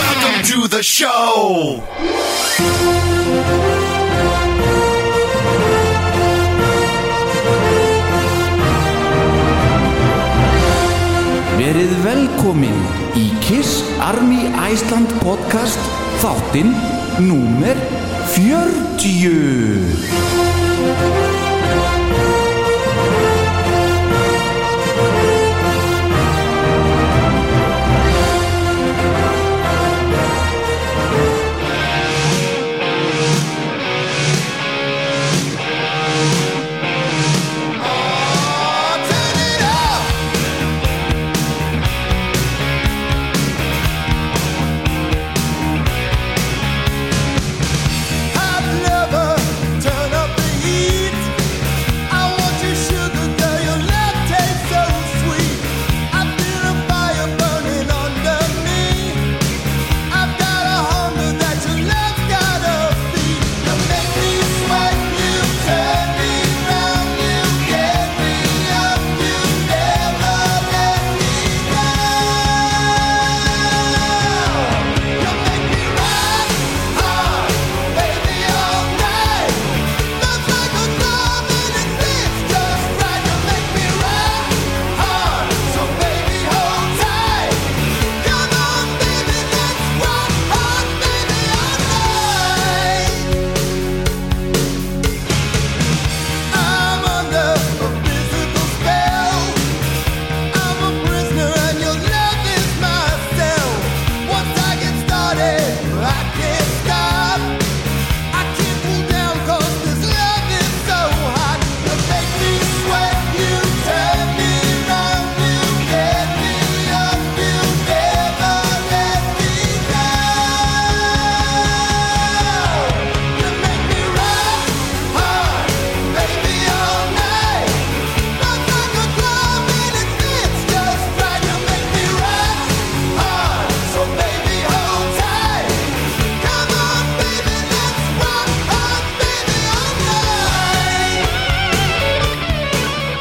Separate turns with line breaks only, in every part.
Welcome to the show.
Verið velkomin í Kiss Army Iceland podcast þáttinn númer 40.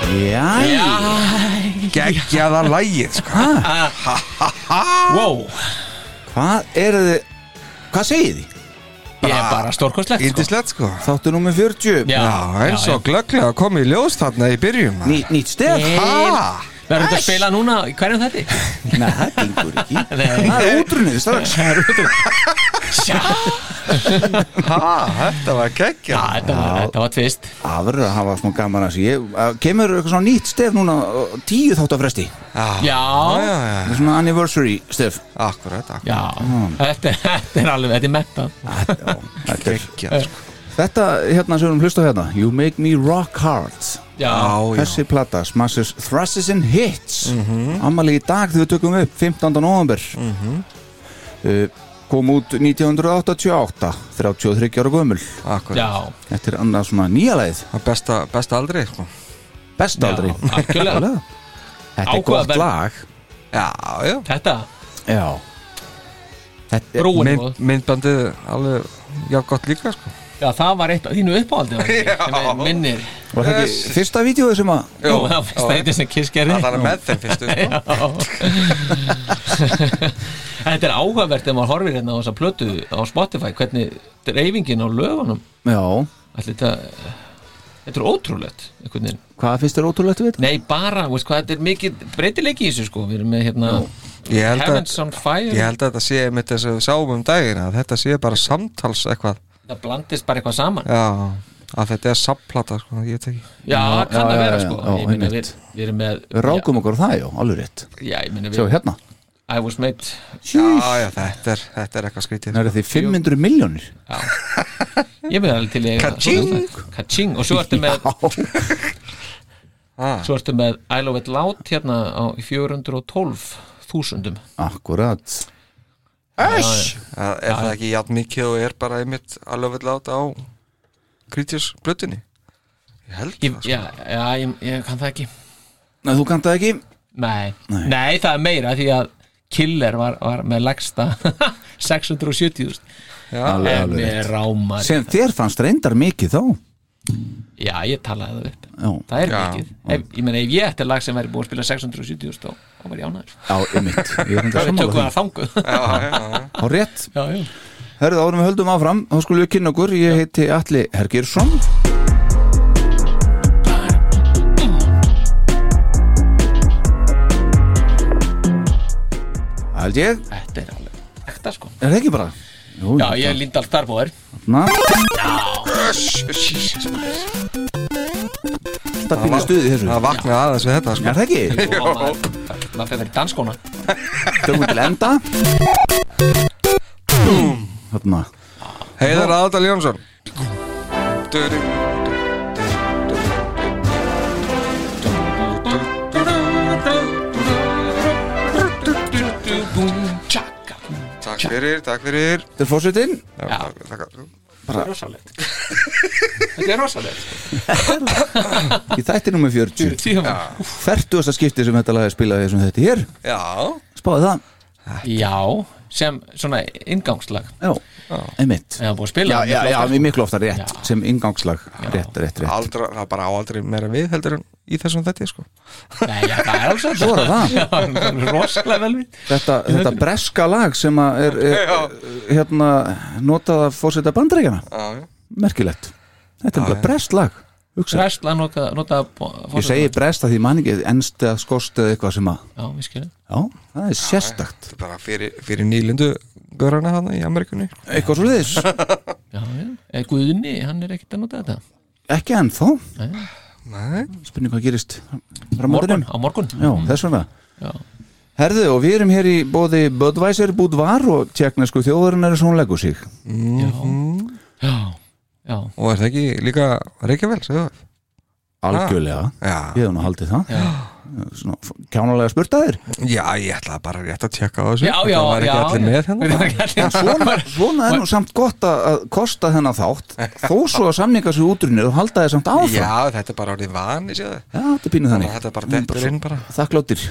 Jæ,
geggjaða lægið sko.
Wow,
hvað er þið, hvað segið þið?
ég er bara stórkostlegt sko.
Índislegt sko
Þáttu númer 40.
Já,
Já, eins og glögglega komið í ljós þarna í byrjun
Ný, nýtt stef.
Ha?
Verður þetta að spila núna, hverjum þetta?
Nei, það gengur ekki.
Nei.
Það er útrunnið strax.
Sjá,
Ha, þetta var
já,
geggja
þetta var, þetta var tvist
Það verður að hafa smá gaman að sé. Kemur eitthvað svona nýtt stef núna, á tíu þáttafresti.
Já,
Ah.
Svona anniversary stef.
Akkurat, akkurat
já, þetta, þetta er alveg, þetta er metta
Þetta er
Geggjað, sko.
Þetta, hérna sem við erum hlusta á hérna You Make Me Rock Hard
Já,
Já, Mhm. já
Þessi plata, Smashes, Thrashes and Hits Ammali í dag þegar við tökum upp 15. november
Mhm.
uh, Kom út 1988 33 ára gömul
Akkurat
já,
Þetta er annað svona nýjalæð
Það er Besta, besta aldrei sko
Best
Já,
aldrei
algjörlega.
Algjörlega. Þetta er
Ákveða
gott
verð.
lag
Já, já
þetta,
Já Þetta er
brúin
Mynd, Myndbandið alveg Já, gott líka sko
Já, það var eitt af þínu uppáhaldi var ekki, sem er minnir
Var það ekki fyrsta vídeo sem að
Jú, það var fyrsta eitt sem Kiss gerði
Það er með þeim fyrstu sko.
Já. Þetta er áhugavert þegar maður horfir hérna á þessa plötu á Spotify, hvernig dreifingin á lögunum
Já,
Ætli þetta Þetta er ótrúlegt einhvern veginn
hvað finnst þér ótrúlegt við þetta?
Nei, bara, veist hvað, þetta er mikið breytileiki í þessu sko Við erum með hérna
Ég held að-
Heavens on Fire
Ég held að þetta sé einmitt þess að við sáum um dagina að Þetta sé bara samtals eitthvað
Það blandist bara eitthvað saman
Já, að þetta er sapplata sko, ég veit ekki
Já, það kann
já,
að
já,
vera
já,
sko
já,
Ég meina, við,
einmitt.
við erum með
Við rákum okkur á það, já, alveg rétt
Já, já ég meina
Sjá
við
hérna
I was made
já, já, þetta er, þetta er eitthvað skrítið sko.
Það eru því 500 miljónir
Ég meina alveg til ég
Ka-ching!
Kaching Og svo ertu með,
ah,
svo ertu með I love it loud hérna á 412 þúsundum
Akkurat
að- er það ekki játn mikið og er bara einmitt alveg vill átt á krítjus blötunni ég held
Ég-
það sko.
Já, já, ég, ég kann það ekki
Nei, þú kannt það ekki
Nei. Nei. það er meira því að Killer var, var með lagsta 670
Alveg,
en
alveg
mér
rétt
rámar
Sem þér fannst reyndar mikið þá
Já, ég talaði það upp
Já,
Það er
Já.
mikið ef, Ég meina ef ég ætti lag sem væri búið að spila 670 þá þá var ég ánæður
já, einmitt Ég er hundar
Við tökum
sammála
það þangu
því Á rétt
Já, já
Herðu árum við höldum áfram Þá skulum við kynna okkur Ég heiti Atli Hergirsson Það held ég
Þetta er alveg ekta sko
Er það ekki bara? Jú,
Já, ég er Lindahl Starbóðar
Na Þetta býna stuði þessu
það vaknaði aðeins við þetta sko.
Er það ekki?
maður maður fer fyrir danskóna
Dögum til enda Þarna
Heiðar Aðdal Jónsson Duru
Tjaka
Takk fyrir, takk fyrir
Þetta er fórsetin
Já.
takk, takk.
Þetta er rosalegt Þetta er rosalegt sko.
Í þætti nummer 40
Því að-
Fertugasta skipti sem þetta lag er spilað í þessum þetta hér
Já,
Spáði það
Já, sem svona inngangslag
Já, einmitt
eða búið að spila
Já,
það
já, já,
miklu oftar,
við miklu ofta rétt
Já.
sem ingangslag Rétt, rétt, rétt
aldra, það bara á aldrei meira við heldur en í þessum þetta sko.
sko. Nei, já, það er alveg satt.
Svo er það.
Já, það er rosalega vel við
Þetta, þetta breska lag sem að er, er hérna notað að fórseta bandreikjana
Já, já
merkilegt Þetta er bara brest lag hugsa.
Ræsla nota, nota
Ég segi brest að því manningi ennst eða skost eða eitthvað sem að
Já, við skilum
Já, það er sérstakt
Þetta er bara fyrir, fyrir nýlindu görana hana í Amerikunni
Eitthvað svo liðis,
Já, já, eða Guðni, hann er ekkert að nota þetta
ekki ennþá
Nei,
Spurning hvað gerist Frá mótunum
Morgun, á morgun
Já, þess vegna
Já.
Herðu, og við erum hér í bóði Budweiser, Budvar og tjeknesku þjóðurinn er svona leggur sig
Já, já,
og er það ekki líka Reykjavíl, segðu það
Ah. Algjörlega,
Já.
ég hef nú haldið það Svona f- kjánalega spurtaðir
Já, ég ætlaði bara rétt að tjekka á þessu
já,
Þetta
já
var ekki
já,
allir
já.
með
Við
hérna
erum ekki allir-
Svona, svona er nú samt gott að- að kosta þennan þátt Þó svo að samninga sér útrunnið og halda þér samt áfram
Já, þetta er bara orðið vani, séðu
Já, þetta er pínuð
Þannig
þannig
að þetta bara dettur inn bara
Þakkláttir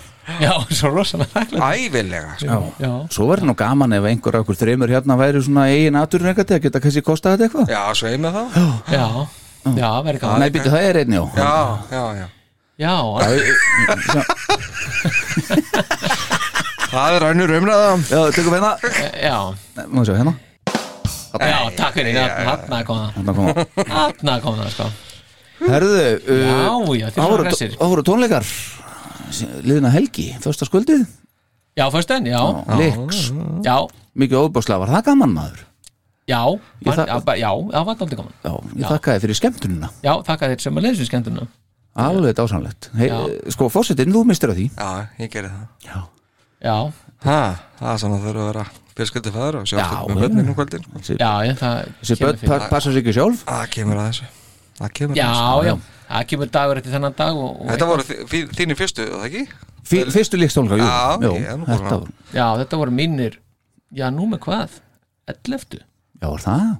Já, svo rosalega þakklægt.
Ævilega, sko
Já,
Svo verður nú gaman ef einhver af okkur þreymur hérna væri svona eigin aturreikati að geta kannski kostað þetta eitthvað
Já, sveið með það
já, já, verður gaman
Nei, býttu, það er einnig á
Já, já, já
Já,
Það er önnur umræða
Já, tökum við hérna
eh, já,
Nei, Má sjá hérna
já, takk fyrir Hanna kom það
Hérna koma
Hanna kom það, sko
Herðu uh,
Já, já, þið
það
eru
voru-
hressir.
Það voru tónleikar Liðina helgi, þörsta skuldið
Já, föstin, já,
Liks,
já,
mikið óbáslega Var það gaman maður?
já
Ég
hann-
þakka-
Já, bara- já, það var aldrei gaman
Já, ég þakkaði fyrir skemmtunina
Já, þakka þér sem að leiðsum skemmtuna
Alveg dásamlegt Hei,
Já.
Sko, fórsetin, þú mistir á því
Já, ég gerði það
Já,
Ha, það er svona þurfa að vera fjölskyldifæður og
Já,
sjálfstöld með
já.
börnin um kvöldin sko.
Þessi,
já, ég, það
þessi
kemur
börn
fyrir.
pa- passa sig ekki sjálf
Það kemur að þessu Það kemur að
Já,
þessu
já, það kemur dagur eftir þennan dag og, og
Þetta voru þi- þí- þínir fyrstu, var það ekki?
Fí, Fyrstu líkstónleikar, jú,
Já,
jú
ég er nú búin
Þetta
að-
var,
Já, þetta voru mínir Já, nú með hvað? 11?
já, var það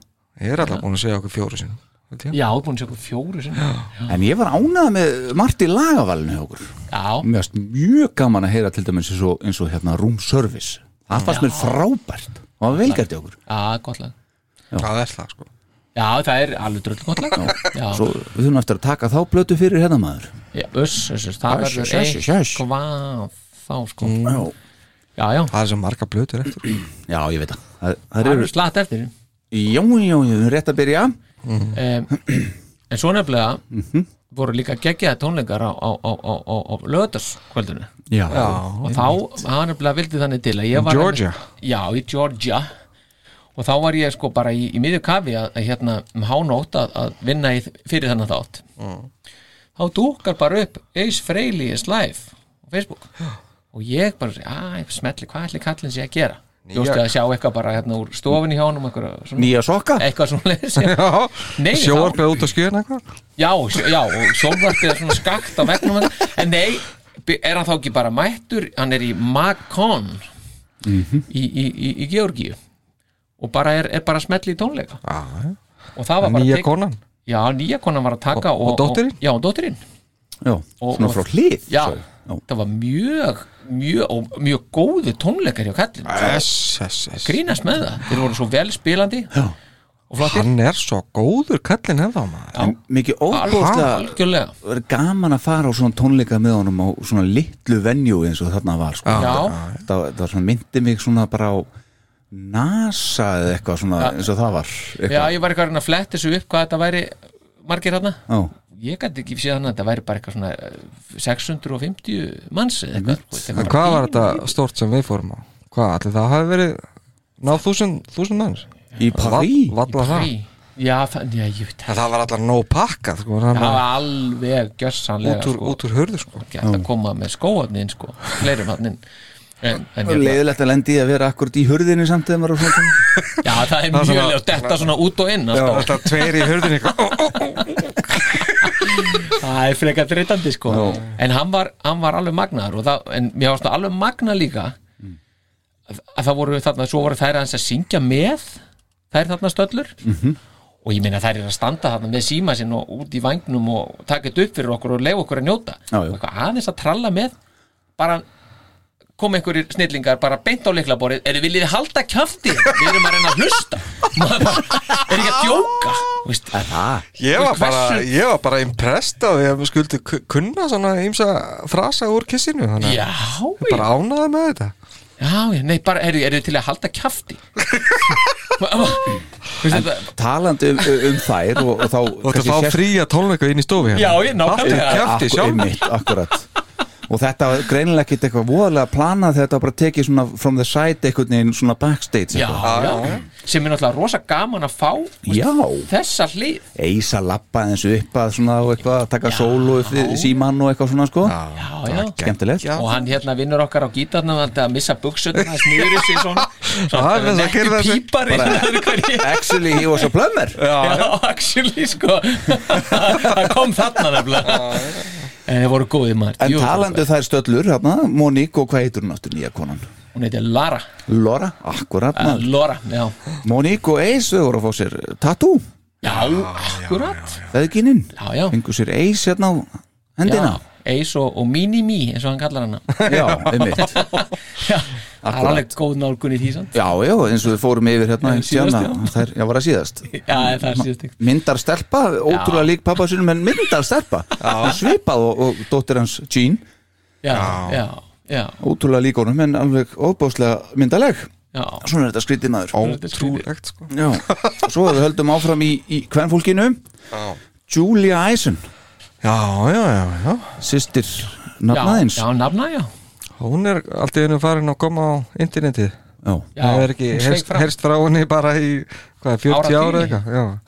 Ég er alltaf búin að segja okkur fjóru sinni veit ég.
Já, búin að sjá okkur fjóru sinni Já,
En ég var ánað með Marti Lagavalinu hjá okkur
já,
Mér varst mjög gaman að heyra til dæmis eins og, eins og hérna room service Það fannst mér frábært Það var velgært í okkur
gott lag
Það er það sko
Já, það er alveg dröld gott lag Já,
Svo við þurfum eftir að taka þá blötu fyrir hérna maður
já, öss, öss, öss, það
Öss,
verður
öss, öss, öss.
eitthvað þá sko
Já,
Já, já,
Það er sem marga blötur eftir
já ég veit það Það, það
það
eru,
eru slatt
já,
eftir
já, já, rétt að byrja
um, En svo nefnilega voru líka geggjaði tónleikar á, á, á, á, á, á lögðarskvöldinu
Já,
Já,
og þá, það var nefnilega vildi þannig til að ég var
Georgia?
já, í Georgia og þá var ég sko bara í, í miðju kafi að, að hérna um hánótt að, að vinna í, fyrir þannig þátt þá dúkar bara upp Ace Frehley is live á Facebook og ég bara, að, smetli, hvað ætli kallin sé að gera? Jóstu að sjá eitthvað bara hérna úr stofinni hjá honum eitthvað svona,
Nýja sokka?
eitthvað svona leis já, Nei, þá-
Sjóarpið út á skjöðin eitthvað
já, sjó- já, og sjónvarpið er svona skakt á vegnum og- en nei, be- er hann þá ekki bara mættur hann er í Macon
Mhm.
í, í, í, í Georgíu og bara er, er bara smetli í tónleika
Já,
og það var bara
Nýja
tek-
konan
já, nýja konan var að taka
Og- og dóttirin?
já, og dóttirinn
Já, svona
og-
frá hlið
já,
svo. Já.
það var mjög mjög, og mjög góði tónleikar hjá kallin
Ess, ess, ess
grínast með það, þeir voru svo vel spilandi já. og flottir
Hann er svo góður kallinn hefða maður
En Mikið óbúðslega
algjörlega
er gaman að fara á svona tónleika með honum á svona litlu venju eins og þarna var sko.
já,
það, það var svona myndi mig svona bara á NASA eða eitthvað svona eins og það var
já,
eitthvað.
ég var eitthvað að reyna að fletta þessu upp hvað þetta væri margir þarna
Já,
ég gæti ekki séð hann að þetta væri bara eitthvað svona eh, 650 manns eða eitthvað, sko, þetta er
En
bara
hvað var
pínu
þetta stórt sem við fórum á? Hvað, allir það hafi verið Náð þúsund, þúsund manns
Í Paris
Valla það
lítið. já, það, já, ég veit það
En það var allar nóg pakkað sko, það
það
var
var alveg gjössanlega
út úr,
sko,
út úr hörðu sko
gæti að koma með skóðnin sko, fleirum hann en, en hérna,
Leðilegt að lendi í að vera akkurat í hurðinni samt þegar maður á svona tónleika.
já, það er
Það er
mjög
svona-
lega að detta svona út og inn alltaf,
Þetta tveir í hörðinni
Það er frekar dreytandi sko En hann var, hann var alveg magnaður og það, En mér varst það alveg magnað líka að, að það voru þarna Svo voru þær hans að syngja með Þær þarna stöllur -hmm. Og ég meina þær eru að standa þarna með síma sinn Og út í vangnum og taka þetta upp fyrir okkur Og leifa okkur að njóta
Já, já.
Og eitthvað aðeins að tralla með Bara kom einhverjir snillingar bara beint á leiklaborið eru viljið þið halda kjafti við erum að reyna að hlusta Maður bara, er ekki að djóka Þú veist, að það
Ég var
Hversu-
bara, ég var bara impressed að ég skuldi ku- kunna svona ímsa frasa úr kissinu þannig að
Já,
ég bara ánaði með þetta
Já, já, nei, bara eru er þið til að halda kjafti Ma- ma- Þú veist þetta
Talandi um, um þær og, og þá
Og
kannski
þetta fá
sést-
fría tónleika inn í stofu hérna
Já, ég- nákvæmlega.
Haltu kjafti
Akkur-
sjálf
einmitt, akkurat og þetta var greinilega ekkit eitthvað voðalega planað þetta var bara tekið svona from the side einhvern veginn svona backstage
Já,
eitthvað.
já, sem er náttúrulega rosa gaman að fá þú veist,
Já.
þessa hlið
eisa lappa eins og upp að svona og eitthvað að taka sólu upp símann og eitthvað svona sko
Já, já
skemmtilegt
Já.
Og hann hérna vinnur okkar á gítarnum hann að missa buksutna, það smiður sig svona
Já, það er að gera
nekki
þessi-
pípari Já,
actually he was a plumber
actually, sko Það kom þarna nefnilega En þeir voru góðið maður
en
Jú,
talandi þær stöllur hérna Monique og hvað heitur hún aftur nýja konan
Hún heiti Lara
Lora, akkurat
Eh,
maður
Lora, já
Monique og Ace þau voru að fá sér tattoo
Já, akkurat
veðgininn
Já, já
fengu sér Ace hérna á hendina
Já, Ace og, og Mini-Me eins og hann kallar hana
já, einmitt
Já, það er
Akkúrat.
alveg góð nálgun í því samt
Já, já, eins og við fórum yfir hérna
Já,
já,
síðast,
síðan,
já.
þær, já, var það síðast
Já, það er síðast ykkur
Myndar stelpa, ótrúlega lík pappa sinum en myndar stelpa, Hún svipað og, og dóttir hans Jean,
Já, já, já,
ótrúlega lík honum en alveg óbáslega myndaleg
já
Svona er þetta skrítið maður
Trúlegt sko
Já, svo að við höldum áfram í, í kvenfólkinu Julia Eisen,
Já, já, já, já
systir
Já,
nafnaðins
já, nafna, já
Hún er alltaf einu farin að koma á internetið
Já.
Já,
Það er ekki
hún sveik
herst,
fram.
herst frá henni bara í hvað, 40 ára
Áratugi.
eitthvað Já,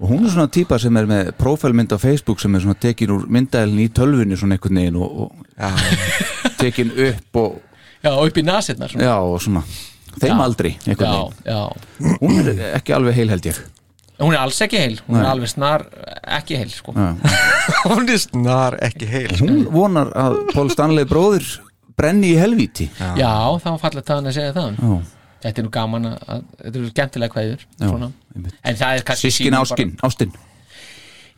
Og hún er svona típa sem er með prófælmynd á Facebook sem er svona tekin úr myndælinn í tölvunni svona einhvern veginn og,
já,
og tekin upp og
Já, upp í nasirnar svona
Já, og svona Þeim
Já.
aldrei, einhvern
Já,
veginn
já
Hún er ekki alveg heil held ég
Hún er alls ekki heil, hún er
Nei.
alveg snar ekki heil, sko
Já.
hún er snar ekki heil sko.
Hún vonar að Pól Stanley bróðir brenni í helvíti Já,
Já, það var fallegt að hann að segja það
Já.
Þetta er nú gaman að, að þetta eru skemmtilega kveður svona.
einmitt.
En það er kannski
Sískin
sýnir
áskinn, ástin
bara,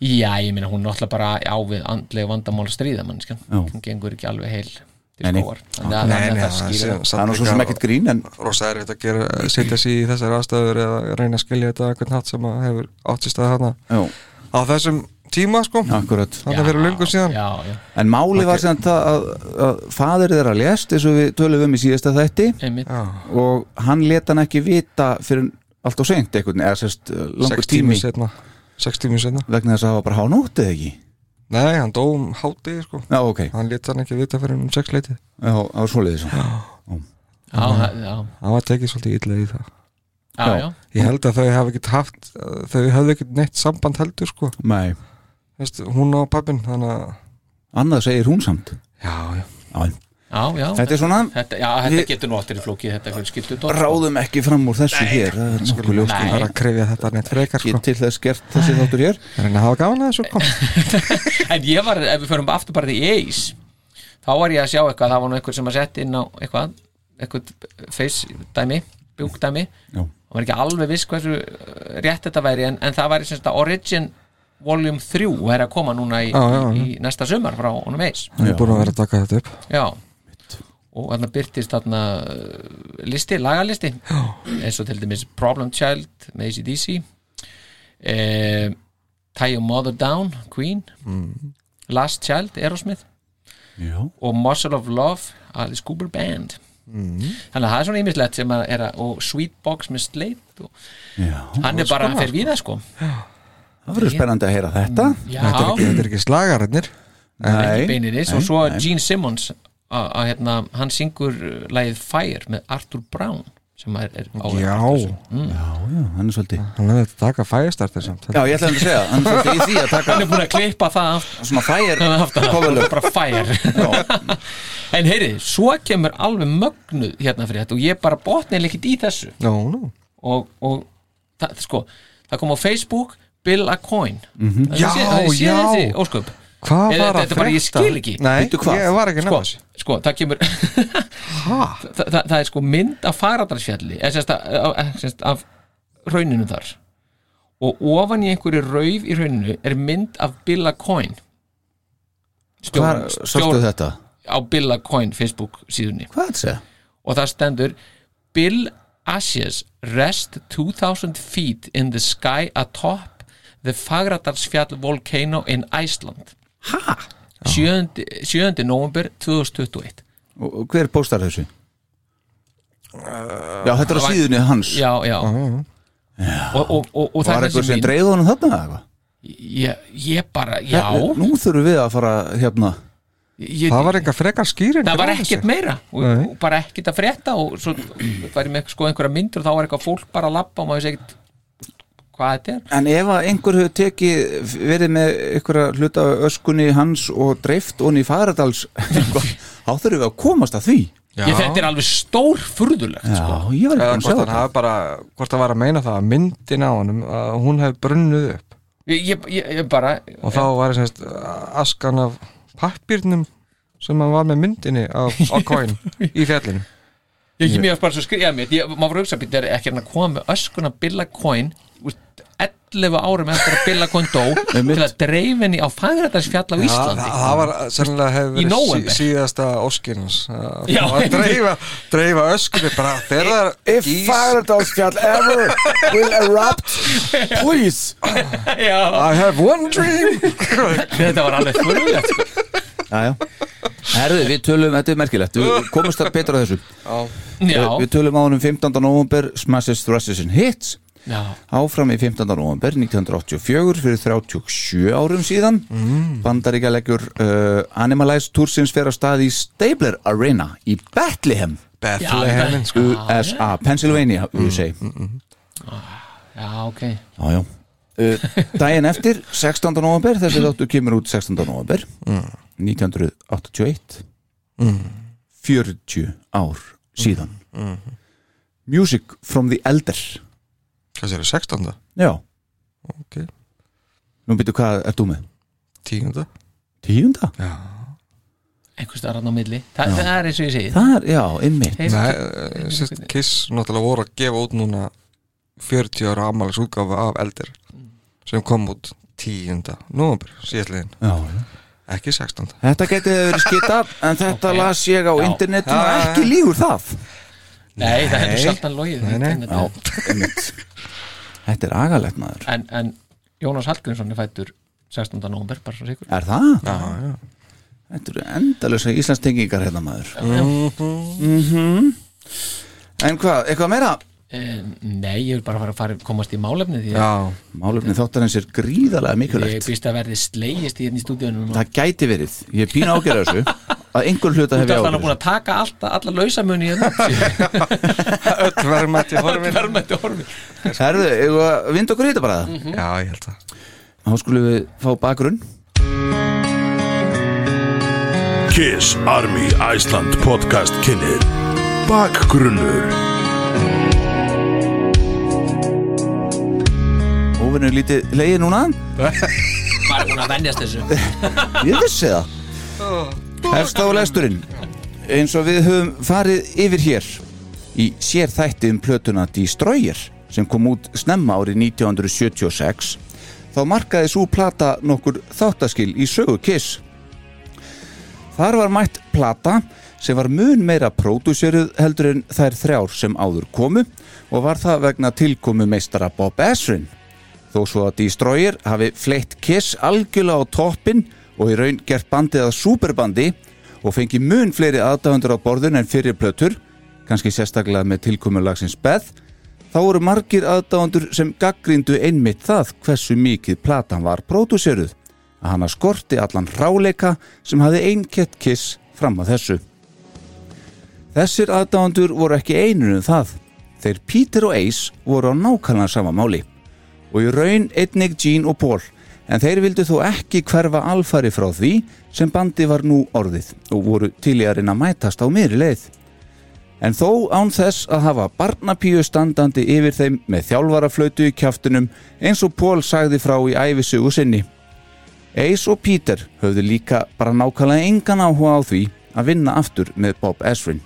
Já, ég meina hún náttúrulega bara á við andlega vandamál að stríða mannskja
Já.
Hún gengur ekki alveg heil til
Nei, nei.
skóar Þannig að,
Nei,
þannig
nei,
að það
það
skýrir
er
Það er nú svo sem ekkert grín en
rosa erfitt að gera, setja sig í þessar aðstæður eða reyna að skilja þetta einhvern hatt sem að hefur áttist að hana
já,
á þessum tíma sko
akkurat
þannig að vera lungu síðan
Já, já,
En máli var sem það að, að fadir þeirra lést eins og við tölum um í síðasta þætti
einmitt
og hann let hann ekki vita fyrir allt og seint einhvern eða sérst uh, langur
sex
tími
tími setna sex tími setna
vegna þess að það var bara hánótt eða ekki
nei, hann dó um háti sko
Já, ok, já,
hann létt hann ekki vita fyrir um sex leiti
það var svoleiðis
Já, já,
hann var tekið svolítið illa í það
já,
Já.
já.
Ég held að þau hafi ekkert haft þau hefðu ekkert neitt samband heldur sko
Nei,
Veist, hún á pappin þannig að
annað segir hún samt
já, já.
Já,
já, já.
Þetta er svona-
þetta, já, þetta
Ég-
getur nú áttir í flókið þetta fjölskyldu
ráðum ekki fram úr þessu hér það er nokkuð ljóst
það er að krefja þetta neitt frekar
Ég
sko.
er til þess gert þessi þáttur hér
Það er henni að hafa gaman að þessu sko.
en ég var, ef við förum aftur bara til eis þá var ég að sjá eitthvað, það var nú einhver sem að setja inn á eitthvað, eitthvað face dæmi, bjúk dæmi
Já.
og var ekki alveg viss hversu eh, rétt þetta væri en, en það væri semst að Origin Volume 3 og er að koma núna í,
Já, já, já.
í, í næsta sumar frá honum eis
Ég er búin að vera að taka þetta upp
já og þarna byrtist þarna eh, listi, lagalisti eins og til dæmis Problem Child með ACDC eh, Tie Your Mother Down Queen Last Child, Aerosmith
Já.
og Muscle of Love, Alice Cooper Band
Mm.
þannig að það er svona ýmislegt sem að er að, og Sweetbox með Slate og
Já.
hann er bara, hann fer víða sko
Það verður spennandi að heyra þetta
já,
þetta er, ekki, þetta er ekki slagarinnir
Nei,
beininis og svo Gene Simmons að að hérna, hann syngur uh, lagið Fire með Arthur Brown sem er, sko. er á
já,
já, hann er svolítið
hann hefði að taka fægastartir samt
Já, ég ætlaði að segja, hann er svolítið í því að taka
hann er búin að klippa það af-
svona fægir
hann er haft að
coverlög
bara Fire en heyri, svo kemur alveg mögnuð hérna fyrir þetta og ég bara botnið ekkert í þessu
já, nú
og, og það, sko, það kom á Facebook Bill a Coin mm -hmm.
Mhm. Já, já.
þessi, ósköp
Hvað
Eða
var
þetta
að
er bara- ég
frétta?
skil ekki.
Nei,
Veitu hvað?
ég var ekki
sko,
nefnast
sko, það kemur það, það, það er sko mynd af faradarsfjalli eða sérst að- af- eh, sérst af rauninu þar og ofan í einhverju rauf í rauninu er mynd af Bill a Coin
Hvar
Stjóra-
sástu
stjóra-
þetta?
á Bill a Coin Facebook síðunni
Hvað er þetta?
og það stendur Bill Ashes rest 2000 feet in the sky atop the Fagradalsfjall volcano in Iceland Hæ? 7. 7. november 2021
Og og hver postar þessu? Já, þetta er á
það var-
síðunni hans
Já, já Og, og, og, og
Var
það er
eitthvað
þessi
sem
mín
dreigði honum þarna eða eitthvað?
ég, ég bara, já
Nú þurfum við að fara hérna
ég,
það var eitthvað frekar skýrin
það var ekkert meira og, og bara ekkert að frétta og svo var ég með sko einhverja myndur og þá var eitthvað fólk bara að labba og maður segir hvað þetta er
En ef að einhver hefur tekið verið með einhverja hluta af öskunni hans og dreift onni í Fagradals eitthvað, þá þurfum við að komast að því
ég, þetta er alveg stór furðulegt
Já,
sko.
ég var ekki búin að
eða hvort
segja
hann
þetta
hafi bara hvort hann var að meina það að myndin á honum að hún hefði brunnuð upp
ég, ég, ég, ég bara
og þá var semst askan af pappirnum sem hann var með myndinni á, á coin í fjallinu
ég, ég, mér varst bara svo skrifað mér ég, maður voru hugsa býtt er ekki hann að koma með öskuna Billa Coin úr 11 árum eftir að Billa Coin dó til að dreifinni á fagrætarsfjall á
það,
Íslandi
það var sennilega hefur
Í
verið
nóvember.
sí, síðasta óskinans að
Já,
að dreifa, dreifa öskunni bara þegar
If Fagradalsfjall ever will erupt Please
Já,
I have one dream
þetta var alveg furðulegt sko.
Jæja Herðu, við tölum, þetta er merkilegt Við komumst að betra að þessu
já,
Við tölum á honum 15. november Smashes, Thrashes and Hits
já,
Áfram í 15. november 1984 fyrir 37 árum síðan Bandaríkja leggur uh, Animalize Toursins fer að stað í Stabler Arena í Bethlehem
Bethlehem sko.
Uh,
USA, Pennsylvania USA
já, ok
Já, já uh, Dæin eftir, 16. november þessi þáttu kemur út 16. november
Mm.
1981 40 ár síðan
Mm.
Music from the Elder
Hvað sér, 16.
Já,
Ok,
nú byrju hvað ert þú með?
10.
Tíunda?
einhvers staðar hann á milli Þa, það er eins og ég segi
Það er, já, einmitt
Hey,
Nei, eh, sérst, Kiss náttúrulega voru að gefa út núna 40 ára ammælis útgáfa af eldir sem kom út 10. november síðastliðin,
já.
ekki 16.
Þetta getið verið skita en þetta
Ok.
las ég á
Já.
internetinu og ekki lígur það
nei, það hefur sjaldan logið
Nei, nei.
nei.
einmitt Þetta er agalegt maður
En, en Jónas Hallgrímsson er fættur 16. november, bara svo sikur
Er það?
Já, já.
Þetta eru endalösa Íslands tengingar hérna maður
Mhm.
Mhm. En hvað, eitthvað meira?
Eh, Nei, ég vil bara fara að fara, komast í málefni því að
já.
Málefni þáttarins er gríðarlega
ég
mikilvægt
býst að verði slegist í hérna í stúdíunum
Það gæti verið, ég er pína ágerða þessu að einhver hluta
Þú
hef
ert
ég
alltaf
áhyggjur
búin að taka alltaf, alla lausamuni í hérna. þetta
öll verðmætt í horfin
Verðmætti horfi
Herðu, eigum við að vinda okkur í þetta bara það
já, ég held að
Þá skulum við fá bakgrunn
Kiss Army Iceland podcast kynir Bakgrunnur
Óvinnu lítið leiði núna
Bara búin að venjast þessu
Ég vissi það Hefst á lesturinn Eins og við höfum farið yfir hér Í sér þætti um plötuna Destroyer sem kom út snemma árið 1976 þá markaði svo plata nokkur þáttaskil í sögu Kiss Þar var mætt plata sem var mun meira pródúseruð heldur en þær þrjár sem áður komu og var það vegna tilkomu meistara Bob Ezrin. Þó svo að Destroyer hafi fleitt Kiss algjörlega á toppin og í raun gert bandið að superbandi og fengi mun fleiri aðdáðundur á borðun en fyrir plötur, kannski sérstaklega með tilkomu lagsins Beth, þá voru margir aðdáðundur sem gaggrindu einmitt það hversu mikið platan var pródúseruð að hana skorti allan ráleika sem hafði einkett kiss fram að þessu. Þessir aðdáðandur voru ekki einur um það. Þeir Peter og Ace voru á nákvæmlega sama máli og í raun einnig Gene og Paul en þeir vildu þó ekki hverfa alfari frá því sem bandi var nú orðið og voru til í að reyna að mætast á miðri leið. En þó án þess að hafa barnapíu standandi yfir þeim með þjálfaraflautu í kjaftunum eins og Paul sagði frá í æfisugu sinni. Ace og Peter höfðu líka bara nákvæmlega engan áhuga á því að vinna aftur með Bob Ezrin.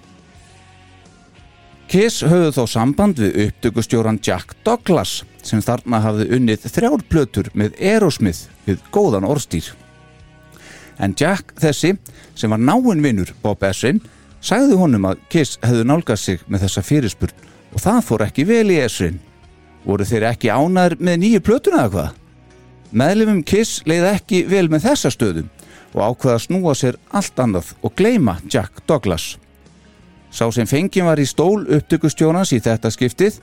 Kiss höfðu þó samband við upptökustjóran Jack Douglas sem þarna hafði unnið þrjár plötur með Aerosmith við góðan orðstýr. En Jack þessi, sem var náinn vinnur Bob Ezrin, sagði honum að Kiss hefðu nálgað sig með þessa fyrirspurn og það fór ekki vel í Ezrin. Voru þeir ekki ánæður með nýju plötuna eða hvað? Meðlefum Kiss leið ekki vel með þessa stöðum og ákveða að snúa sér allt annað og gleyma Jack Douglas. Sá sem fengið var í stól upptökustjónans í þetta skiptið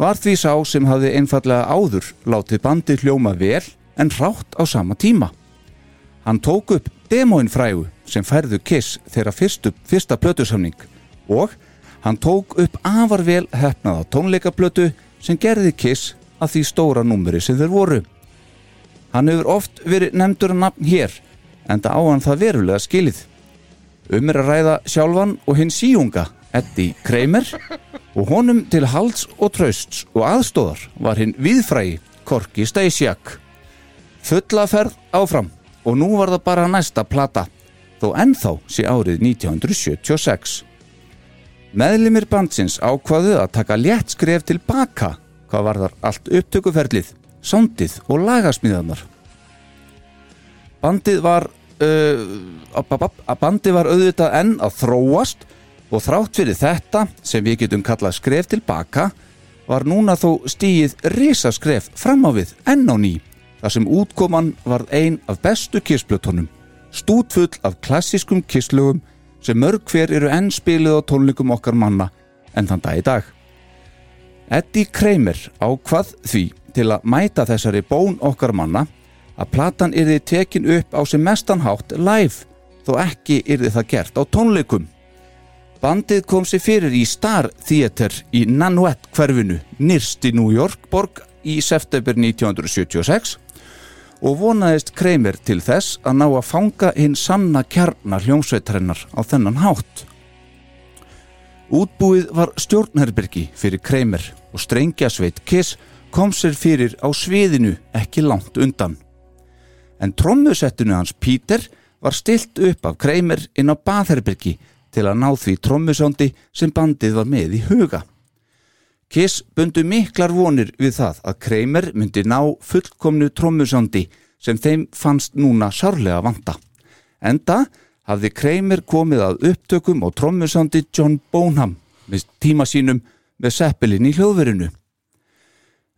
var því sá sem hafði einfallega áður látið bandið hljóma vel en rátt á sama tíma. Hann tók upp demóin frægu sem færðu Kiss þeirra fyrstu, fyrsta plötusamning og hann tók upp afar vel hefnaða tónleikaplötu sem gerði Kiss að því stóra númeri sem þeir voru. Hann hefur oft verið nefndur að nafn hér, en það á hann það verulega skilið. Um er að ræða sjálfan og hinn síunga, Eddie Kramer, og honum til halds og trausts og aðstóðar var hinn viðfrægi Korki Stasiak. Fullaferð áfram og nú var það bara næsta plata, þó ennþá sé árið 1976. Meðlimir bandsins ákvaðu að taka létt skref til baka hvað varðar allt upptökuferlið, sándið og lagasmíðanar. Bandið var uh, ab, ab, ab, að bandið var auðvitað enn að þróast og þrátt fyrir þetta sem við getum kallað skref til baka var núna þó stíið risaskref fram á við enn á ný þar sem útkoman varð ein af bestu kissblötunum stútfull af klassískum kisslögum sem mörg hver eru enn spiluð á tónleikum okkar manna enn þann dag í dag. Eddie Kramer ákvað því til að mæta þessari bón okkar manna að platan yrði tekin upp á sem mestan hátt live þó ekki yrði það gert á tónleikum. Bandið kom sér fyrir í Star Theater í Nanuet hverfinu nyrst í New York borg í september 1976 og vonaðist Kramer til þess að ná að fanga hinn sanna kjarnar hljómsveitrennar á þennan hátt. Útbúið var stjórnherbergi fyrir Kramer og strengjasveit Kiss kom sér fyrir á sviðinu ekki langt undan. En trommusettinu hans Peter var stilt upp af Kramer inn á baðherbergi til að ná því trommusondi sem bandið var með í huga. Kiss bundu miklar vonir við það að Kramer myndi ná fullkomnu trommusondi sem þeim fannst núna sárlega vanta. Enda hafði Kramer komið að upptökum og trommusondi John Bonham með tíma sínum með seppelin í hljóðverinu.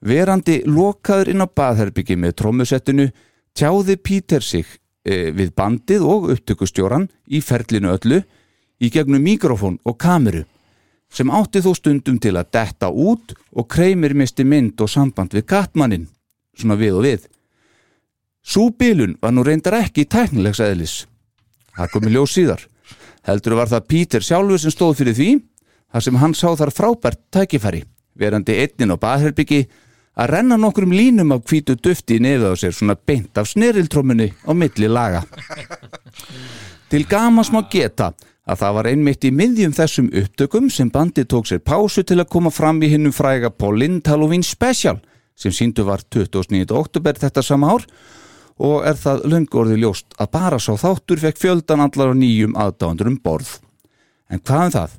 Verandi lokaður inn á baðherbyggi með trommusettinu tjáði Peter sig e, við bandið og upptökustjóran í ferlinu öllu í gegnum mikrofón og kameru sem átti þó stundum til að detta út og kreimir misti mynd og samband við kattmannin, svona við og við. Sú bílun var nú reyndar ekki tæknilegs eðlis. Það komi ljós síðar. Heldur var það Peter sjálfur sem stóð fyrir því þar sem hann sá þar frábært tækifæri verandi einnin á baðherbyggi að renna nokkrum línum af hvítu dufti í nefið á sér svona beint af sneriltrómunni á milli laga Til gamans má geta að það var einmitt í miðjum þessum upptökum sem bandið tók sér pásu til að koma fram í hinnum fræga Pauline Halloween Special sem síndu var 29. oktober þetta sama ár og er það löngu orðið ljóst að bara sá þáttur fekk fjöldan allar á nýjum aðdáðundur um borð. En hvað um það?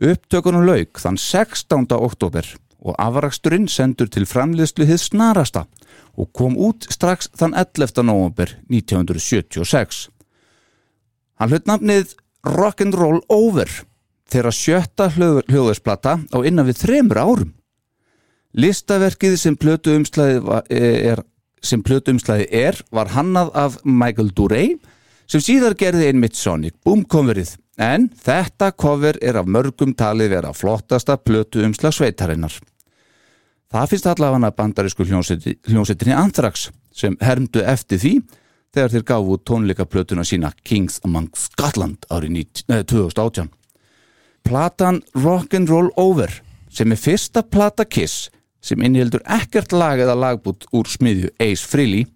Upptökunum lauk þann 16. oktober og afraksturinn sendur til framleiðslu hið snarasta og kom út strax þann 11. november 1976. Hann hlut nafnið Rock'n'Roll Over þegar sjötta hljóðisplata á innan við þremur árum. Listaverkið sem plötu er, sem plötu er var hannað af Michael Durey sem síðar gerði einmitt Sonic Boom coverið en þetta cover er af mörgum talið vera flottasta plötu umslag sveitarinnar. Það finnst allavega bandarísku hljónsetti- hljónsettinni Anthrax sem hermdu eftir því þegar þeir gafu tónleikaplötuna sína Kings Among Scotland árið 19 eh, 2018. Platan Rock'n'Roll Over sem er fyrsta plata Kiss sem innheldur ekkert lag eða lagbútt úr smiðju Ace Frehley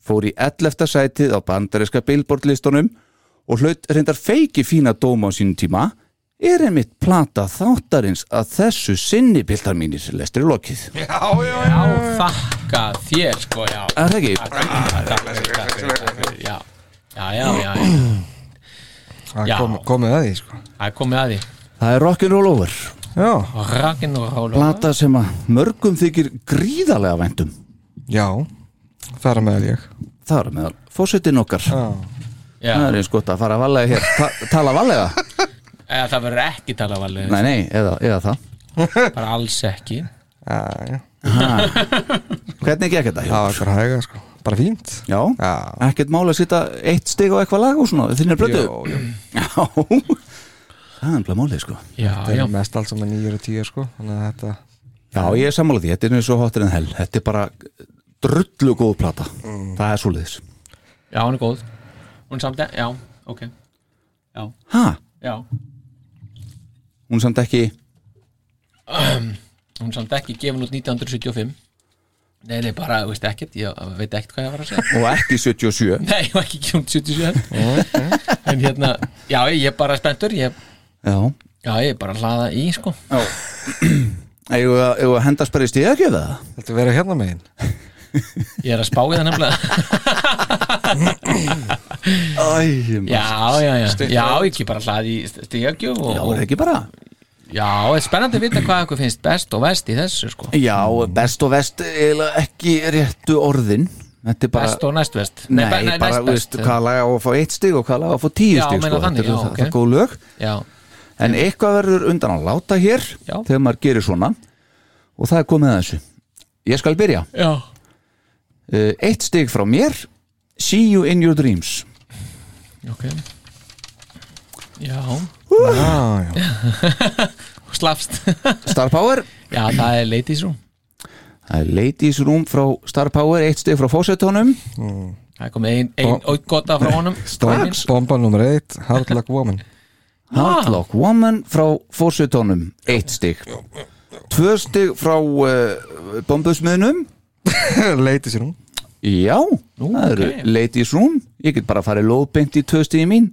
fór í 11. sætið á bandaríska billboardlistunum og hlaut reyndar feiki fína dóma á sínum tíma er einmitt plata þáttarins að þessu sinni bildar mínir lestri lokið.
Já, þakka þér sko, já
Er það ekki?
Já, já, já, já, já.
Það
Já.
kom, komið að því sko
Það er komið að því
Það er Rock'n'Roll Over
Já,
Rakin og Róla
plata sem að mörgum þykir gríðarlega um. væntum
já, þar með ég
þar meðal fósettin okkar
Já,
það
Já,
er eins gott að fara valega hér Ta tala valega,
eða það verður ekki talað valið
nei nei, eða, eða það
Bara alls ekki
já, já,
hvernig gekk þetta?
það var bara hæga sko Bara fínt
Já,
Já.
ekkert máli að setja eitt stig á eitthvað lag og svona, þinn er blötu
Jó, jó.
Já, það er ennbla málið sko
Já,
Það
já,
er mest allt saman 9 og 10 sko Þannig að þetta
Já, ég er sammála því, þetta er nú svo hotir en hell þetta er bara drullu góð plata það er svoleiðis
já, hún er góð Hún er samt, e- já, ok Já,
Ha,
já
hún er samt ekki
Hún er samt ekki gefin út 1975 Nei, nei, bara, þú veist ekkert Ég veit ekkert hvað ég var að segja
og ekki 77
Nei, ég var ekki gefin út 77 En hérna, já, ég er bara spenntur ég,
Já,
Já, ég er bara að hlaða í, sko
eigum við að- eigum við að hendast bara í stigakjöfið það?
Þetta verið hérna megin
Ég er að spá í það nefnilega
Æ, maður.
Já, já, já, já, ekki bara hlaði í stíðagjöf og,
Já,
og
er ekki bara
já, það er spennandi að vita hvað okkur finnst best og vest í þessu, sko
Já, best og vest eiginlega ekki réttu orðin Þetta er bara
Best og næst best
Nei,
be-
bara,
næst
þú veist, hvað laga á að fá eitt stig og hvað laga á að fá tíu
Já,
stig
meina
sko.
þannig,
Þetta er
já,
það,
ok.
það er góð lög
Já,
En eitthvað verður undan að láta hér
Já.
Þegar maður gerir svona Og það er komið að þessu Ég skal byrja
já,
Uh, Eitt stig frá mér See you in your dreams
ok Já,
Já, já,
slafst
Star Power
Já, það er ladies room
Það er Ladies Room frá Star Power Eitt stig frá fósettónum
Það er komið ein, ein
Og-
auðgota frá honum
Strax.
Bomba nummer 1, Hard Luck Woman
Hardlock Woman frá fórsutónum eitt stig tvö stig frá uh, bombusmiðnum
Leiti sér um. hún
já, það eru
ok.
Ladies Room ég get bara að fara í lóðbeint í tvö stigi mín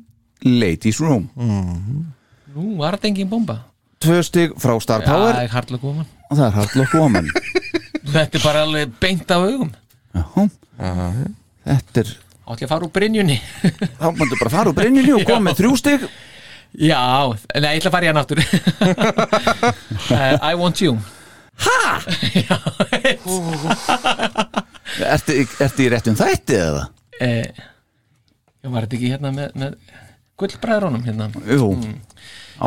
Ladies Room
Nú, var þetta engin bomba
tvö stig frá Star Power
Það er hardlega góman
og það er Hardlock Woman
Þetta er bara alveg beint af augum
já, þetta er
Átti að fara úr brynjunni
þá mættu bara fara úr brenninu og koma með þrjú stig
Já, nei, ég ætla að fara í hann aftur uh, I want you
ertu, ertu í réttum þætti eða?
Eh, ég var þetta ekki hérna með, með gullbræðrónum hérna
jú,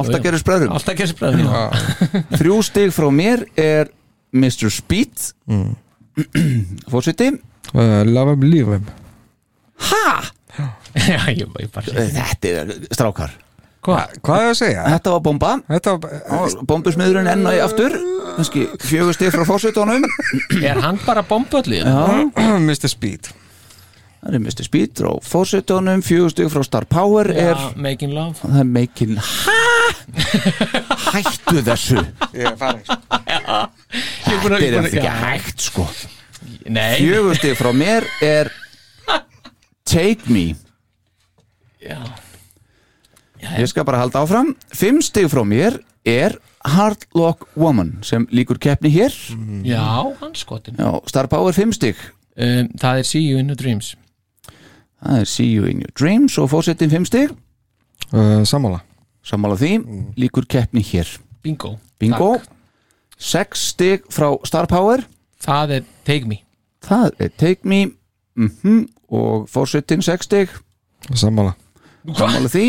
átt að gera spröðrum
Alltaf gerðs bræðrónum já.
Þrjú stig frá mér er Mr. Speed mm. Fórsviti
uh, Love him, leave him
já, ég, ég bara
Þetta er strákar
Hvað?
Hvað er að segja?
Þetta var bomba
Þetta var
Bombusmiðurinn enn og í aftur Kanski fjögur stig frá fórsvitunum
Er hann bara bomböllu?
Já
Mr. Speed
það er Mr. Speed og Fawcettónum, fjögustug frá Star Power er,
Já, Making Love
það er meikinn hæ hættu þessu
Ég er farin sko.
Ég er búin
þetta er
að- búin að-
eftir
já.
ekki hægt sko
Nei,
fjögustug frá mér er Take Me
já
Ég skal bara halda áfram Fimm stig frá mér er Hardlock Woman sem líkur keppni hér
Mm. Já, hans skotin
Já, Star Power fimm stig
um, Það er See You in the Dreams
Það er See You In Your Dreams og fórsetin fimm stig
uh, Sammála
Sammála því, líkur keppni hér
Bingo
Bingo
Takk.
Sex stig frá Star Power
Það er Take Me
Það er Take Me mm og fórsetin sex stig
Sammála
Sammála því,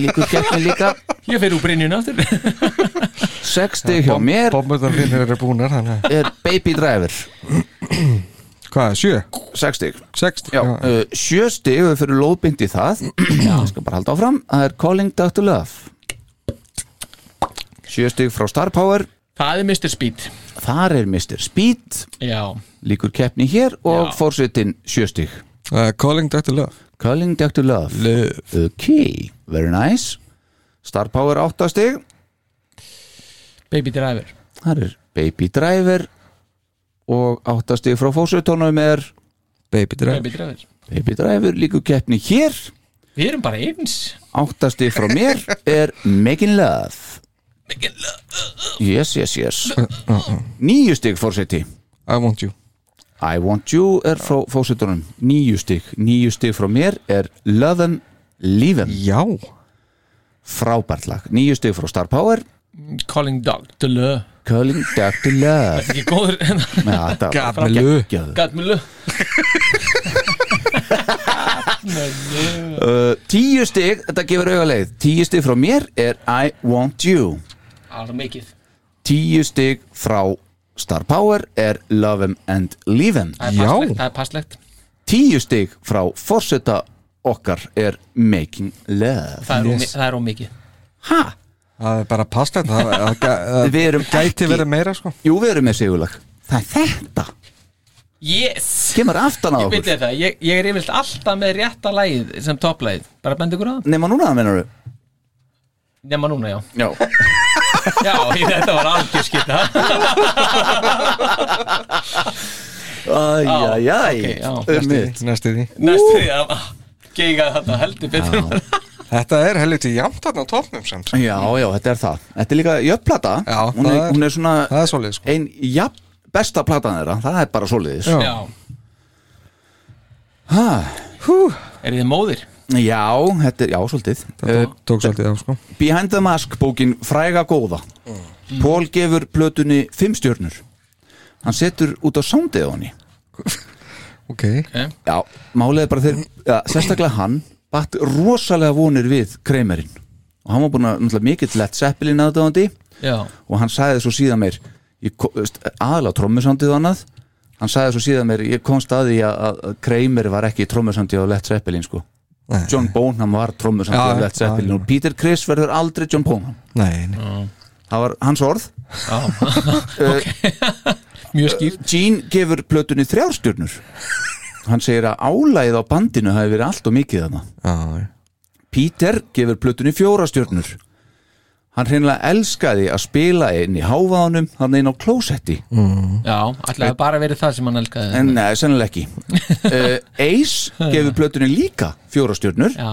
líkur keppni líka
Ég fer úr Brynjun aftur
Sex stig hjá mér
Bombundar þínir eru búnar þannig að-
er Baby Driver
Hvað, sjö?
Sex stig
Sext?
Já, uh, sjö stig við fyrir lóðbind í það ég skal bara halda áfram það er Calling Dr. Love sjö stig frá Star Power
Það er Mr. Speed
þar er Mr. Speed
Já,
líkur keppni hér og
Já.
fórsetin sjö stig
Uh, calling Dr. Love
Calling Dr. Love
Love
ok, very nice Star Power átta stig
Baby Driver
þar er Baby Driver og átta stig frá fórsetónum er
Baby Drive
Baby Driver
Baby Driver líkur keppni hér
Við erum bara eins
átta stig frá mér er Making Love Yes, yes, yes Níu stig fórseti
I want you
I want you er frá fórsetunum Níu stig, níu stig frá mér er Love em, leave em
Já
Frábært lag, níu stig frá Star Power
Calling Dr. Love
Curling Dr. Love
Ekki góður
Já, þetta var
Gat með lö.
geggjað.
Gat með lög
Uh, Tíu stig, þetta gefur augaleið Tíu stig frá mér er I want you
Alveg mikið
Tíu stig frá Star Power er Love em and leave em
Það er
Já.
passlegt, Það er passlegt
tíu stig frá forseta okkar er Making Love
Það er, yes.
Yes.
það er ómikið
ha,
Það er bara passlegt Það, það, það
við erum
gæti verið meira sko
jú við erum með sigurlag það er þetta,
Yes
kemur aftan á
Ég
okkur
byrja það, ég, ég er yfirlt alltaf með rétta lagið sem topplægið Bara bendi ykkur á það
nema núna mennur við
Nefna núna, já
já,
Já, ég- þetta var algjör skipta
æjæjæj
já, ok, já.
ummið
Næstu því
Næstu því að Geiga þetta heldur betur
Þetta er helviti jafnt þarna á topnum samt sko.
já, já, þetta er það, þetta er líka jöfnplata
Já,
hún, er-
það er-
hún er svona
Það er svolítið sko
ein jafn besta platan þeirra, það er bara svoleiðis
Já.
Já
ha,
Er þið móðir?
já, þetta er, já, svolítið Eh,
Þetta tók svolítið á sko
Behind the Mask bókin fræga góða
Mm.
Pól gefur plötunni fimm stjörnur hann setur út á soundið á henni
Ok
Eh?
já, málið er bara þeir ja, sérstaklega hann batt rosalega vonir við kreimerinn og hann var búin að náttúrulega mikill lett seppilinn aðdáðandi
Já
og hann sagði svo síðan mér ég ko- veist, aðalega trommusándið og annað hann sagði svo síðan mér, ég kom staði að, að- að Kramer var ekki trommusándið á Led Zeppelin sko
Nei.
John Bonham var trommusándið á
Já,
Led Zeppelin
já.
og Peter Criss verður aldrei John Bonham
Nei, nei
það var hans orð
Mjög skýrt
Gene gefur plötunni þrjárstjörnur hann segir að álæð á bandinu hafi verið allt og mikið þarna
Já, já.
Peter gefur plötunni fjórastjörnur hann hreinlega elskaði að spila inn í hávaðanum hann inn á klósetti
Já, ætlaði bara verið það sem hann elskaði
en neða, sennilega ekki uh, Ace gefur plötunni líka fjórastjörnur
Já,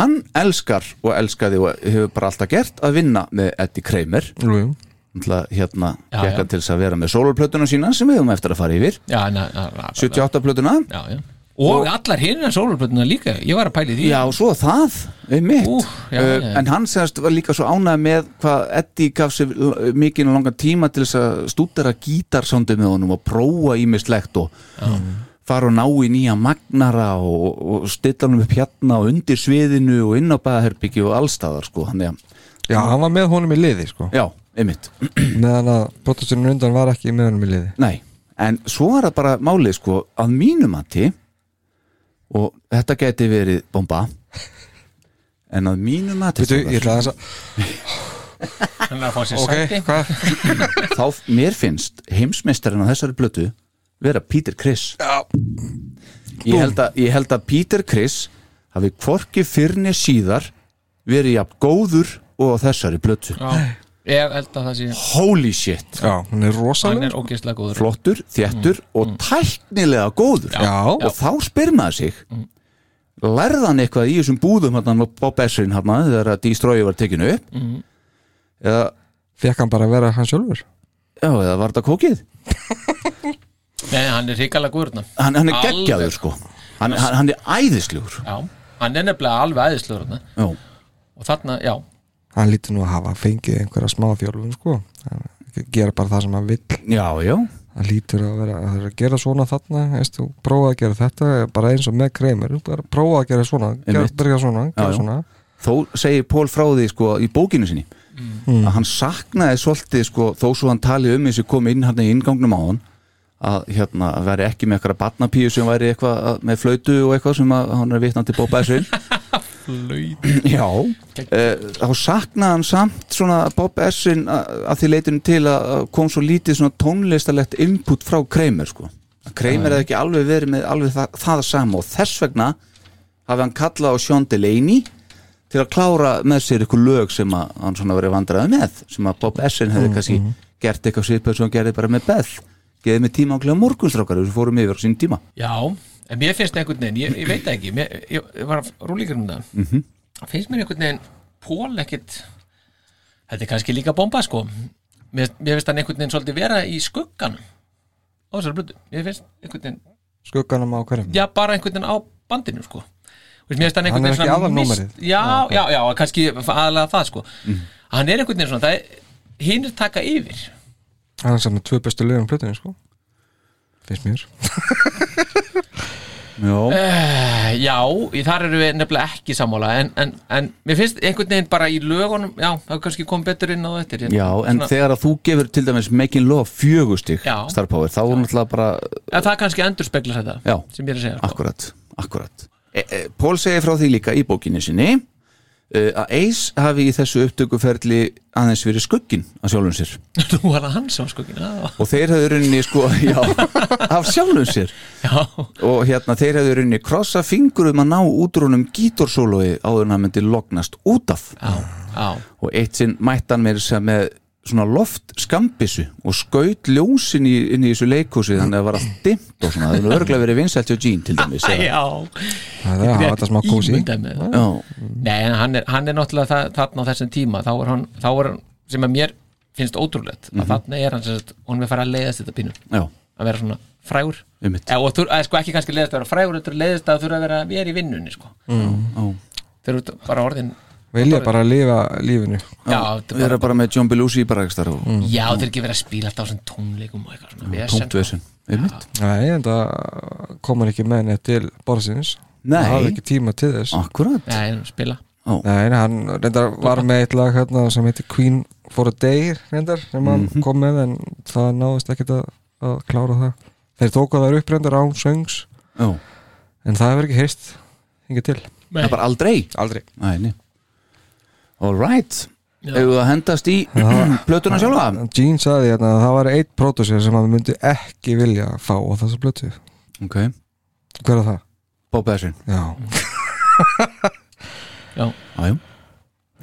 hann elskar og elskaði og hefur bara alltaf gert að vinna með Eddie Kramer
Jú, jú.
Náttúrulega hérna
Já,
gekk
já.
hann til þess að vera með sólplötuna sína sem við höfum eftir að fara yfir
já, na, na, na,
78 plötuna
já, já. Og allar hinnar sólurblötuna líka Ég var að pæli því
Já, svo það, einmitt
Ú, já,
uh,
já.
En hann segast var líka svo ánægð með hvað Eddie gaf sér l- mikinn og langan tíma til þess að stúdera gítarsándi með honum og prófa ímislegt og Mm. fara og ná í nýja magnara og, og stilla honum upp hérna og undir sviðinu og inn á baðherbyggi og allstaðar sko, hann er
já, hann var með honum í liði sko
Já, einmitt,
meðan að brotasturinn undan var ekki með honum í liði
nei En svo er það bara málið sko að mínum mati og þetta geti verið bomba en að mínum mati
Veitu, ég
strákar,
ætla aðeins að
Hann var að fá sér
Ok,
sæti
hvað?
þá mér finnst heimsmeistarinn á þessari blötu vera Peter Criss
Já,
ég held, að, ég held að Peter Criss hafi hvorki fyrrni síðar verið jafn góður og á þessari blötu
Já, ég held að það sé
holy shit,
Já, hún er
hann
rosaleg
er ógeðslega góður
flottur, þéttur og tæknilega góður
Já,
og þá spyr maður sig lærði hann eitthvað í þessum búðum hann á Bessin hann þegar að Destroyer var tekinu upp eða,
fekk hann bara að vera hann sjálfur
já, eða var þetta kókið
Nei, hann er hrikalega góður þarna.
hann, hann er
Alveg.
geggjaður sko hann, hann, hann er æðislegur
Já, hann er nefnilega alveg æðislegur þarna.
já.
og þarna, já,
Hann lítur nú að hafa fengið einhverja smá þjálfun sko Hann gera bara það sem hann vill
já, já,
hann lítur að vera það er að gera svona þarna veist, þú prófa að gera þetta eh, bara eins og með kreimur bara prófa að gera svona, gera,
Einmitt.
byrja svona, gera
já.
svona.
þó segir Pól frá því sko í bókinu sinni að hann saknaði svolítið sko þó svo hann tali um eins og kom inn hann í ingangnum á hann að hérna að veri ekki með eitthvað batnapíu sem væri eitthvað að- með flautu og eitthvað sem að hann er vitnandi Bob Essin Já eh, þá saknaði hann samt svona Bob Essin að að því leitinu til að að kom svo lítið svona tónlistalegt input frá Kramer sko Kramer hefði ekki alveg verið með alveg það, það sama og þess vegna hafi hann kallað á Sean Delaney til að klára með sér eitthvað lög sem að hann svona verið vandræði með sem að Bob Essin hefði kannski gert eitthvað svipað sem hann gerði bara með Beth geðið með tíma ákveða morgunstrákar þess að fórum yfir á sín tíma
já en mér finnst einhvern veginn, ég, ég veit það ekki mér, ég, ég var rúlíkur um það mm finnst mér einhvern veginn Pól ekkit þetta er kannski líka bomba sko mér, mér finnst hann einhvern veginn svolítið vera í skuggan á þessari blötu mér finnst einhvern veginn,
skugganum á hverjum
já bara einhvern veginn á bandinu sko Þú veist, mér finnst hann
Hann
einhvern
er
veginn
ekki
svona mist-
aðalnúmerið.
já, já, já, kannski aðalega það sko hann er einhvern veginn svona, það er hinn er taka yfir
hann sem er tvö bestu lögum plötunni sko finnst mér
Já,
Eh, Já, í þar eru við nefnilega ekki sammála en, en, en mér finnst einhvern veginn bara í lögunum Já, það er kannski kom betur inn á þetta hérna.
já en
Svona-
þegar að þú gefur til dæmis Making Love fjögustig
Já.
Star Power þá er náttúrulega bara
En það kannski endur speklar þetta
Já.
sem ég er að segja sko.
Akkurat, akkurat e, e, Pól segir frá því líka í bókinni sinni e, að Ace hafi í þessu upptökuferli aðeins verið skugginn af sjálfum sér
Nú var það hann sem var skugginn sko, Já,
og þeir hafði runni sko já, af sjálfum sér
já,
og hérna þeir hafði runni krossa fingur um að ná útrúnum gítorsólói áður en hann myndi lognast út af
já
og eitt sinn mætti hann mér sem með svona loft skambissu og skaut ljósin í, inn í þessu leikhúsi þannig að það var allt dimmt og svona það er örglega verið vinsælt hjá Jean til dæmis eða-
Já,
það er að hafa þetta smá kósi
Ímyndaði mér það.
já,
Nei, en hann er, hann er náttúrulega það, þarna á þessum tíma þá er hann, þá er hann sem að mér finnst ótrúlegt
Mhm.
að þarna er hann sem sagt, hún er fara að leiðast þetta pínu
já,
að vera svona frægur
Einmitt.
Eða, og þú, að, sko, ekki kannski leiðist að vera frægur þetta leiðist að þurfa að vera vera í vinnunni sko.
já.
þeir eru bara orðin
vilja bara að lifa lífinu
já, þetta er
vera
bara,
bara með John Belushi í barrakstar og mm.
já þeir eru ekki verið að spila alltaf á svona tónleikum og eitthvað svona vesen.
punktvesen einmitt,
nei, en það komur ekki með neitt til borðsins
Nei.
það hafði ekki tíma til þess
akkurat
Nei, þeir eru að spila
Nei, hann reyndar var með eitt lag hérna sem heitir Queen for a Day reyndar sem hann kom með en það náðist ekkert að, að klára það Þeir tóku það upp reyndar án söngs
já.
en það hefur ekki heyrst hingað til
það er bara aldrei
Aldrei
Æni. all right hefur það hendast í plötuna sjálfa
Gene sagði hérna að það var eitt pródusir sem hann myndi ekki vilja fá á þessa blötu
ok,
Hver er það?
Bob Essin
Já,
já,
Æjú.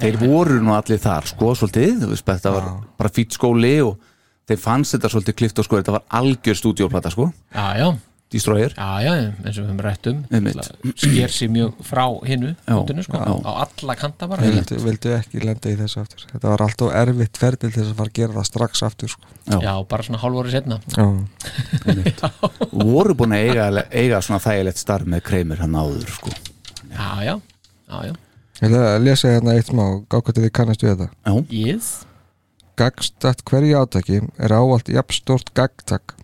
þeir voru nú allir þar sko svolítið, þú veist þetta var bara fýtt skóli og þeir fannst þetta svolítið klift og sko, þetta var algjör stúdíóplata sko,
já, já,
Destroyer
já, já eins og við höfum rætt um
Einmitt.
náttúrulega sker sér mjög frá hinnu
Já,
útinu, sko,
já.
á alla kanta bara
vildu, vildu ekki lenda í þessu aftur Þetta var alltaf erfitt ferðil til þess að fara að gera það strax aftur sko.
já, bara svona hálf ári setna
Já,
voru búin að eiga, eiga svona þægilegt starf með kreimir hann áður sko
já, já, já, já,
ég ætla að lesa hérna eitt smá ákvæmtið þið kannast við þetta
já,
yes
Gagnstætt hverju átaki er ávallt jafnstórt gagntak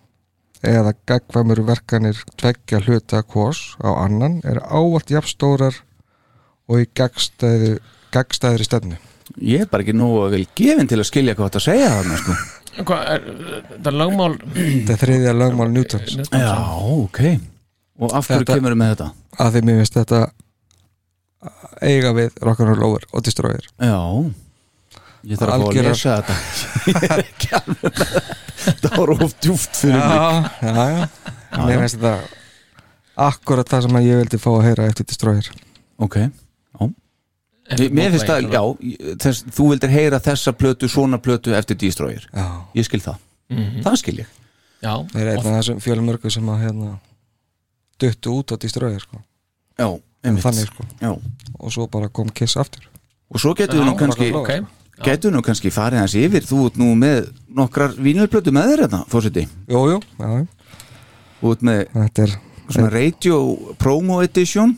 eða gagkvæmur verkanir tveggja hluta hvors á annan er ávallt jafnstórar og í gagnstæðu gagnstæðri stefnu.
ég er bara ekki nógu vel gefin til að skilja hvað þetta segja þarna sko
Hvað er, það er lögmál
Þetta er þriðja lögmál Newtons
Hérna,
Já, ok Og af hverju
Þetta-
kemur við með þetta?
að því mér finnst þetta eiga við rock'n'roll over og destroyer.
Já Ég þarf að fá að
Algjörar-
lesa þetta Ég er ekki alveg með þetta Það var of djúft fyrir mig
Já, já, já. Mér finnst þetta akkurat það sem að ég vildi fá að heyra eftir Destroyer
ok Mér- Mér finnst að, já, ég- þess, þú vildir heyra þessa plötu, svona plötu eftir Destroyer
Já,
Ég skil það, það skil ég
já
það er
og-
einn af þessum fjölmörgu sem að hérna duttu út á Destroyer sko.
Já, einmitt
þannig sko
Já.
og svo bara kom Kiss aftur
Og svo getur við nú
Já,
kannski
ok,
Getur nú kannski farið hans yfir Þú ert nú með nokkrar vínulplötu með þér þetta, fórseti
Jú, jú, já,
Þú ert með
þetta er
svona radio promo edition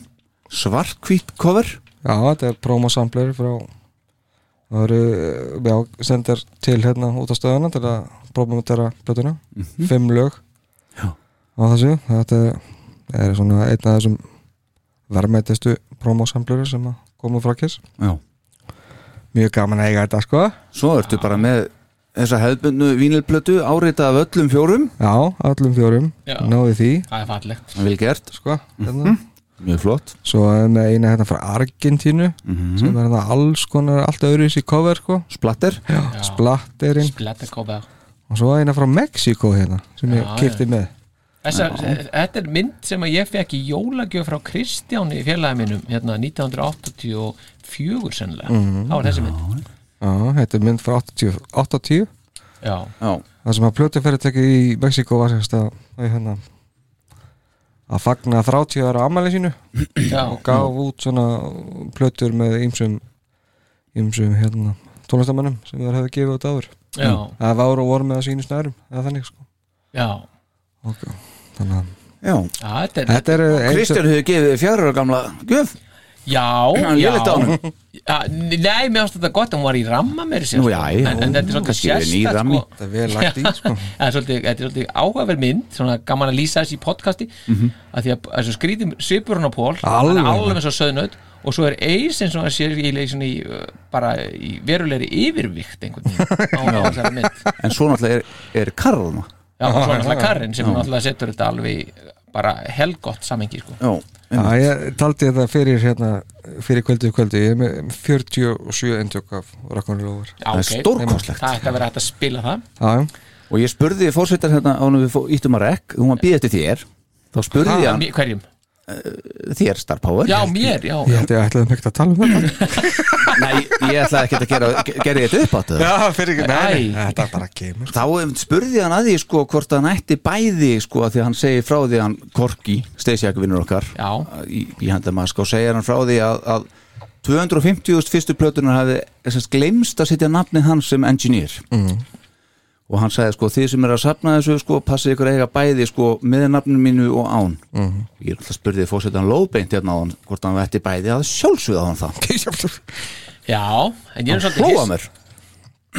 Svartkvít cover
Já, þetta er promosampler frá það eru, eh, já, sendar til hérna út á stöðuna til að promotera blötuna, fimm lög
Já.
á þessu þetta er, er svona einn af þessum verðmættistu promosampleru sem að koma frá Kiss
Já.
mjög gaman að eiga þetta sko
Svo ertu bara með þessa hefðbundu vínulplötu Árita af öllum fjórum
já, allum fjórum,
Já.
náði því
það er fallegt
Vel gert,
sko, hérna
mjög flott
svo er með eina hérna frá Argentínu
Mhm.
sem er hérna alls konar allt öðru í cover sko,
Splatter
Já.
splatterinn
Splattercover
og svo eina frá Mexiko hérna sem ég
Já,
kipti með
Þessa, þetta er mynd sem að ég fekk í jólagjöf frá Kristjáni í félagi mínum hérna 1984 sennilega,
Mhm.
það var þessi mynd
Já, þetta er mynd frá 80, 80
já,
Já,
það sem að plötuferðarteki í Mexiko var sérst að, að, hérna, að fagna 30 ára ammæli sínu
já,
og gaf út svona plötur með ýmsum ýmsum hérna tónlistamannum sem þeir hefði gefið út áður
já,
það var og voru með að sínu snærum eða þannig sko
já.
ok, þannig að
já
Já, þetta er,
þetta er eh,
Kristján hefur gefið þér fjárur og gamla gjöf
já, já
lélegt á honum.
Já, Nei, mér ástu þetta gott, hún var í ramma meiri sér
Nú, já, já,
sko. en, en þetta er svolítið
kannski er ný
sérstætt
rammi.
sko.
þetta er vel lagt í sko
Það er svolítið, þetta er svolítið áhugaverð mynd svona gaman að lýsa þessi í podcasti mm -hmm. að því að þessu skrýtum svipur hann á pól
Mhm. Alveg.
hann er alveg eins og söðnaut og svo er eis eins og hann sér í, í, í uh, bara í verulegri yfirvikt einhvern veginn á þessari mynd
En svo náttúrulega er, er Karlma
Já, og svo er náttúrulega Karin sem náttúrulega setur þetta alveg í uh, bara helgott samengi sko.
Já,
Já, ég taldi þetta fyrir hérna fyrir kvöldu í kvöldu, ég er með 47 eindök af rakkonulófur
Já,
það er
ok.
stórkostlegt
Það ætti að vera hægt að spila það
Já,
Og ég spurði fórsetar hérna ánum við fó- íttum að rekk Hún var býð eftir þér Þá spurði ég hann
Mér- Ah, Hverjum?
þér Star Power
Já, mér, já,
ég held ég ætlaði mjög að tala um þetta
Nei, ég ætlaði ekkert að gera, ge- gera þetta upp áttu
Já, fyrir ekki,
nei, nei.
Þetta er bara kemur
Þá einmitt spurði ég hann að því sko hvort hann ætti bæði sko af því að hann segi frá því að hann Korki, steisjakavinnur okkar
Já.
í, í handamask og segir hann frá því að, að 250.000 fyrstu plötunar hafi sérst, glemst að setja nafnið hans sem engineer mm. og hann sagði sko þið sem er að safna þessu sko passið ykkur að eiga bæði sko með nafninu mínu og án mm. ég alltaf spurði fórsetan lóðbeint hérna á hann hvort hann ætti bæði að sjálfsögða hann það
já En ég er svolítið
hlóa
hiss-
mér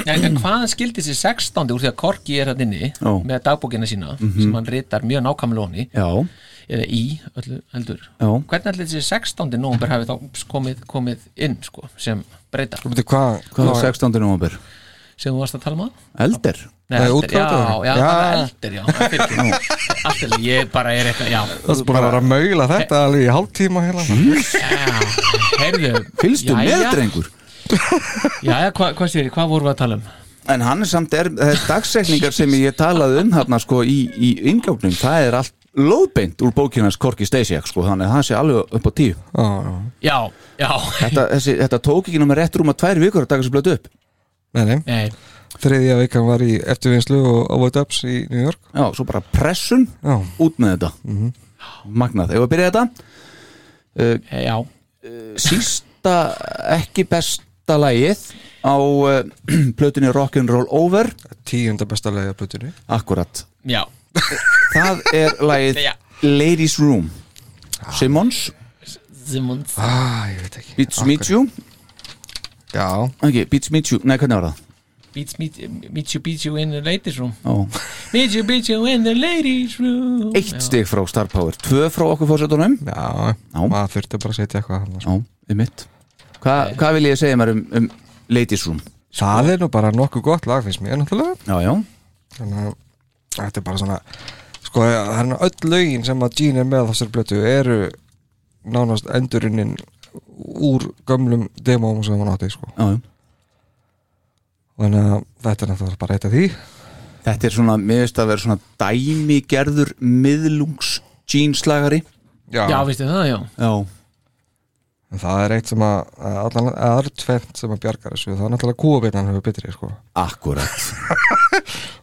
En, en hvaðan skildi sér 16. úr því að Korki er hann inni
Já.
með dagbókina sína
Mhm.
sem hann ritar mjög nákvæmlega honni
Já,
eða í öllu heldur
Já.
hvernig allir sér 16. nómber hafi þá komið, komið inn sko, sem breyta
Þú veitir hvað
hvað var 16. november?
sem þú varst að tala um að
Elder
Nei,
Nei,
eldir, já, já,
útgáfudagur. Já.
já. eldir, já Alltaf, ég bara er eitthvað, já,
Það er bara að maula þetta alveg í hálftíma hérna
já Heyrðu,
Fylgstu með
jæja,
drengur
Jæja, hvað hva sér, hvað vorum við að tala um?
En hann er samt er, það er dagsetningar sem ég talaði um hérna sko í, í ingjóknum, það er allt lóðbeint úr bókinans Korki Stasiak sko, þannig að það sé alveg upp á tíu.
Já, já.
Já, já,
Þetta, þessi, þetta tók ekki náma rétt rúma tvær vikur að daga sem blötu upp.
Nei, nei,
nei
þriðja vikan var í eftirvinnslu og Award Ups í New York
Já, svo bara pressun
Já,
út með þetta. Magnað, ef að byrja þetta,
Já,
sísta ekki besta lagið á uh, plötunni Rock'n'Roll Over,
tíunda besta leiði af plötunni
akkurat.
já,
Það er lagið
Já.
Ladies Room, Simmons,
Simons
ah, Ég veit ekki
Beats Meet You,
Já,
ekki, Beats Meet You, nei hvernig var það?
Beats meet, meet you, beat you in the ladies room
Ó.
Meet you, beat you in the ladies room
eitt stig frá Star Power, tvö frá okkur fórsetunum
já,
Já.
maður þurfti bara að setja eitthvað hann
Já, um mitt Hva, Hvað vil ég segja mér um, um Ladies Room?
Það er nú bara nokkuð gott lag finnst mér náttúrulega
Já, já,
þannig að þetta er bara svona sko það er nú öll lögin sem að Gene er með á þessari blötu eru nánast endurinn úr gömlum demóm sem hann átti sko.
já, já.
þannig að þetta er náttúrulega bara eitt af því
Þetta er svona, mér veist að vera svona dæmigerður miðlungs jeanslagari
já,
Já, veistu það, já
Já,
en það er eitt sem að að allan aðra tvent sem að bjargar þessu það er náttúrulega kúabinnan hefur betri sko.
akkurat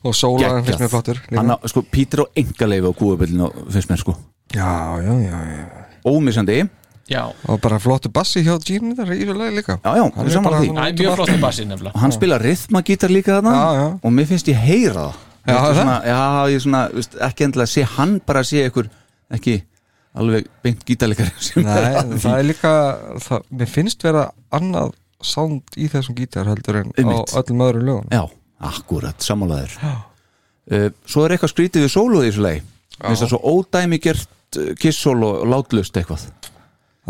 og sólaðan finnst mér flottur líka.
Hann á, sko, Pítur á engaleifi á kúabillin og fyrst mér sko
já, já, já, já
Ómissandi, já,
Já,
og bara flottur bassi hjá Gene þar í þessu lagi líka
já,
Hann
við
er
saman
bara
að því
svona-
það er mjög flott að bassi nefnilega
Og hann spilar rithmagítar líka þarna
Já, já.
Og mér finnst ég heyra það
Já,
Þetta er
það?
svona, já ég svona, veist, ekki endilega sé hann bara sé ykkur Ekki alveg beint gítarleikar sem
Nei,
að því.
það er líka það, mér finnst vera annað sound í þessum gítar heldur en
Einmitt.
á öllum öðrum lögum
Já, akkurat, sammálaður uh, Svo er eitthvað skrítið við sólu í þessu lei Minnst það svo ódæmi gert kissól og látlust eitthvað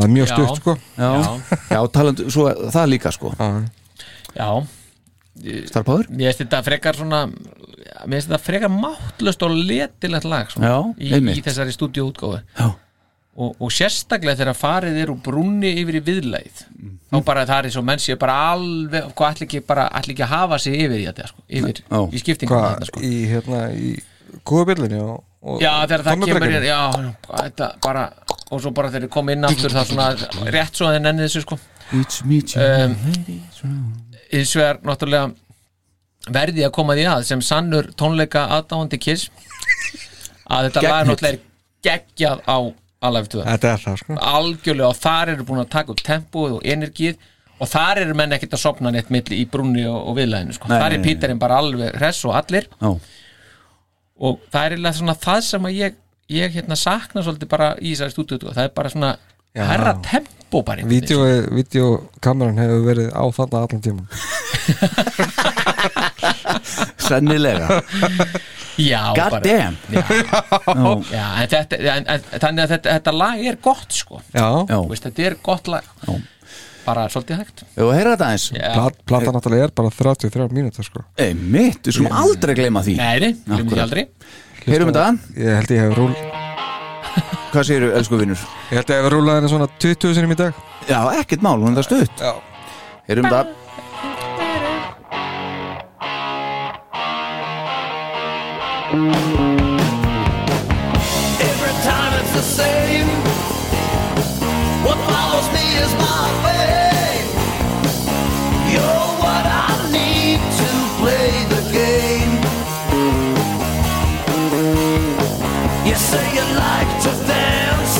það er mjög
Já.
stutt sko
Já, já talandu, svo er það líka sko
Já.
Já,
Starpáður?
mér finnst þetta frekar svona mér finnst þetta frekar máttlöst og letilegt lag svona,
Já,
í,
einmitt.
í þessari stúdíu útgóðu
Já,
og, og sérstaklega þegar farið er úr brúnni yfir í viðlæð þá
Mm.
bara það er eins og menn séu bara alveg hvað ætla ekki, bara, ætla ekki að hafa sig yfir í þetta sko, yfir,
Já.
í skiptingum
hvað
þetta, sko.
í hérna í kúabillinu og, og
Já, þegar það kemur
tommubrekkunni.
inn, já, þetta bara og svo bara þegar þeir koma inn aftur það svona rétt svo að þeir nenni þessu sko
it's me too
Eh.
um, eins og er náttúrulega verði að koma því að sem sannur tónleika aðdáandi kiss að þetta lag
Gegnheill.
náttúrulega er geggjað á Alive 2
þetta er það sko
algjörlega og þar eru búin að taka upp tempóið og energið og þar eru menn ekkert að sopna neitt milli í brúnni og, og viðlæðinu sko.
Nei,
þar
nei,
er
nei.
Píterinn bara alveg hress og allir
Já,
og það er eiginlega svona það sem að ég, ég hérna sakna svolítið bara í þessari stúdíu það er bara svona
Já.
herra tempó bara einhvern veginn. sko.
Vídeó- Vídeókameran hefur verið á þarna allan tíma
sennilega
Já,
God
bara-
damn.
Já,
Já,
já en þetta, en, en, þannig að þetta, þetta lag er gott sko
Já,
já
Þú veist, þetta er gott lag
Já.
bara svolítið hægt
Ef að heyra þetta eins
Já.
Plat, platan náttúrulega er bara 33 mínútur sko
Ei, mitt, við skulum aldrei gleyma því
Nei, nei, glemum því
Akkúrat.
aldrei
Heyrum þetta,
Ég held ég hef rúl
hvað segirðu, elsku vinnur?
Ég held ég hef rúlað henni svona 20 sinum í dag
Já, ekkert mál, hún er það stutt
Já
Heyrum þetta
Every time it's the same. What follows me is my fate. You're what I need to play the game. You say you like to dance.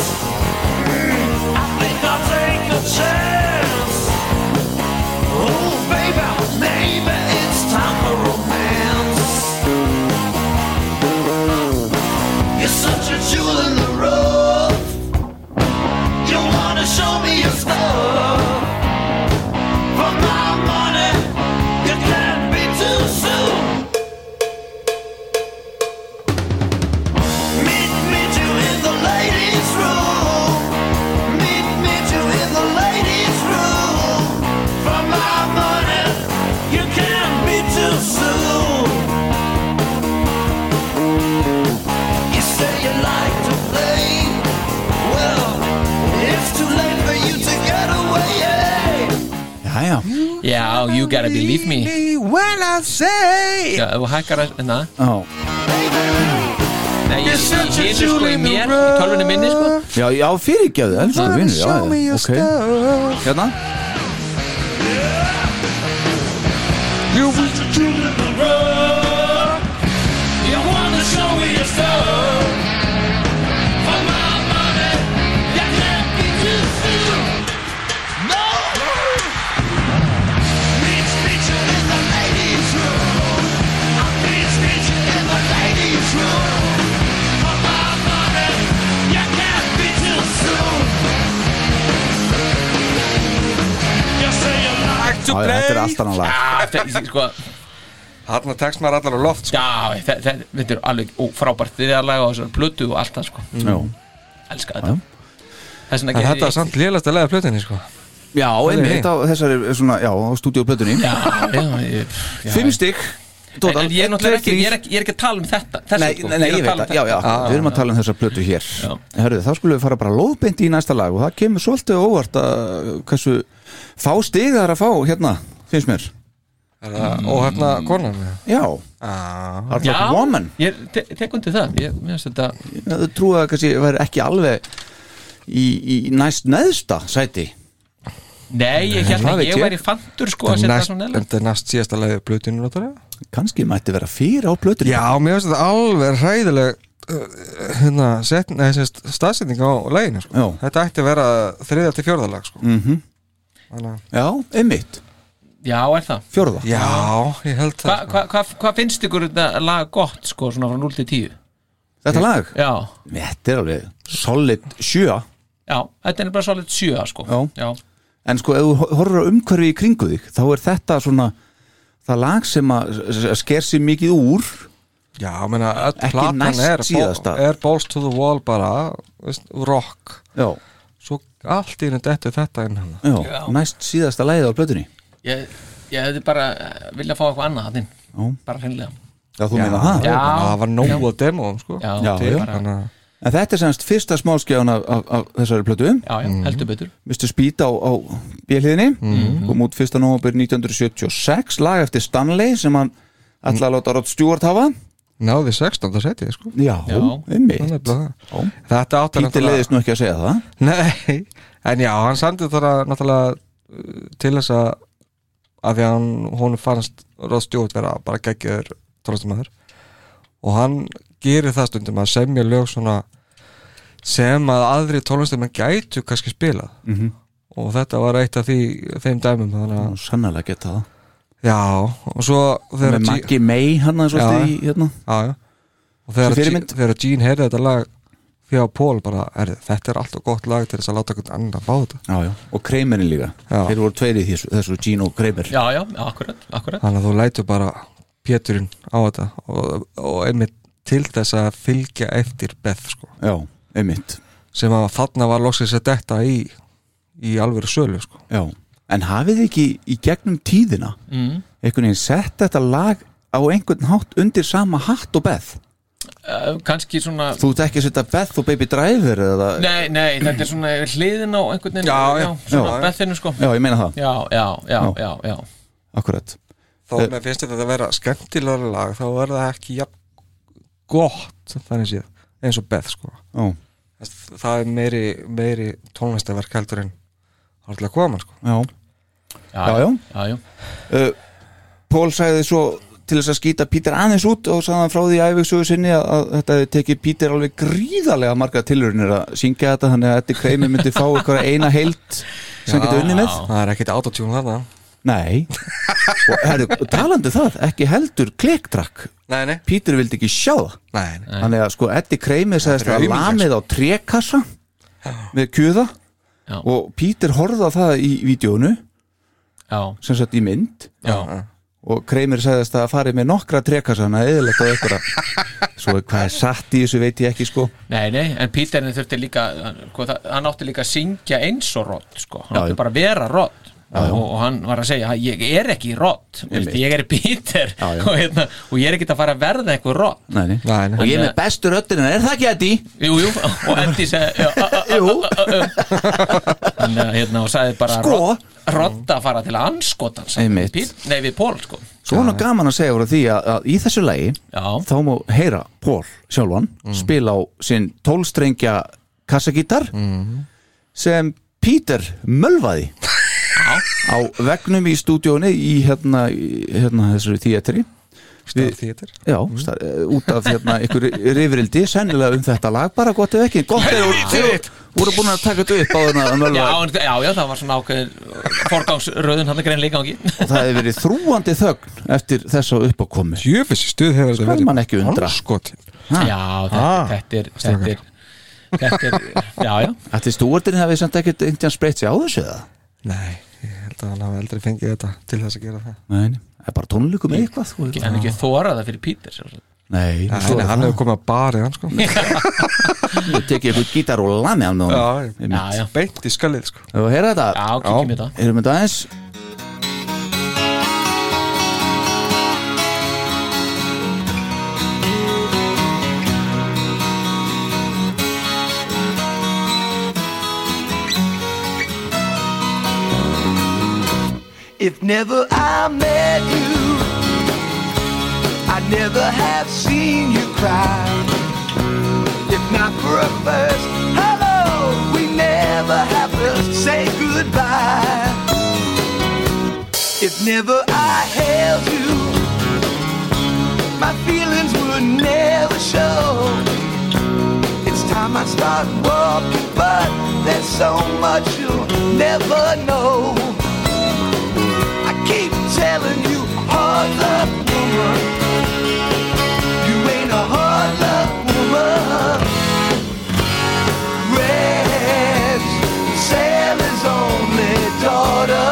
I think I'll take a chance. Oh, baby, maybe it's time for romance. You're such a jewel in the rough. You wanna show me your stuff. For my money, you can't be too soon. Meet, meet you in the ladies' room. Meet, meet you in the ladies' room. For my money, you can't be too soon. You say you like to play. Well, it's too late for you to get away.
Jæja,
Já, you gotta believe me
When I say
Já, ef þú hækkar að, na,
Já,
nei, ég,
You're
ég,
such a
ég, sko, í mér, í tölvunni minni, sko
já, já fyrirgefðu, elsku vinnur Já, já, ok, hérna
You wanna show me your stuff. For my money, you can't be too soon. No. Bitch, bitch, you're in the ladies' room. I'm bitch, bitch, you're in the ladies' room. For my money, you can't be too soon. You say you like
Já, já, þetta er allt annan lag
Já, þetta- sko,
Þarna tekst maður allar á loft sko.
já, þe- þe- þetta er alveg ó, frábært þriðarlega og þessar plötu og allt það sko,
Já,
elska þetta Þess vegna
En
gerði
þetta er
ég
samt lélast að leiða plötinni sko
já einmitt á þessari, svona, já, á stúdíóplötunni
Já, já, ég- já
Fimm stygg
En- En ég er náttúrulega ekki, ég er ekki, ég er ekki að tala um þetta þessa,
Nei,
sko.
nei, nei,
er
ég
að
veit
tala um
það, já, já,
þetta.
við erum að tala um þessar plötu hér Hörðu, þá skulum við fara bara lóðbeint í næsta lag og það kemur svolítið á óvart að hversu fá stig það er að fá hérna, finnst mér
Er
Mm.
það óhefna konan eða?
Já,
Já
Hard Rock Woman
ég te- tek undir það ég, mér finnst þetta,
Ég trúi að kannski væri ekki alveg í, í næst neðsta sæti
Nei, ég held
það
að
veit
ég
ég.
væri fantur sko að
En
setja það
næst-
svona
en
neðla
þetta er næst síðasta leiði blötinu náttúrulega
kannski mætti vera fyrir á plötur
Já, mér finnst þetta alveg hræðileg uh, hérna, set, nei, semst, staðsetning á leginu sko.
Já.
Þetta ætti að vera þriðja til fjórðalag sko. mm -hmm.
Já, einmitt,
Já, er það
fjórða
Já, ég held það
Hvað hva, hva, hva finnst ykkur þetta lag gott sko svona frá 0 til 10?
Þetta lag,
Já,
þetta er alveg solid sjö
já, þetta er bara svolítið 7 sko
Já.
já.
en sko ef þú horfur á umhverfi í kringu þig þá er þetta svona það lag sem að s- sker sér mikið úr
Já, ég meina, öll
Ekki
platan
næst
er,
síðasta.
er balls to the wall bara veist, rock
já,
svo allt í henni dettu þetta inn hérna. hann
já,
Já.
næst síðasta lagið á plötunni
Ég, ég hefði bara eh, viljað fá eitthvað annað þinn
Já.
Bara hreinlega
já, þú meina það
Já.
það var nóg að demóum sko.
Já,
Já,
til
já.
bara-
Þannig að-
en þetta er semst fyrsta smálskjáðan af, af, af þessari plötu
já, já heldur betur
Mr. Speed á, á bíliðinni kom út 1. november 1976 lag eftir Stanley sem hann ætlaði að láta Rod Stewart hafa
náði 16. setið sko.
já,
Já.
Þannig er
einmitt
bara það. þetta átti
Pítur leiðist nú ekki að segja það
Nei, en já, hann samdi þar náttúrulega uh, til þess að að því að hann, hún fannst Rod Stewart vera bara geggjör tróðstumæður og hann gerir það stundum að semja lög svona sem að aðri tónlistumenn gætu kannski spilað
Mhm.
og þetta var eitt af því þeim dæmum þannig að,
Nú sannlega geta það
já, og svo þegar
með
G-
Maggie May hann að
Já.
svolítið í hérna
já, já. og
Sem
þegar, Gene-
fyrirmynd.
þegar Gene heyrði þetta lag fjá Pól bara, er, þetta er alltaf gott lag til þess að láta hvernig annan fá þetta
já, já. og Kramerin líka
Já.
þeir voru tveir í þessu, þessu Gino og Kramer
Já, já, akkurat, akkurat
þannig að þú lætur bara Péturinn á þetta og, og einmitt til þess að fylgja eftir Beth sko,
já, einmitt
sem að þarna var loksins að detta í, í alvöru sölu sko.
já. en hafið þið ekki í gegnum tíðina
mm.
einhvern veginn sett þetta lag á einhvern hátt undir sama hatt og Beth
uh, Kanski svona
þú ert ekki að setja Beth og Baby Driver eða,
Nei, nei, þetta er svona hliðin á einhvern veginn
Já, já,
Svona
já.
brettinu sko
já, ég meina það,
Já, já, já,
Já.
já, já.
akkurat
þó
Eh.
með finnst þetta að vera skemmtilega lag þá er það ekki jafn gott þannig séð, eins og Beth sko.
já,
Þess- það er meiri, meiri tónlistaverk heldur en haldið að koma sko.
já. Já, já.
já, já.
Uh, Pól sagði svo til þess að skýta Pítur aðeins út og sagði hann frá því í æfisögu sinni að, að þetta hefði tekið Pítur alveg gríðarlega marga tilurinnir að syngja þetta þannig að Eddi Kramer myndi fá eitthvað eina heilt sem hann getur unnið með
Já.
það er ekkit autotune þarna
Nei og herru, talandi um það, ekki heldur klektrakk,
nei, nei,
Pítur vildi ekki sjá það
nei, nei.
þannig að sko Eddi Kramer sagðist
Þetta er
að
aumingjar,
lamið á trekassa með kjöða
Já.
og Pítur horfði á það í vídjónu
já.
sem sagt í mynd
já.
og Kramer sagðist að farið með nokkra trekassana eðilegt á einhverja svo hvað er satt í þessu veit ég ekki sko
Nei, nei, en Píterin þurfti líka hann- hvað, það- hann átti líka að syngja eins og rott sko. hann
Já,
átti
já.
bara að vera rott og, og hann var að segja, ég er ekki rott
Einmitt.
ég er Píter
Já, já.
og, hérna, og ég er ekki að fara að verða eitthvað rott
nei, nei.
Nei, nei.
og ég er með bestu röddina, er það ekki Eddi?
Jú, jú, og Eddi segi
Jú.
Þannig að hérna og sagði bara
Sko.
Rod- Rodda að fara til að anskota
Einmitt.
Nei, við Pól sko
svona gaman að segja voru því að, að í þessu lagi
Já. Mm.
þá má heyra Pól sjálfan spila á sinn tólstrengja kassagítar
Mm.
sem Peter mölvaði á vegnum í stúdíónu í hérna, í hérna þessari þýjatri
Star Theater
Já, star, uh, út af hérna ykkur rifrildi sennilega um þetta lag bara gott ef ekki gott ef voru- þeir voru búin að taka þetta upp á þarna um
Já,
öllu
en, já, já, það var svona ákveður forgangsröðun hann að greina líka gangi
og það hefði verið þrúandi þögn eftir þessa uppákomi
Jöfissi stuð hefur þetta
Skal mann ekki undra.
anskotin.
Já, þetta,
Ah,
þetta er þetta
strákar.
er, þetta er Já, já,
Ætli stúartin hefði samt ekkert einhvern spreitt sér á þessu eða?
Nei, ég held að hann hafi aldrei fengið þetta til þess að gera það
Nei, nei. það er bara tónleikum með eitthvað þú veist.
en ekki þóra það fyrir Píter sjálfsagt.
Nei,
Nei,
svo
nei,
er
hann
það
hefur komið að barið hann sko
Þú tekið eitthvað gítar og lami hann og
Já, já.
Já, já,
Beint í skallið sko
Þú heyrðu
já,
þetta?
kíkjum í það
Erum þetta aðeins?
If never I met you, I'd never have seen you cry. If not for a first hello, we never. never have to say goodbye. If never I held you, my feelings would never show. It's time I start walking, but there's so much you'll never know. I keep telling you, hard luck woman, you ain't a hard luck woman. Red's sailor's only daughter,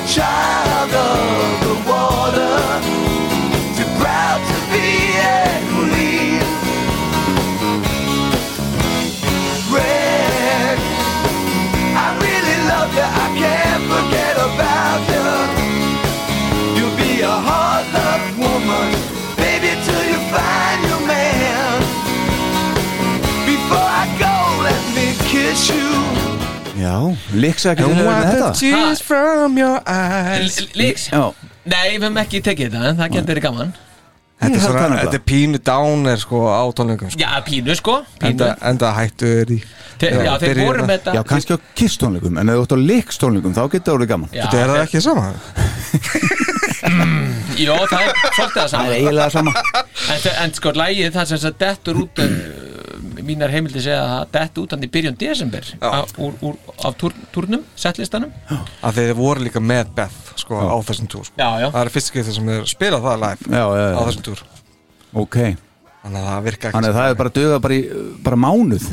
a child of the water, too proud to be at queen. Red. I really love you. I can't forget about you. You'll be a hard luck woman, baby, till you find your man. Before I go, let me kiss you.
Já, líksa ekki til að þetta
tears from your eyes
L- Líks
Já,
Nei, við höfum ekki tekið þetta en það getur verið gaman
Þetta er,
Ég held það
svona,
nefnilega.
þetta er pínu downer sko á tónleikum sko.
Já, pínu sko pínu.
enda, enda hættu er í
Te, já,
já,
þeir
byrjum
voru
það.
með þetta
já kannski á kisstónleikum En ef þú ert á líkstónleikum þá getur það orðið gaman
Já,
Þetta er það ekki sama
Jó, það er svolítið það
Það er
saman
eiginlega sama
en, þe- en sko, lægið það sem þess að dettur út um, mínar heimildi segja að það dettur út hann í byrjun desember á- úr, úr, af túr, túrnum, settlistanum
að þeir voru líka með Beth sko, á þessum túr sko.
Já, já.
það er fyrst skiptið sem þeir spila það live
Já, já, já.
á þessum túr
Ok,
þannig að það virka ekki
þannig að það er bara döða bara, í, bara mánuð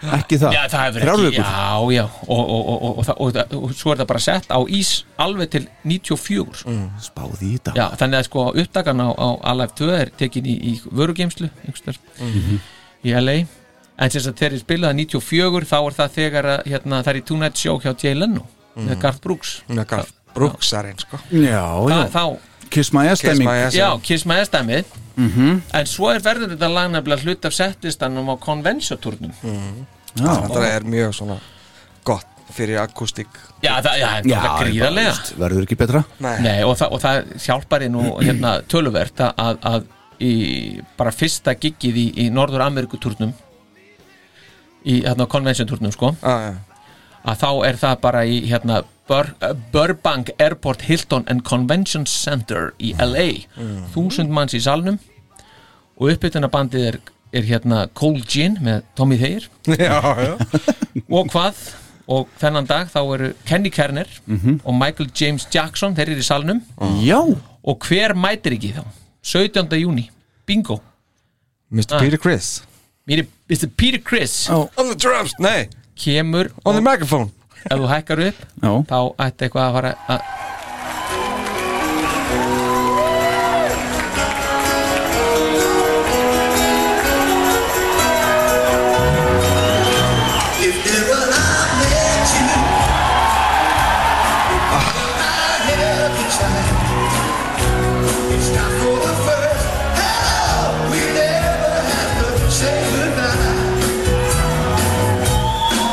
Ekki það,
Já, það hefur
Þrjár
ekki,
vikur.
já, já og, og, og, og, og, það- og, og, og svo er það bara sett á ís alveg til 94 mm.
Spáði í þetta
Já, þannig að sko upptakan á, á Alive 2 er tekin í, í vörugeimslu yngstur,
Mhm.
í LA en sem sagt þegar ég spilaði 94 þá er það þegar að, hérna, það er í Tonight Show hjá Jay Leno
Mhm.
með Garth Brooks
með Garth Brooksarinn sko.
já,
Þa,
já.
þá,
Kiss my ass
Kiss
stemming
My Ass.
já, Kiss My Ass dæmið en svo er verður þetta lag nefnilega hlut af settlistanum á konvensjatúrnum
Mm. Já,
þetta er mjög svona gott fyrir akústík
Já, það, já, það
já
er
bara,
gríðarlega
veist, Verður ekki betra
Nei, og, það, og það hjálpar þið nú hérna, töluvert að- að, að í, bara fyrsta giggið í, í Norður Amerikuturnum í hérna, konvensjanturnum sko
ah, já.
að þá er það bara í hérna, Bur eh, Burbank Airport Hilton and Convention Center í LA þúsund manns í salnum og uppbytunarbandið er, er hérna Cold Gin með Tommy Thayer
já, já.
og hvað og þennan dag þá eru Kenny Kerner
Mhm.
og Michael James Jackson þeir eru í salnum
Já,
og hver mætir ekki þá 17. júni, bingo
Mr. Peter Criss
Mér er Mr. Peter Chris
Ah. Oh, on the drums, nei,
kemur
on
Oh.
the
og
microphone
ef þú hækkar upp
já,
þá ætti eitthvað að fara að
If ever I met you, I have to try. It's not for the first. Hello, we never have to say goodbye.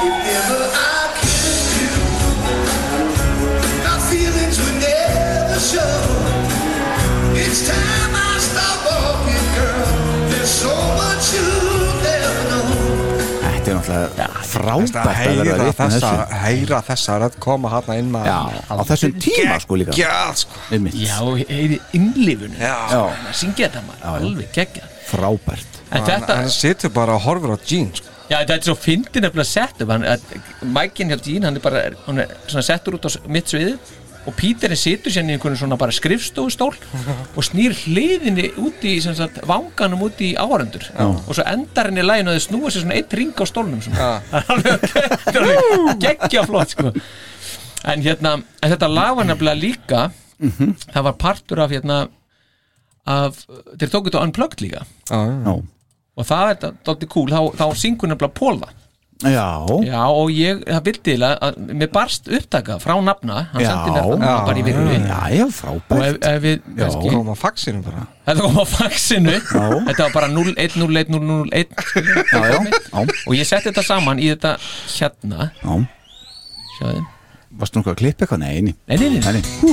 If ever I kiss you, my feelings would never show. It's time I stop walking, girl. There's so much you never know.
þetta er náttúrulega frábært
að
að vera
heyra
rétt með
þessa,
þessu
heyra þessa rödd koma hana inn maður
Já, á þessum tíma sko líka
já, sko
Einmitt.
já, heiði innlifun
já.
Já,
að syngja þetta maður, alveg geggja
frábært
en
Hann,
þetta,
hann situr bara og horfur á Jean sko.
já þetta er svo fyndi nefnilega settum, hann, Mækin hjá Dín hann er bara, hann er svona settur út á s- mitt sviði og Píterin situr sérna í einhvern svona bara skrifstofustól og snýr hliðinni út í sem sagt, vanganum út í áhörundur og svo endar henni lægin að þau snúa sér svona eitt ring á stólnum svona. Það er alveg geggja flott sko. en hérna, en þetta lag var nefnilega líka það var partur af hérna af, þeir tóku þetta unplugged líka
Já,
og það er dálítið cool, þá, þá syngur nefnilega Póla
já,
já og ég, það vildi eiginlega að, mér barst upptaka frá nafna hann
Já.
sendi mér það bara í virðinni
já, já
og ef,
frábært
ef við, kannski,
koma á faxinu bara
þetta kom á faxinu þetta var bara 010101
Já, já, já,
og ég setti þetta saman í þetta hérna
já
sjáðu,
Varstu nokkuð að klippa eitthvað? Nei, nei,
nei,
nei,
nei, nei, nei.
nei. Hú,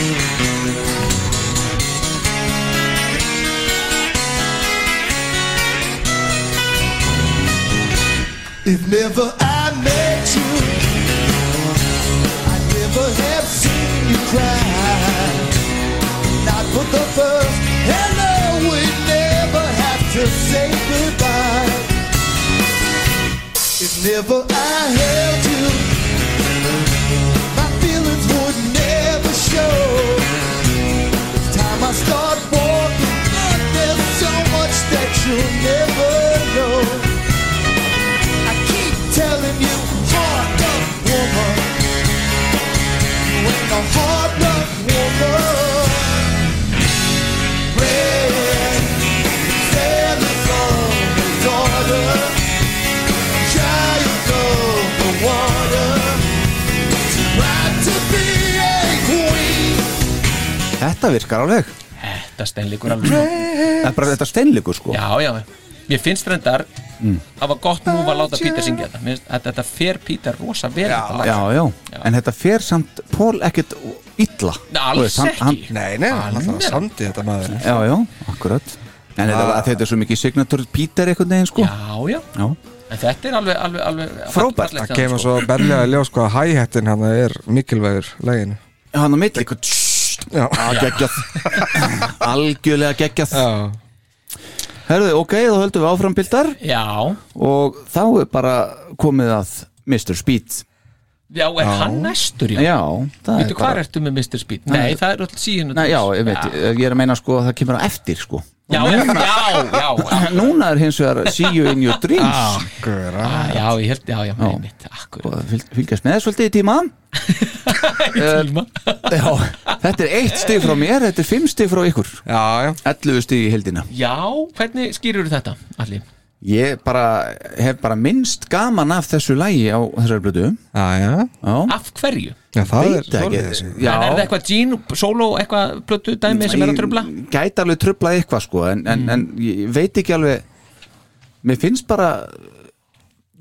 If If never I met you, I never have seen you cry. Not for the first hello, we never have to say goodbye. If never I held you, my feelings would never show. It's time I start walking, and there's so much that you'll never know. I keep telling you, hard up woman, you ain't a hard up woman. Red, feathers on the daughter, child of the water, right to be a queen.
Þetta virkar alveg
Þetta steinleikur alveg sko.
Það er bara þetta steinleikur sko
Já, já, mér finnst reyndar Það var gott nú að láta Pítur syngja þetta Mér finnst- Þetta, þetta fer Pítur rosa vel þetta lag.
já,
Já.
En þetta fer samt Pól ekkert illa
Nei,
Þú
Alls
veist, hann-
ekki
hann-
Nei, nei, hann alltaf samdi þetta maður
Já, já, akkurat En þetta,
Ah.
þetta er svo mikið signature Peter einhvern veginn sko
Já, já,
Já.
en þetta er alveg, alveg, alveg
Frábært.
fallegt
Það
hjá þeim,
kemur svo berlega í ljós sko að hi-hatin hann er mikilvægur læginu
Hann á milli eitthvað tssst,
Já.
ah, geggjað. Algjörlega geggjað
Já,
Herðu, ok, þá höldum við áfram bildar
Já,
Og þá er bara komið að Mr. Speed
já, er hann næstur já,
Já, það
Veitu,
er
hvað
bara
ertu með Mr. Speed? Nei, það er alltaf síðan
Nei, já, ég veit, ég er að meina sko að það kemur á eftir sko
Já, já, já, já,
Núna er hins vegar See You In Your Dreams
gura
já, ég held, já, já, einmitt, akkur
og fyl- Sko, fylgjast með svolítið í tíma
Tíma.
Já, þetta er eitt stig frá mér, þetta er fimm stig frá ykkur
Já, já,
11 stig í heldina
Já, hvernig skýrur þetta, allir?
Ég bara, hef bara minnst gaman af þessu lægi á þessari blödu
já, já,
Já,
Af hverju?
já það er
veit ekki
Já. En er það
Já,
eitthvað Gene, solo, eitthvað plötu dæmi sem er að Mm. tröfla?
Ég Gæti alveg tröflað eitthvað sko en, en, en ég veit ekki alveg Mér finnst bara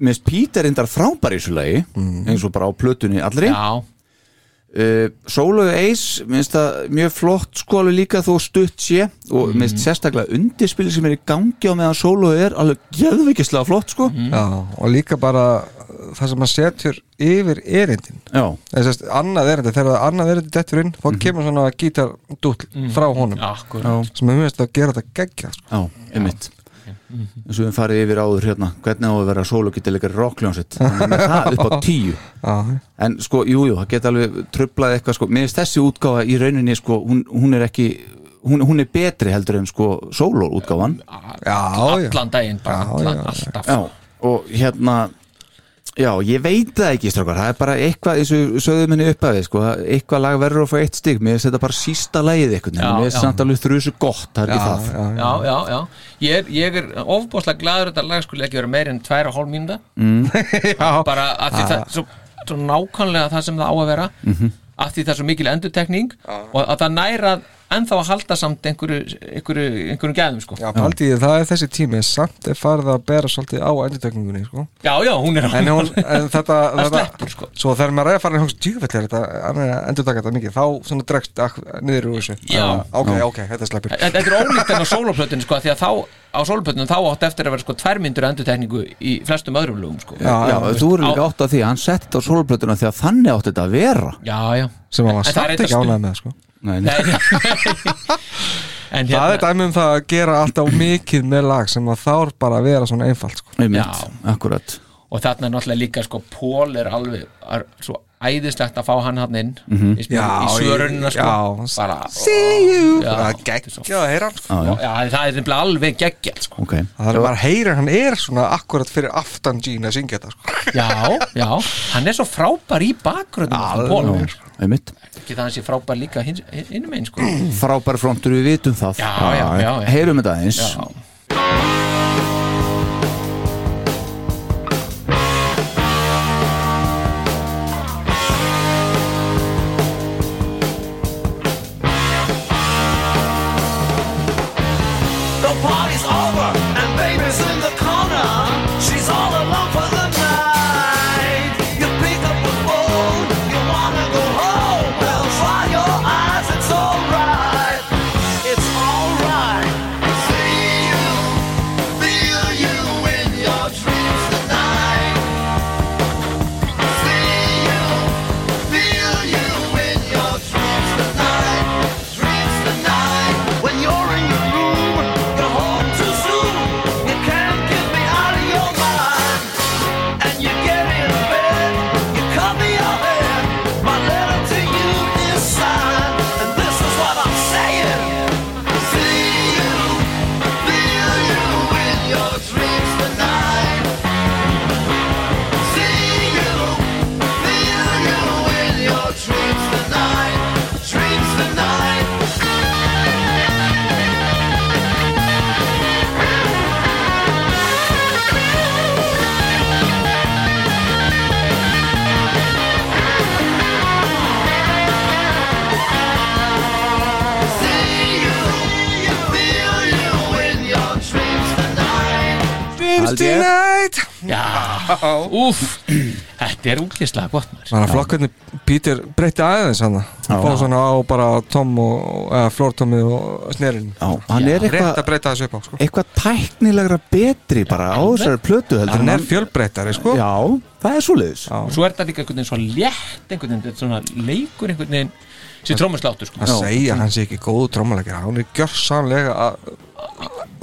Mér finnst Pítur endar frábær í þessu lægi eins og bara á plötunni allri
Já,
uh, Solo Ace, minnst það mjög flott sko alveg líka þó stutt sé og mm. minnst sérstaklega undirspil sem er í gangi á meðan Solo er alveg geðvikislega flott sko
Mm.
Já, og líka bara það sem maður setur yfir erindin
Já,
eða sérst, annað erindi, þegar það annað erindi dettur inn,
Mhm.
þá kemur svona gítar frá honum,
akkur
sem er mjög veist að gera þetta geggja, sko.
já, einmitt eins og við farið yfir áður hérna hvernig á að vera Solo geta leikar rockljónsitt með það upp á tíu
Já,
en sko, jújú, jú, það geta alveg trublað eitthvað sko, mér finnst þessi útgáfa í rauninni sko, hún, hún er ekki hún, hún er betri heldur en sko Solo útgáfan
já, já.
Allan daginn, bara
Já,
allan,
já, já.
alltaf
Já, og hérna Já, ég veit það ekki, strákar Það er bara eitthvað, eins og sögðum henni uppaði sko, það- eitthvað lag verður að fá eitt stig Mér finnst þetta bara sísta lagið eitthvað
Já,
Mér finnst
já.
samt alveg þrjusu gott, það er ekki það
já, já.
Já, já, já, ég er, ég er ofbúslega gladur að þetta lag skulle ekki vera meir en tværa hálf mínúta
Mm.
bara að því það svo, svo nákvæmlega það sem það á að vera
Mhm.
að því það er svo mikil endutekning og að það næra ennþá að halda samt einhverju, einhverju, einhverju gæðum sko.
Já, paldi ég, það er þessi tími, samt er farið að bera svolítið á endurtökningunni, sko.
já, já, hún er á
En, hún, en þetta,
Það
þetta
sleppur, sko.
svo þegar maður er að fara í hóngst djúfellir, þetta, hann er að endurtaka þetta mikið, þá svona dregst ak- niður úr þessu.
Já.
Ok, ok, þetta sleppur.
Þetta þetta er ólíkt enn á sóloplötun sko, af því að þá, á sóloplötunum þá átt eftir að vera sko tværmyndur endutekningu í flestum öðrum lögum sko.
Já, já, þú eru líka
Á-
átt að því að Hann setti þetta á sólplötuna því að þannig átti þetta að vera
Já, já
Sem að
En-
var
en það er
samt ekki
eitthvað
ánægð með, sko.
Nei,
Nei, nei. En hérna,
Það er dæmi um það að gera alltaf mikið með lag sem að þá er bara að vera svona einfalt, sko.
einmitt,
Já.
akkurat
og þarna er náttúrulega líka sko Pól er alveg er svo æðislegt að fá hann hann inn í, smá- í svörunina sko
já,
bara,
See you
Já,
Það er
þetta er svo-
geggja að heyra hann sko.
já, það er nefnilega alveg geggjald sko
Ok,
Það er bara að heyra hann er svona akkurat fyrir aftan Gene að syngja þetta sko.
já, já, hann er svo frábær í bakgröndum Pól,
einmitt
ekki það hann sé frábær líka hins- hin- hinum einn sko
Frábær frontur, við vitum það
Já, já, já, já.
Heyrum þetta eins
já,
The party's over and baby's in the corner. She's all alone for the night. You pick up the phone, you wanna go home. Well, try your eyes, it's alright. It's alright. See you
held ég.
tonight
Já, úf Þetta er útlislega gott maður
Þannig að flokkarnir Peter breytti aðeins hann Hann fóð svona á bara Tom og eða, Flórtommi og Snerin
Já, hann er
Rétt að
eitthvað
breyta þessu upp á sko.
eitthvað tæknilegra betri bara á þessari plötu heldur
Hann
en
er fjölbreytari sko.
Já, það er svoleiðis
Já.
Og svo er þetta líka einhvern veginn svo létt einhvern veginn, þetta er svona leikur einhvern veginn sem trómmusláttur sko
að segja að hann sé ekki góðu trómuleikir hann er gjörsamlega að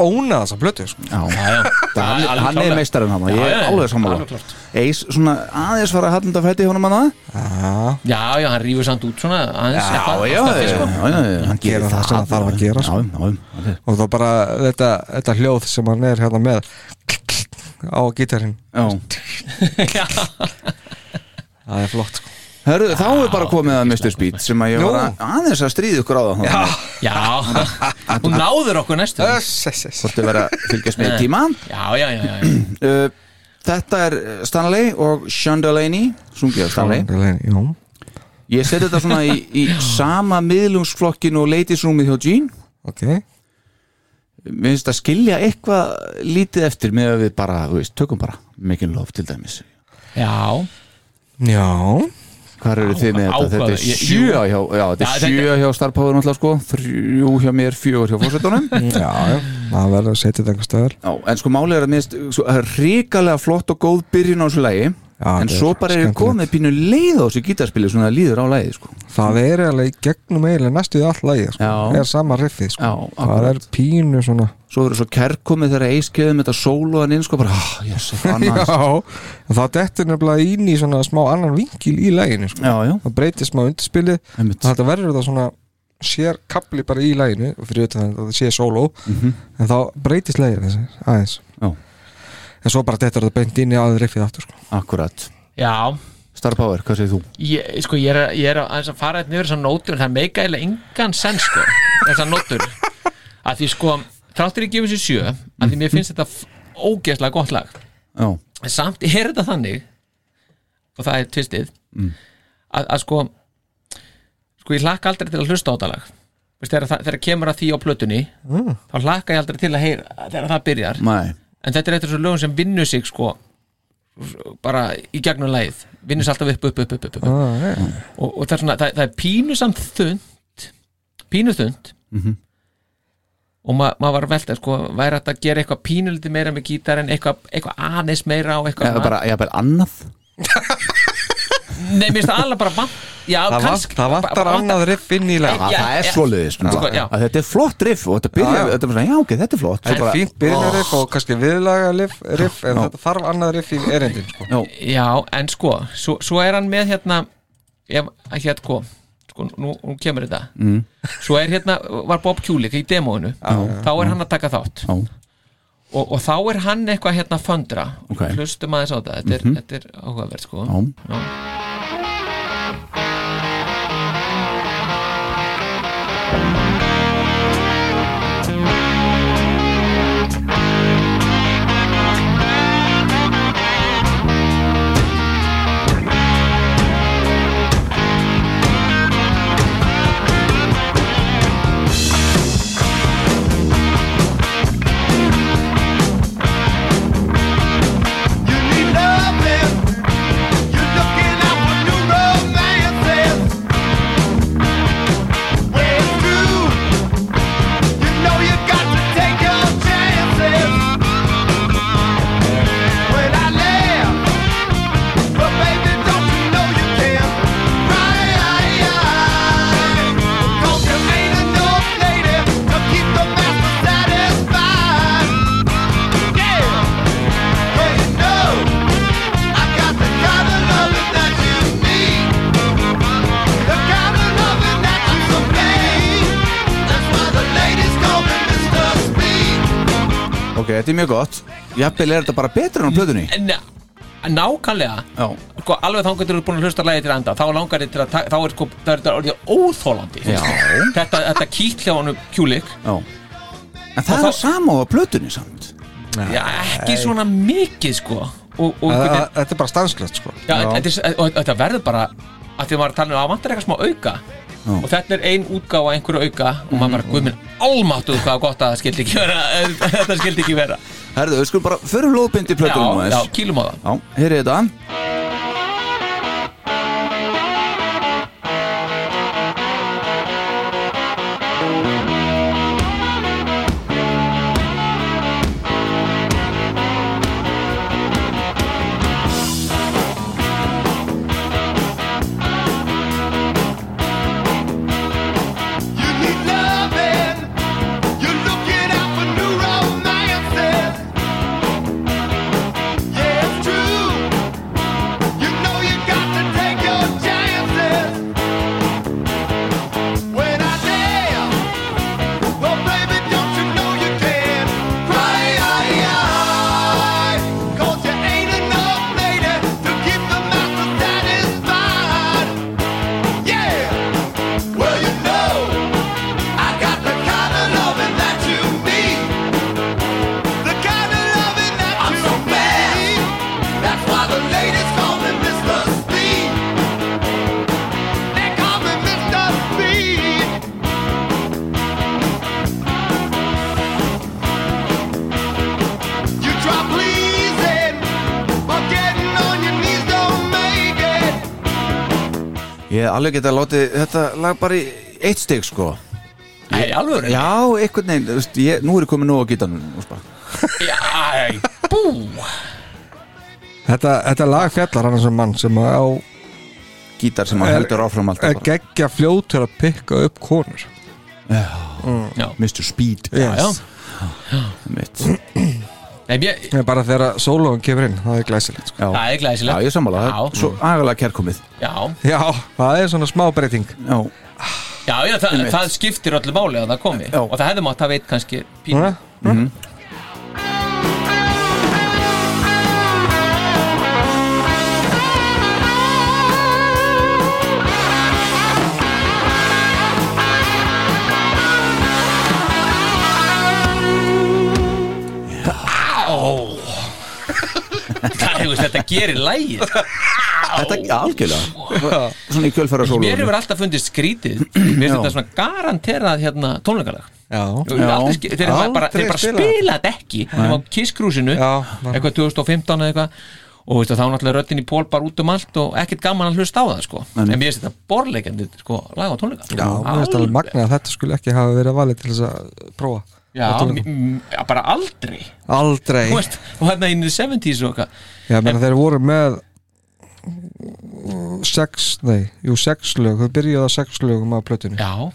óna þessa blötu sko.
Já, Það-
Já,
hann,
alveg
hann er
klárlega.
meistarinn hann ég
Já,
er
já,
alveg
alveg
sammála
klárt.
Eis svona aðeins var að hallunda fæti honum hann að
Já,
Já, já, hann rífur samt út svona aðeins eitthvað,
já,
staffi, sko.
hann gerir
gerir það sem hann þarf að gera,
já,
sko.
já, já, já.
og þá bara þetta, þetta hljóð sem hann er hérna með á gítarinn það er flott sko.
Hörru, þá er bara komið að Mr. Speed sem að ég var að- aðeins að stríða ykkur á það Já,
Já, hún náður okkur næstu Já,
yes, yes, yes.
Hvort þau verið að fylgjast með í tíma
já, já, já, já.
uh, Þetta er eh, Stanley og Shondalaney Sungið af Stanley
Jú.
Ég seti þetta svona í, í sama miðlungsflokkin og ladies roomið hjá Gene
ok
Mér finnst að skilja eitthvað lítið eftir með að við bara, þú veist, tökum bara Making Love til dæmis
já.
já,
Hvar eru þið með þetta?
áhuga-
Þetta er
ég- jú.
sjö hjá, já, þetta
Já,
er
þetta-
sjö hjá Star Power náttúrulega sko Þrjú hjá mér, fjögur hjá fórsetunum
já, já það verður að setja þetta einhver stöðar
Já, en sko málið er að minnst ríkalega flott og góð byrjun á þessu lægi en
þetta er
svo bara er
skemmtilegt.
komið pínu leið á þessu gítarspili svona það líður á lægi sko.
það er eiginlega í gegnum eiginlega næstu í all lagi sko.
Já.
er sama riffið sko.
Já,
það
akkurat.
er pínu svona
svo verður svo kærkomið þegar eiskeiðum þetta sóloðan inn sko bara, ah, yes, annars já.
Já, það dettur nefnilega inn í svona smá annan vinkil í læginu sko.
Já, já.
það breytir smá undirspili
Einmitt.
þetta verður það svona sér kapli bara í læginu og fyrir utan að það sé sóló en þá breytist lægin þessi aðeins
Mhm. Já.
en svo bara dettur það beint inn í aður riffið aftur sko.
akkurat
já.
Star Power, hvað segir þú?
Ég, sko, ég er, að- ég er að aðeins að fara eitthvað yfir þessar nótur en það meika eiginlega engan sens sko, þessar nótur að því sko, þráttur ég gefið sér sjö að því mér finnst þetta f- ógeðslega gott lag
Já,
en samt er þetta þannig og það er tvistið að, að sko sko ég hlakka aldrei til að hlusta á þetta lag Vist, þegar, það- þegar kemur að því á plötunni þá hlakka ég aldrei til að heyra þegar það byrjar
nei,
en þetta er eitthvað svo lögum sem vinnur sig sko bara í gegnum lagið vinnur sig alltaf upp, upp, upp, upp, upp, upp.
ah, ja.
og, og það er svona, það, það er pínu samt þund pínu þund
Mhm.
og ma, maður var að velta sko, væri hægt að gera eitthvað pínuliti meira með gítar en eitthvað, eitthvað aðeins meira og eitthvað
ég bara, ég bara annað
nei, mér finnst það alveg bara vant já,
það, vant,
kannski,
það vantar annað riff inn í
Já,
læginu
Ah,
Já,
það er
já.
svoleiðis
Sko,
sko,
já.
Þetta er flott riff og þetta byrja,
Já, já.
þetta er bara svona, já, ok, þetta er flott Svo
það er
bara,
fínt byrjunarriff og kannski viðlaga riff, riff en þetta þarf annað riff í erindin sko.
já, en sko, svo, svo er hann með hérna ef, hérna, sko, sko nú, nú kemur þetta mm. svo er hérna, var Bob Kulik í demóinu, þá er hann að taka þátt
Já.
og, og þá er hann eitthvað hérna að föndra
Ok. Mhm.
hlustum aðeins á þetta, þetta er, þetta er áhugaverð sko
Já.
You need loving. You're looking out for new romances. When it's true, you know you got to take your chances. When I laugh, but baby, don't you know you can't cry? 'Cause you ain't enough lady to keep the master satisfied. Yeah. Well, you know, I got the kind of loving that you need, the kind of loving that you need. That's why the ladies call me Mr. Speed.
Ok, þetta er mjög gott Jafnvel er þetta bara betra en á plötunni
en nákvæmlega
Já,
sko, alveg þá getur þú búin að hlusta lægið til enda þá langar þið til að, ta- þá er sko það er þetta orðið óþólandi
Já.
þetta, þetta kýtt hjá hann kjúlik
já En það
Og
er
þá-
það sama á plötunni samt
já, ekki svona mikið sko og, og,
Það-
og,
það- þetta er bara stanslöst sko.
Já, þetta er- og þetta verður bara að því að maður er að tala um að vantar eitthvað smá auka og þetta er ein útgáfa einhverju auka og maður bara, guð minn, almáttuð hvað gott að það skildi ekki vera þetta skildi ekki vera
Herðu, við skulum bara fyrir lóðbind í plötunum
já, já, kýlum á það
Já, heyrið þetta
You need loving. You're looking out for new romances. Yeah, it's true. You know you got to take your chances. When I dare, well, baby, don't you know you can cry? oh, Cause you ain't enough, lady, to keep the master satisfied. Yeah. Well, you know, I got the kind of loving that you need. The kind of loving that you so need. That's why the ladies call me Mr. Speed. They call me Mr. Speed. You try pleasing, but getting on your knees don't make it.
Ég hef alveg geta látið þetta lag bara í eitt stygg sko
Nei, alveg
Já, einhvern veginn, þú veist, ég, nú er ég komið nóg á gítanum og spara
Æ, bú
Þetta, þetta lag fjallar hann sem mann sem á
Gítar sem að
Er-
heldur áfram alltaf bara
geggja fljótur að pikka upp konur
Mr. Speed
Já, já
Mitt.
Nei, mér,
Nei, bara þegar sólóin kemur inn, það er glæsilegt sko.
Já.
það er
Já,
glæsilegt
ég sammála, það
Já.
er svo agalega kærkomið
Já,
Já, það er svona smá breyting
Já,
já, já það, það skiptir öllu máli að það komi
Já.
Og það hefði mátt að veit kannski pínu
Núna?
Það hefur þetta gerir lægi
þetta er algjörlega Svona í kjölfæra sólu
Mér hefur alltaf fundist skrítið Mér finnst
Já.
þetta svona garanterað hérna tónleikalag
Já,
Ég hef aldrei skil- Þeir eru bara,
Aldrei
þeir bara
spilað.
spila þetta ekki Þeir á kisskrúsinu
Já, bara-
Eitthvað 2015 eða eitthvað Og veistu, þá er náttúrulega röddin í pól bara út um allt Og ekkert gaman að hlusta á það sko. En mér finnst þetta borleikandi sko, lag á tónleika
já mér finnst alveg magna að þetta skulle ekki hafa verið valið til þess að prófa
Já,
Á tónleikum.
m- m- já, bara aldrei
Aldrei
Þú veist, og hérna inn í 70s og eitthvað
Já, menn þeir voru með sex, nei, jú, sex lög þau byrjuðu á sex lögum á plötunni
Já,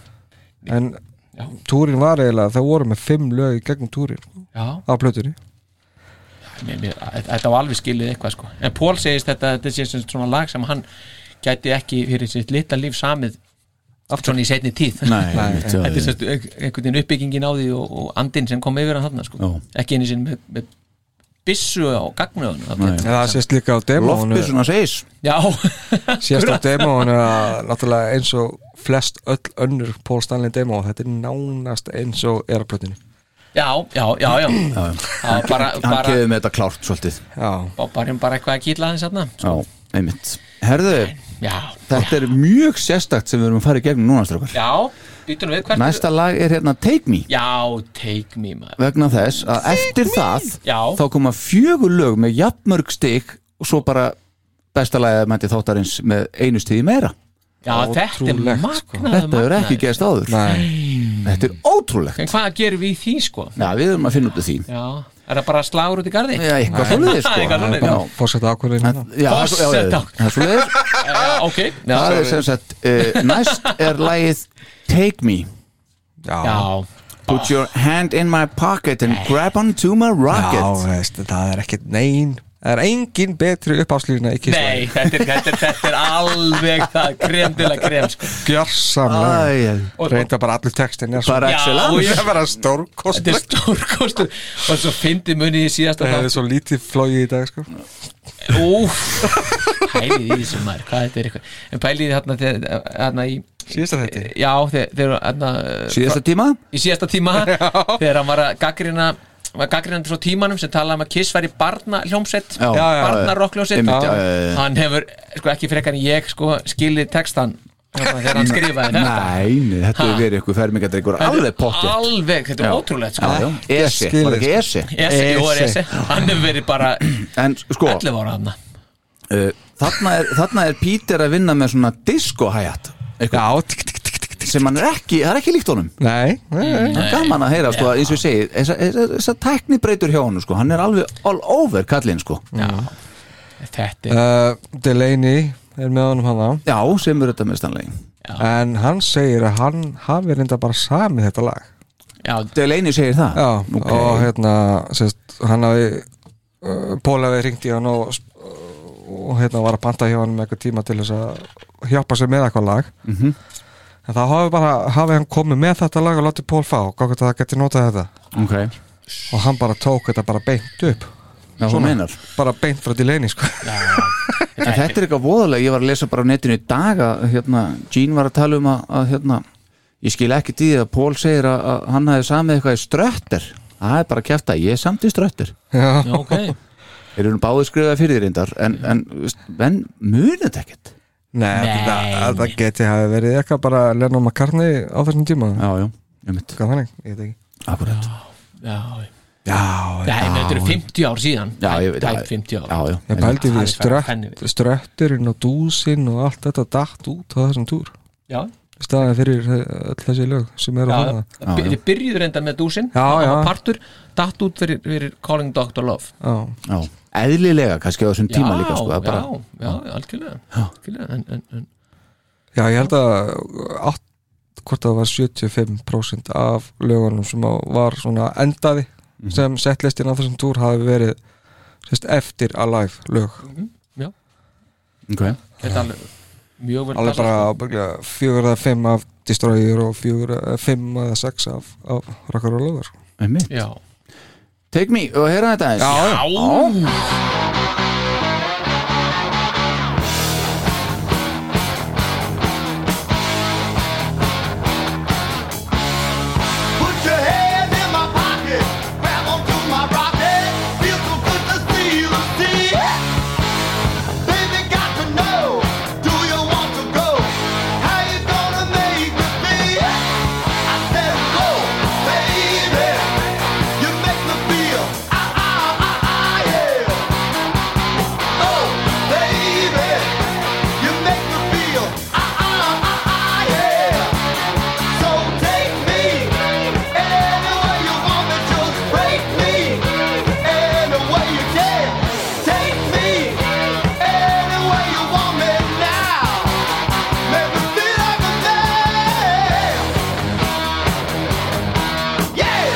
en
Já.
túrin var eiginlega, þau voru með fimm lög í gegnum túrin
já
á plötunni
mér, mér, Þetta var alveg skilið eitthvað sko. En Pól segist þetta, þetta sé sem svona lag sem hann gæti ekki fyrir sitt litla líf samið Aftur. Svona í setni tíð
Nei, mitt, já,
Þetta er
já.
sérst einhvern veginn uppbyggingin á því og, og andinn sem kom yfir að þarna sko.
Já.
ekki einu sinni með, með byssu á gagnuðun
en það sést líka á demónu
Loftið svona segis
Já,
sést á demónu að náttúrulega eins og flest öll önnur Paul Stanley demó, þetta er nánast eins og er á plötunni
já, já, já, já. já bara,
Hann
bara,
kefði með þetta klárt svolítið
Já,
bara, bara, bara eitthvað að kýla aðeins þarna
Já, einmitt Herðu,
Já,
þetta er mjög sérstakt sem við erum að fara í gegnum núna strókar
já, býtum við hvert
Næsta lag er hérna Take Me
Já, take me maður
vegna þess að eftir það
Já.
þá koma fjögur lög með jafnmörg stig og svo bara besta lagið að mæti þáttarins með einu stigi meira
Já, þetta er
Ótrúlegt,
magnað
sko.
þetta hefur ekki
magnað.
gerst áður
nei,
þetta er ótrúlegt
En hvað gerum við í því sko?
Já, við erum að finna út af því
Já, er það bara slagur út í garði?
Já, eitthvað svoleiðis sko
Eitthvað svoleiðis.
Já. hérna.
fórsetta ákvörðin
En- Já, það er svo- já, já, já.
Forseta.
það er svoleiðis
Já, ok Já,
Það er sem sagt, uh, næst er lagið Take Me
Já,
já,
Put your hand in my pocket and grab onto my
já,
rocket
veist, það er ekkert nein það er engin betri uppáslýna í
Nei,
kisslagi
þetta er, þetta, er, þetta er alveg það krem til að krem sko.
gjörsamlega
Æ,
reynda bara allur textin er
Bara
Já,
excellence
ég-
ég var að
Þetta er
stórkostlegt
stórkostur og svo fyndi munið í síðasta
það hefði
þátt
svo lítið flogið í dag sko.
Úf, pælið í þessu maður hvað þetta er eitthvað en pælið í þarna, þegar- þarna í
síðasta þetta
já, þegar, þegar þarna,
Síðasta tíma
í síðasta tíma þegar hann var að gaggrina var gaggrinandi frá tímanum sem talaði um að Kiss væri barna hljómsett
Já, Eh. já, já.
barna rockljómsett
Einmitt, já, já, já.
hann hefur sko, ekki frekar en ég sko, skilið textan þarna þegar hann skrifaði þetta
Nei, nei, þetta hefur verið eitthvað fermingadrykkur alveg pottið
alveg, þetta
Já.
er ótrúlegt sko.
já, já.
Ég
Esi,
skil
var ekki
þig,
Esi Eh,
Esi, jú, er Esi. hann hefur verið bara
En sko,
11 ára hann
uh, þarna, er, þarna er Peter að vinna með svona disco-hæjat
Já, tík, tík, tík, tík, tík.
sem hann er ekki, það er ekki líkt honum
Nei, nei, nei.
Það er gaman að heyra, sko, eins og ég segi þessa- þessa þessa tækni breytur hjá honum, sko hann er alveg all over kallinn, sko
þetta er,
Uh, Delaney er með honum hann á
Já, sem er þetta með Stanley
En hann segir að hann hafi reynda bara samið þetta lag
já,
Delaney segir það
Já,
ok.
og hérna sérst, hann hafi uh, Pól hafi ringt í hann og, og hérna var að panta hjá hann með eitthvað tíma til þess að hjálpa sér með eitthvað lag -hmm. En þá hafi bara hafi hann komið með þetta lag og látið Pól fá hvað það geti notað þetta
Ok,
og hann bara tók þetta bara beint upp
já, hún meinar
bara beint frá Delaney sko
En þetta er eitthvað voðalega, ég var að lesa bara á netinu í dag að hérna, Gene var að tala um að, að hérna, ég skil ekki því að Pól segir að, að hann hafi samið eitthvað í ströttir það er bara að kæfta, ég er samt í ströttir
Já,
já, ok
þeir eru nú báðið skrifað fyrir þér reyndar en, en, veist, en munið þetta ekkert
Nei, þetta, þetta geti hafi verið eitthvað bara Lennon McCartney á þessum tíma
Já, já, ég mitt
Hvað þannig, ég veit ekki
Akkurat
já,
Já,
Nei, menn, þetta eru 50 ár síðan
já, ég veit
Tæp 50 ár
Já, já,
Ég pældi því
Það er
strött,
fenni-
strötturinn og dúsinn og allt þetta datt út á þessum túr
já,
í staðan fyrir þe- öll þessi lög sem eru
já,
á hana
Já, já.
Þið byrjuðu reyndar með dúsin
Já, já.
Partur datt út fyrir, fyrir Calling Dr. Love
Já,
já. Eðlilega kannski á þessum tíma líka sko, það er bara,
já, já, algjörlega, algjörlega en, en, en,
já ég held að átt, hvort það var 75% af lögunum sem á- var svona endaði sem settlistin á þessum túr hafi verið sérst, eftir Alive lög
okay.
Þetta er alveg mjög vel
alveg
passað,
bara ábyggilega fjögur eða fimm af Destroyer og fjögur eða fimm eða sex af, af Rockar og Lover
einmitt.
sko. Já,
Take me og heyra þetta eins Já, já,
Put your hand in my pocket, grab onto my rocket. Feels so good to see you, see. Baby, got to know, do you want to go? How you gonna make me feel? I said go, baby. You make me feel, ah ah ah ah yeah. Oh, baby, you make me feel, ah ah ah ah yeah. So take me any way you want to just break me any way you can. Take me any way you want me now. Make me feel like a man. Yeah.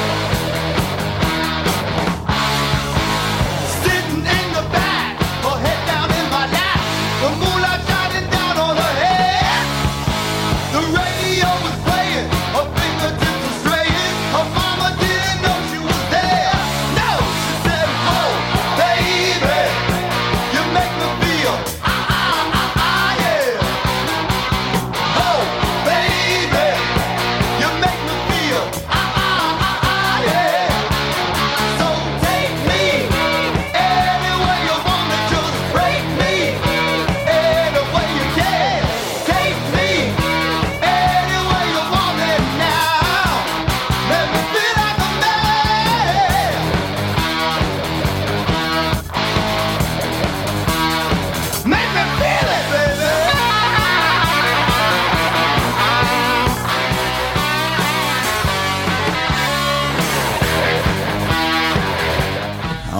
Sitting in the back, her head down in my lap, the moonlight shining down on her head. The radio was playing, her fingertips were straying. Her mama didn't know she was there. No, she said, "Oh, baby, you make me feel ah ah ah ah yeah." Oh, baby, you make me feel ah ah ah ah yeah. So take me anywhere you want to just break me any way you can. Take me anywhere you want it now. Let me feel like a man. Make me feel it, baby.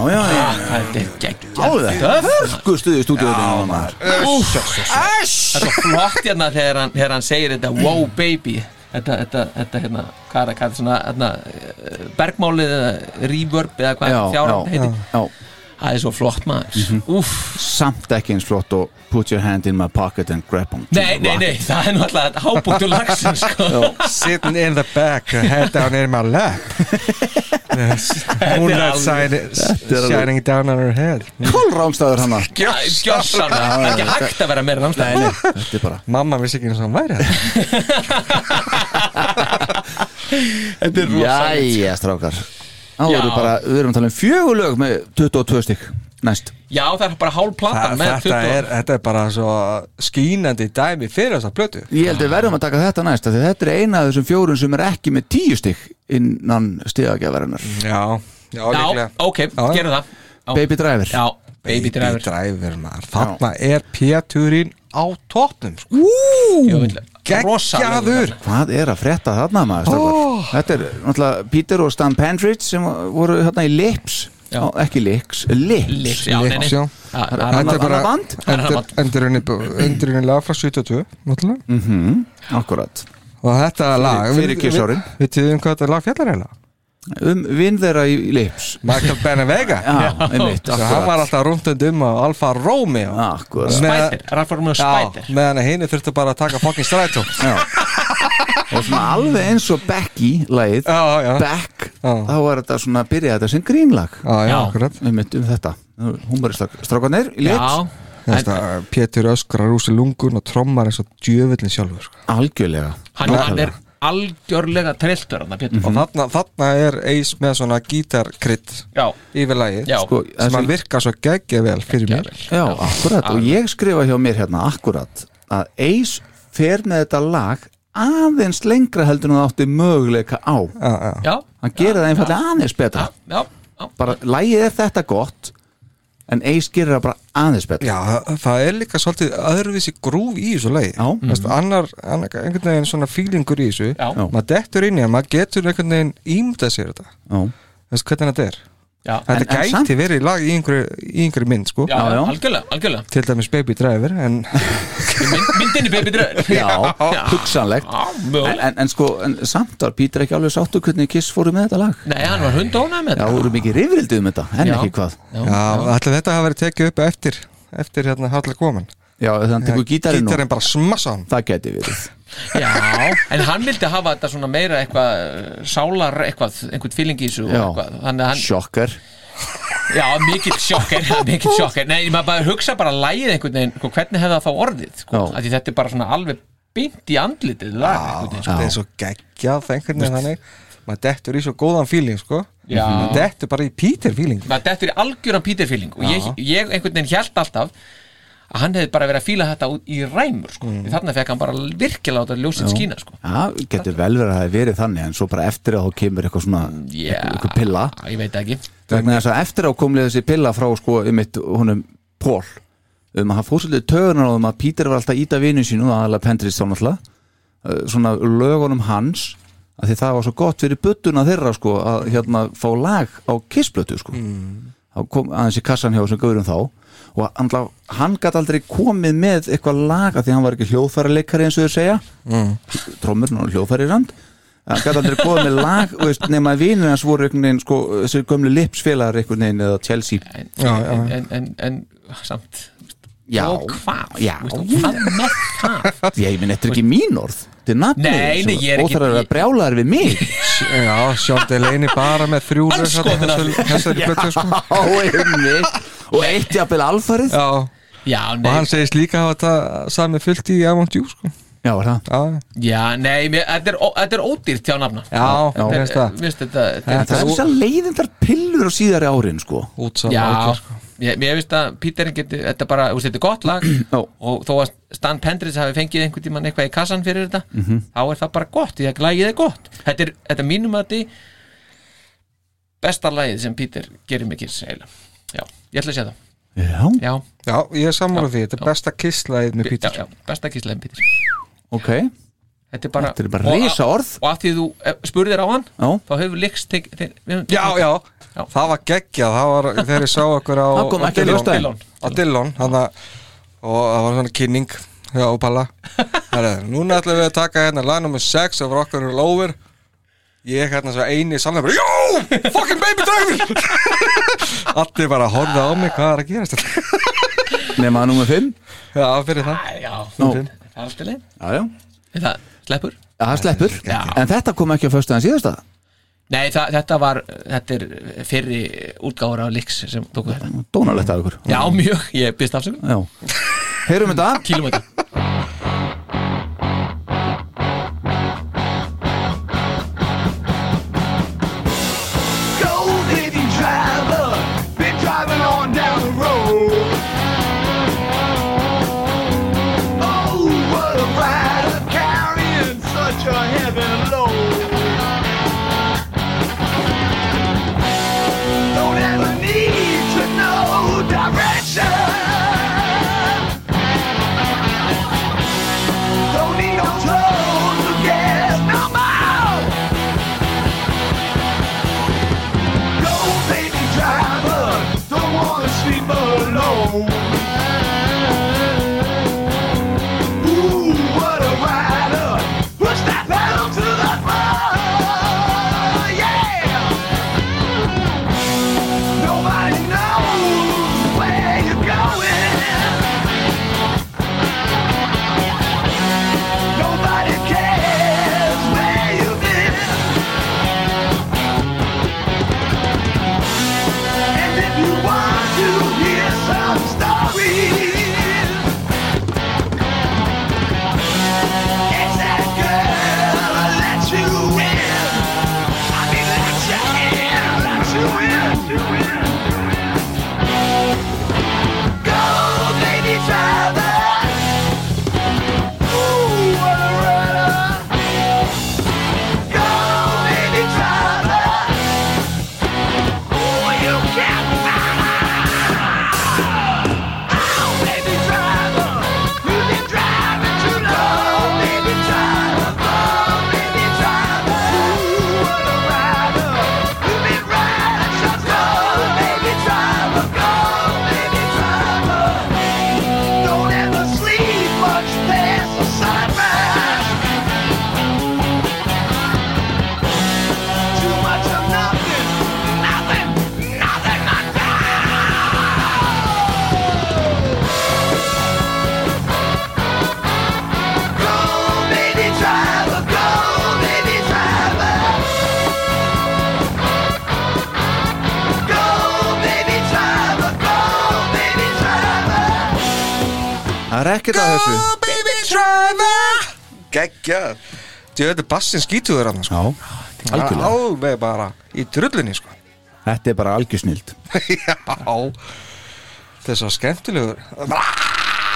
já, já.
þetta er geggjað
Alveg, hörgu stuði stúdíuðinu maður
Það er svo flott hérna þegar hann, þegar hann segir þetta Wow baby Þetta, þetta, þetta hérna, hvað er það, hvað er svona hérna, eh, bergmálið eða reverb eða hvað
Já,
þjáran
já,
heiti
Já,
Það er svo flott maður Úff,
samt ekki eins flott og put your hand in my pocket and grab on to
nei,
my
nei, nei,
rocket.
það er náttúrulega hábúntu lagsin sko.
Sitting in the back, head down in my lap yes. Moonlight shining, shining down on her head
Kolrámstæður hana
Gjössan, það er ekki hægt að vera meira
Nei,
námstæð
nei, þetta er bara
Mamma vissi ekki eins og hann væri það
Þetta er rosalegt
Jæja, strákar Þá
Já.
erum við bara, við erum að tala um fjögulög með 22 stykk næst
Já, það er bara hálf plata
Þa,
með
þetta,
20.
er, þetta er bara svo skínandi dæmi fyrir þessa plötu
Ég held við verðum að taka þetta næst af því þetta er eina af þessum fjórun sem er ekki með tíu stygg innan stigagjafarinnar
Já, já,
Já,
líklega
ok,
já.
gerum það Já.
Baby Driver
Já, Baby Driver
driver maður. Þarna er Péturinn á tóknum sko.
Jú, vill-
Gekkjaður
Rosa-
Hvað er að frétta þarna maður? strákar? Þetta er náttúrulega Peter og Stan Pendridge sem voru þarna í Lips
Já.
Ó, ekki Lips, Lips,
Lips, já, nei, nei.
Lips, já.
Það- það er
Þetta
Þetta
er
er
bara
bara-
band,
Endurinn lag frá 72 náttúrulega.
Mm.
akkurat
Og þetta lag
fyrir kissárin.
Við tíðum hvað þetta lag fjallar heila
um vinn þeirra í Lips
Michael Benevega
Já, einmitt,
Svo hann var
akkurat
alltaf rúndund um á Alfa Romeo
Akkurat
Spider, Ralf Rúmur
Já,
Spider
meðan að hini þurfti bara að taka fokkin strætó
Já. og svona alveg eins og Becky lagið,
Já, já,
Beck
Já.
þá var þetta svona að byrja þetta sem grínlag
já,
Já.
já, akkurat
um, um þetta, humoristakstrákanir í lit,
Já,
Þetta, Pétur öskrar úr sér lungun og trommar eins og djöfullin sjálfur sko.
algjörlega
hann, hann er algjörlega trilltur hann,
Mhm.
Pétur
Mm.
Og þarna, þarna er Ace með svona gítarkrydd
Já,
yfir lagið
já,
Sko,
sem
þessi-
að virka svo geggja vel fyrir
já,
mér
Já, akkurat, og ég skrifa hjá mér hérna akkurat, að Ace fer með þetta lag aðeins lengra heldur en það átti möguleika á
Já, já,
já,
hann gerir það einfallega aðeins betra
já, já, já.
bara, lagið er þetta gott en Ace gerir það bara aðeins betra
já, það- það er líka svolítið öðruvísi grúf í þessu lagi
Já.
Veist, annar, annar, einhvern veginn svona fílingur í þessu
Já. Já.
maður dettur inn í að maður getur einhvern veginn ímda sér þetta
Já.
Veist, hvernig þetta er
já.
En- en
þetta gæti
samt-
verið lag í einhverju, í einhverju mynd sko.
Já,
já.
algjörlega, algjörlega
til dæmis Baby Driver en
Í mynd, Myndinni Baby Driver
Já, hugsanlegt
Já,
en,
mögulega
en, en sko, en samt var Pítur ekki alveg sáttu hvernig Kiss fóru með þetta lag
Nei, hann var hundónað með
Já,
þetta
þú eru mikið rifrildið um þetta, en
Já.
ekki hvað
já, ætli þetta hafa verið tekið upp eftir eftir hérna Hardly Woman
Já, þannig að tekur gítarinn og
gítarinn bara smassa hann
það geti verið
Já, en hann vildi hafa þetta svona meira eitthvað eh, sálar, eitthvað, einhvern fíling í þessu og
Já.
eitthvað, þannig að hann,
Sjokkar
já, mikill sjokker mikill sjokker, nei, maður bara hugsa bara lægið einhvern veginn, sko, hvernig hefði það þá orðið sko,
Já.
af því þetta er bara svona alveg beint í andlitið lag, einhvern veginn, sko.
þetta er svo geggjað einhvern veginn þannig maður dettur í svo góðan feeling sko.
Já.
maður dettur bara í Peter feeling
maður dettur í algjöran Peter feeling og ég, ég einhvern veginn hjælt alltaf að hann hefði bara verið að fíla þetta út í ræmur sko. mm. þannig fekk hann bara virkilega láta ljósið skína sko.
Já, getur vel verið að það hafi verið þannig en svo bara eftir að þá kemur eitthvað svona
Já.
yeah. eitthvað pilla
Já, ég veit ekki
vegna þess að eftir að komlið þessi pilla frá sko um eitt honum Pól um að hann fór svolítið tögunar á um að Pítur var alltaf að íta vinu sínu aðalega Pendris þá náttúrulega uh, svona lögunum hans að því það var svo gott fyrir buttuna þeirra sko að hérna fá lag á kissblötu sko þá kom aðeins í kassan hjá sem gaurum þá og andla, hann gæti aldrei komið með eitthvað lag af því hann var ekki hljóðfæraleikari eins og þau segja mm. trommur, hann hljóðfæri rand hann gæti aldrei komið með lag þú veist, nema að vinur hans voru einhvern veginn sko, þessi gömlu lipsfélagar einhvern veginn eða Chelsea
en,
Já, já.
en, en, en, en samt
já,
og hvað,
já,
Þú veist, og hvað með það
já, ég minn, þetta er ekki mín orð þetta er
Nei, nei, ég
nafnið
er ekki-
óþar að vera brjálaðar við mig
já, Sean Delaney bara með þrjú lög
Alls
þarna,
konar.
þessari- þessari plötu sko.
á einni og eitt jafnvel alfarið
já,
já,
og hann
nei,
segist líka að hafa þetta sami fullt í Avant You sko.
já, var það
já,
já, nei mér, þetta, er, ó- þetta er ódýrt hjá nafna
já, já.
Þetta er-
Veist það
mér finnst þetta, þetta
en
Þetta
það
er
er þess að leiðindar pillur á síðari árin sko
útsala
Já, ég, ég veist að Peter geti, þetta er bara, þú veist, þetta er gott lag og þó að Stan Pendris hafi fengið einhvern tímann eitthvað í kassan fyrir þetta
Mhm.
þá er það bara gott, því að lagið er gott Þetta er, þetta er mínum að því besta lagið sem Peter gerir mikið segla Já, ég ætla að segja það
já,
Já,
já, ég er sammála því, þetta er besta kisslaðið með Peter
já, já besta kíslega en Peter
ok,
Þetta er bara,
þetta er bara
og-
risa orð
og að því þú eh, spurðir á hann
já,
þá hefur líks Já,
Já, já,
Já.
það var geggjað það var þegar ég sá okkur á
Það kom
á
ekki í
Dillon.
ljós daginn.
á Dillon, hann að og það var svona kynning hjá Palla Herra, núna ætlum við að taka hérna lag nummer 6 og okkur er lover ég hérna svo eini samlega bara, jó, fucking baby driver allir bara horfið á mig hvað er að gerast þetta
nema nummer 5
já, fyrir það
já,
Nú.
það er alltaf leið
já, já
Það sleppur
Já, það sleppur,
Já.
en þetta kom ekki á föstuðan síðasta
Nei, þa þetta var, þetta er fyrri útgáður á Lix sem tóku þetta
Dónalegt af ykkur
Já, mjög, ég byrst afsökun
Já. Heyrum þetta
Kílumæta
Go, baby driver. Been driving on down the road.
Oh, Oh,
er ekkert að þessu
Go baby driver Gekkja Þetta er bassin skítuður hann sko.
Já,
Hann er
algjörlega
Alveg bara í drullinni sko.
Þetta er bara algjörsnild
Já Þess að skemmtilegur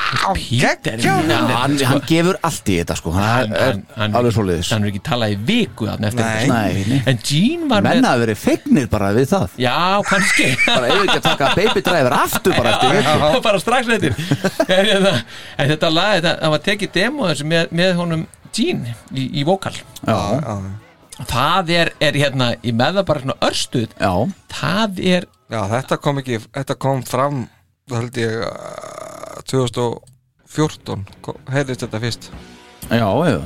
Peter
Gekkja
hann,
hann,
hann,
hann gefur allt í þetta sko Hann er
hann, hann,
alveg svo liðis
hann er ekki talað í viku þarna eftir
Nei.
þetta, sko.
Nei, nei.
en Gene var
Menna
með
hafa verið fegnir bara við það
já, kannski
Bara eigum við ekki að taka baby driver aftur bara eftir viku
Já, bara strax eftir en, þetta, en þetta lag, þetta, það var tekið demo þessu með, með honum Gene í, í vokal
Já,
það er, er hérna, ég með það bara svona örstuð
já,
það er,
Já þetta kom ekki Þetta kom fram Það held ég uh, 2014 kom- heyrðist þetta fyrst
já, já.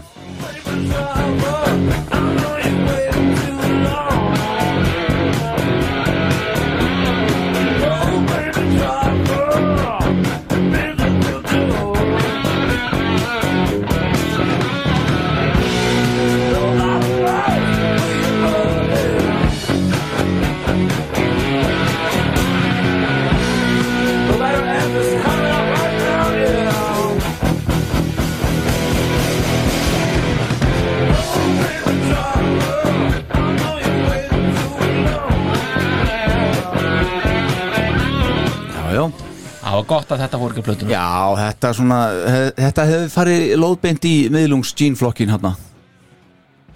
já, já.
það var gott að þetta voru ekki plötunum
já þetta svona he- Þetta hefur farið lóðbeint í miðlungs gínflokkin hérna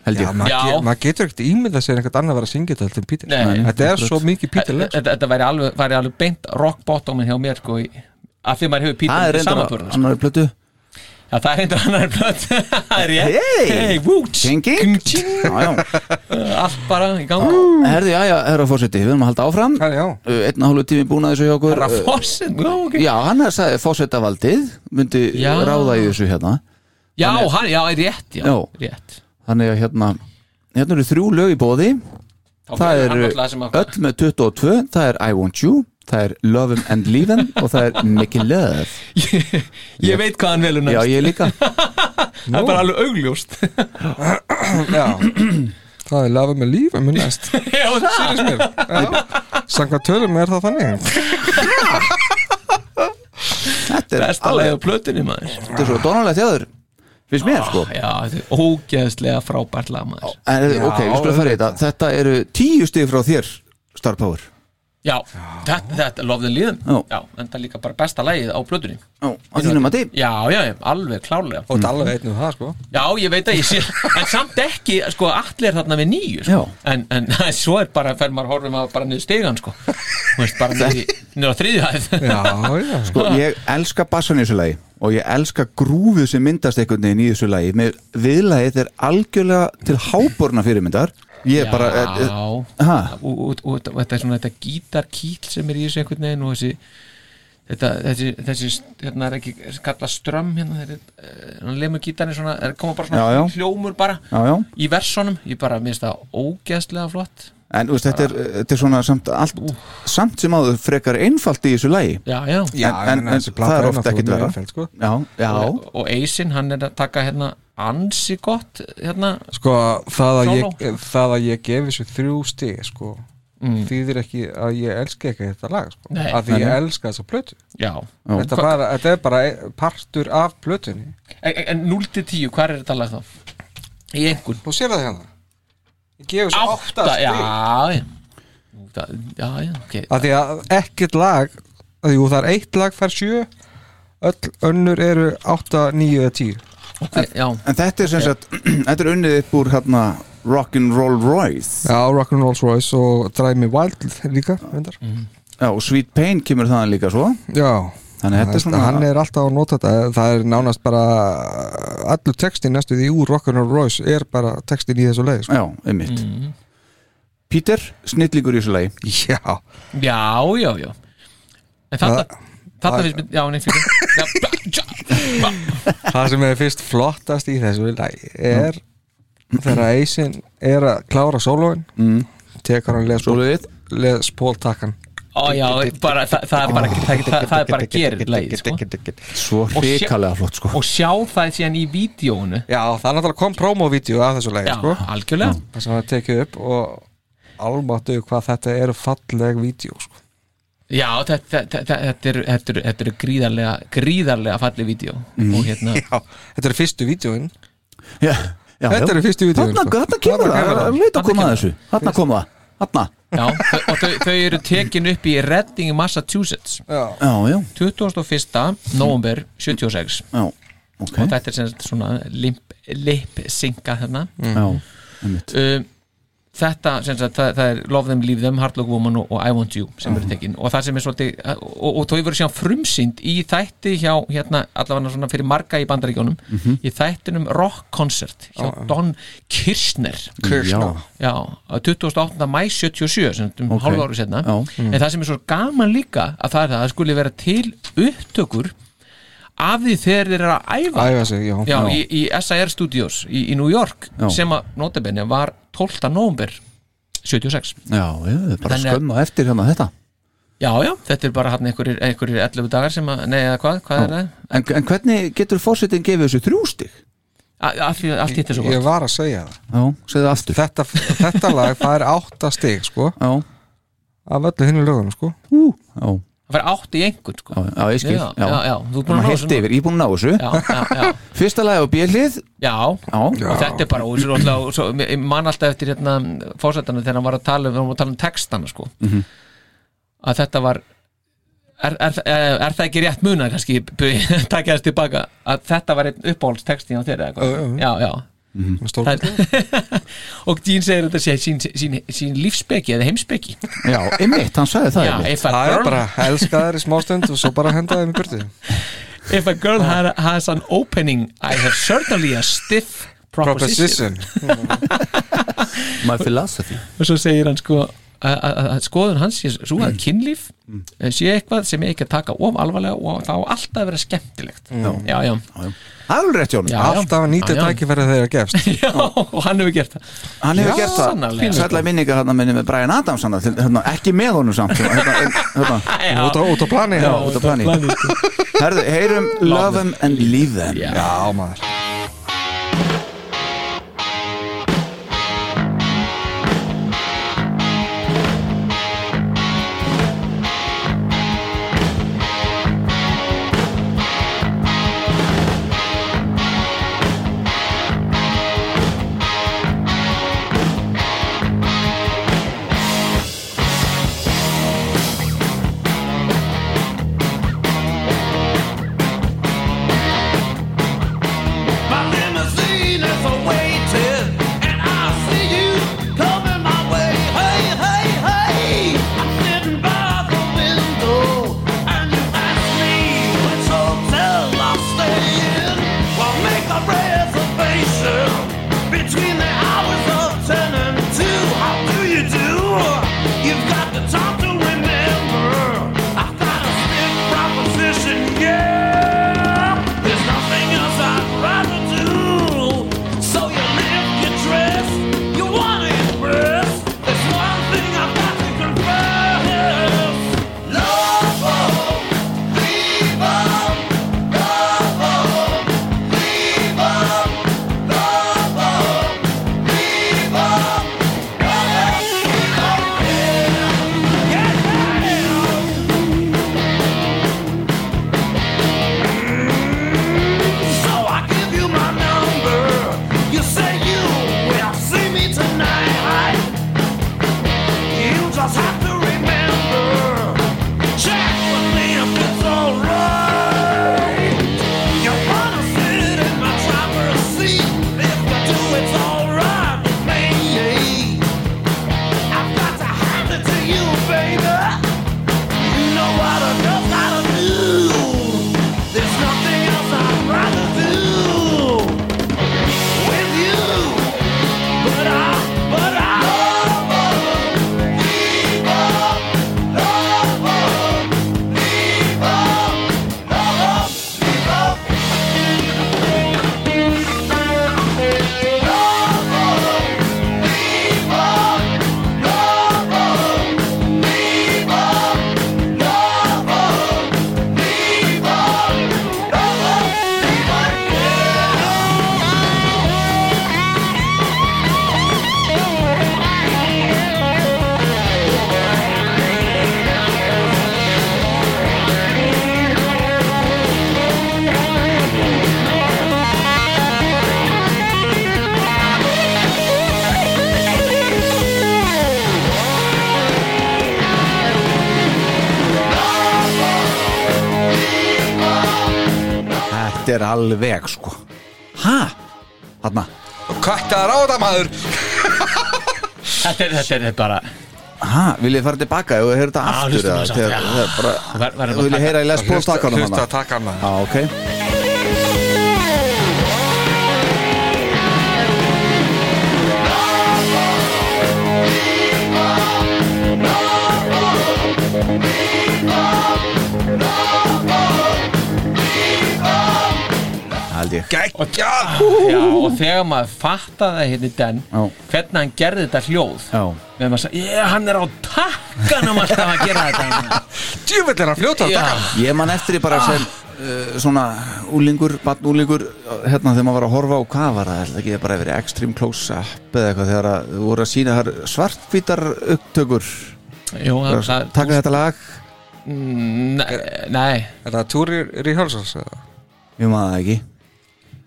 Held
Já,
ég
maður
Já.
ge- maður getur ekkert ímyndað sér einhvern annar að vera að syngja þetta heldur en Pítur
Nei, nei.
Þetta er svo mikið Pítur
Þetta- þetta þetta væri alveg, væri alveg beint rock bottomin hjá mér sko, í- af því að maður hefur
Það er
pítið
reyndar
samanförðan sko.
annar plötu
Já, það er reyndar annar blöð Það er ég
Hey!
hey wú, tsk,
King, king.
king, tsk,
Já, já
Allt bara í gang
Herði, já, já, herra fórseti, við erum að halda áfram
Já, já.
Uh, Einn og hálfu tími búin að þessu hjá okkur
Bara
Uh,
fósin Já, ok.
Já, hann er sagði fórsetavaldið myndi
Já.
ráða í þessu hérna
já, hann, já, rétt, já,
Já.
rétt.
Þannig að hérna hérna eru þrjú lög í bóði
Þá
það
fer hann
eru
náttúrulega sem að-
öll með 22 það er I Want You, það er Love 'em and Leave 'em og það er Make It Love
Ég, ég veit hvað hann velur
Já,
næst
ég líka
Það er bara alveg augljóst
Já Það er lafa með líf um minnast
Já, það
Sanga tölum er það þannig
Þetta
er
er
besta leið á plötunni maður
Þetta er svo dónalega þjáður finnst mér sko
Ah, Já, þetta er ógeðslega frábært lag maður
en, eh, Ok, við skulum fara í þetta Þetta eru tíu stig frá þér Star Power
Já, þetta, þetta lofðin líðum
Já.
Já, en það er líka bara besta lagið á plötunni
Ó, á þínum að þið
Já, já, já, alveg klárlega
Og þetta er alveg einn um það sko
Já, ég veit að ég sé En samt ekki, sko, allir er þarna við nýju sko. en, en svo er bara, fer maður horfum að bara niður stegan sko. Þú veist, bara niður, í- niður á þriðju hæð
Já, já
Sko, ég elska bassan í þessu lagi og ég elska grúfið sem myndast einhvern veginn í þessu lagi með viðlagið er algjörlega til háborna fyrirmyndar ég er bara
Já,
eh,
og,
Ha?
og, og, og þetta er svona þetta gítarkýl sem er í þessu einhvern veginn og þessi þetta, þessi, þessi hérna er ekki kallað ström hérna, þetta er, eh, hann lemur gítarni svona er koma bara svona
Já, já.
hljómur bara
Já, já.
í versonum, ég bara minnst það ógeðslega flott
en þú veist, þetta, er, eh, þetta er svona samt, allt, samt sem áður frekar einfalt í þessu lagi
Já, já,
Já,
En- en-
en
en
þessi plata
það er
er
oft
náttúrulega
ekkert
mjög
verra.
einföld, sko.
já, já,
og, og Eisin hann er að taka hérna ansi gott hérna,
Sko, það að, ég,
Sóló.
það að ég gefi þessu þrjú stig sko þýðir ekki að ég elska ekki þetta lag sko
Nei.
að því ég elska þessa plötu
já
þetta, bara, þetta er bara ein- partur af plötunni
en, en- en 0 til 10, hvað er þetta lag þá? í einhvern
Þú sér það hérna Ég gefi þessu átta
já,
stig
já Nú, það- já, já, ok
að því að ekkert lag að jú, það er eitt lag fær sjö öll önnur eru 8, 9 eða 10
Ok, já,
en þetta er sem sagt þetta er unnið upp úr hérna Rock'n'Roll Royce
Já, Rock'n Rolls Royce og Drive Me Wild líka reyndar.
já, og Sweet Pain kemur þaðan líka svo
Já,
Þannig að þetta er svona-
hann er alltaf að nota þetta það er nánast bara allur textin næstu því úr Rock'n Rolls Royce er bara textin í þessu leið sko.
já, einmitt Peter, snillingur í þessu lagi
Já,
já, já, já en þarna þarna
það-
finnst mér, já, nei, fyrir já, ba- já,
það sem er fyrst flottast í þessu lagi er þegar Eisin er að klára sólóin mm. tekar hann Les Paul,
Sólóið.
Les Paul takkan
ó, já, bara, það, það er bara það, það, það er bara gerir leið sko.
svo
Og sé-
hrikalega flott sko
og sjá það síðan í vídjónu
Já, það er náttúrulega kom promovídeó af þessu lagi
já,
sko.
algjörlega
það sem hann tekið upp og almáttu hvað þetta eru falleg vídeo sko.
Já, þetta, þetta, þetta, þetta, er, þetta, er, þetta er gríðarlega gríðarlega fallið vídeo
Mm.
og hérna,
Já, þetta er fyrstu vídjóin
já, já,
Þetta
já.
eru fyrstu vídeóin,
Þarna,
sko.
þarna kemur
Þarna kemur
það,
það.
leit að
Þarna
koma að
kemur
þessu Þarna kom það, þarna
já, þau, og þau, þau eru tekin upp í Redding, Massachusetts
Já,
Já, já,
21. november 76
já, ok
og þetta er sem sagt svona limp, lip synka þarna
Já, einmitt
um, þetta sem sagt, það, það er Love Them, Leave Them, Hard Luck Woman og, og I Want You sem eru tekin og það sem er svolítið og, og, og þau voru síðan frumsýnd í þætti hjá hérna allavega svona fyrir marga í bandaríkjónum í þættinum Rock Concert hjá Don Kirshner
Já,
já, á 28. mæ 77 sem sagt um
Ok.
hálfa ári setna
Já. mm.
en það sem er svo gaman líka að það er það að það skuli vera til upptökur af því þegar þeir eru að æfa
æfa sig, já,
já, Í, í SIR Studios í, í New York
Já.
sem að notabenni var 12. november 76
já, já, bara
Þannig að-
skömmu á eftir hérna þetta
já, já, þetta er bara hann einhverjir, einhverjir 11 dagar sem að, nei, eða hvað, hvað er það?
En, en hvernig getur fórsetin gefið þessu þrjú stig?
A- Af því að allt hitt er svo
Ég
gott
var að segja það
Já, segðu aftur
Þetta, þetta lag fær átta stig, sko
Já,
af öllu hinnu lögunum, sko
ú, já,
það var átt í einhvern sko.
já, já, ég skil
já, já, já, þú er búin
Búin
að ná
heilt
þessu nú.
yfir, ég er búin að ná þessu
já, já, já,
Fyrsta lagi á bjölið
já
Já, já,
og þetta er bara, og þessu er alltaf og svo, ég man alltaf eftir hérna fósætana þegar hann var að tala, við varum að tala um textana sko,
Mhm.
að þetta var er, er, er, er það ekki rétt muna kannski, takja þess tilbaka að þetta var einn uppáhaldstexti á þeirra eitthvað,
Já, já, já.
já, já,
Stór,
Það, og Dín segir þetta sé sín, sín, sín lífspeki eða heimspeki
já, einmitt, hann sagði það
já,
einmitt.
if a
Það er
girl,
bara elskaðar í smástund og svo bara henda þeim í burtu
if a girl ha- has an opening I have certainly a stiff proposition
Proposition
My philosophy
og svo segir hann sko að- að að skoðun hans sé svo
Mm.
að kynlíf eh, sé eitthvað sem ég ekki að taka of alvarlega og það á alltaf að vera skemmtilegt já, já,
Það er alveg rétt, Jónum
já
Alltaf að nýta
Já, já.
tækifæri þeirra gefst
já, og hann hefur gert það
Hann hefur
Já,
gert það,
sannarlega.
sætla minningar hérna minni með Brian Adams hann, til- hérna, ekki með honum samt hérna, hérna, hérna,
já,
Út á, út á plani
já, út af plani Herðu, heyrum, love them and leave them
Já.
Já, maður
Love
þetta er alveg sko hæ? Þarna,
Kvætta ráða maður
Þetta er, þetta er bara
hæ? Viljið fara tilbaka og heyra þetta
Á,
aftur
hlustum
eða?
þessu aftur,
Þegar-
já.
þegar bara,
Var- var-
Þú viljið heyra í Les Paul takkanum
Hlusta
hana?
að taka hana
Já, ok Held ég
Gægjað
Já, og þegar maður fattaði hérna í den
Já.
hvernig hann gerði þetta hljóð
Já.
með maður sagði, ég, hann er á takkanum alltaf að gera þetta
Djúvill er að fljóta að
Já,
taka
Ég man eftir því bara sem uh, svona úlingur, bann úlingur hérna þegar maður var að horfa á hvað var það er það ekki bara yfir Extreme Close-Up eða eitthvað þegar að þú voru að sína þar svartvítar upptökur
jú, það, það,
taka þetta lag
mm, ne, nei
Er það Túri Ríhálsons eða?
ég maður það ekki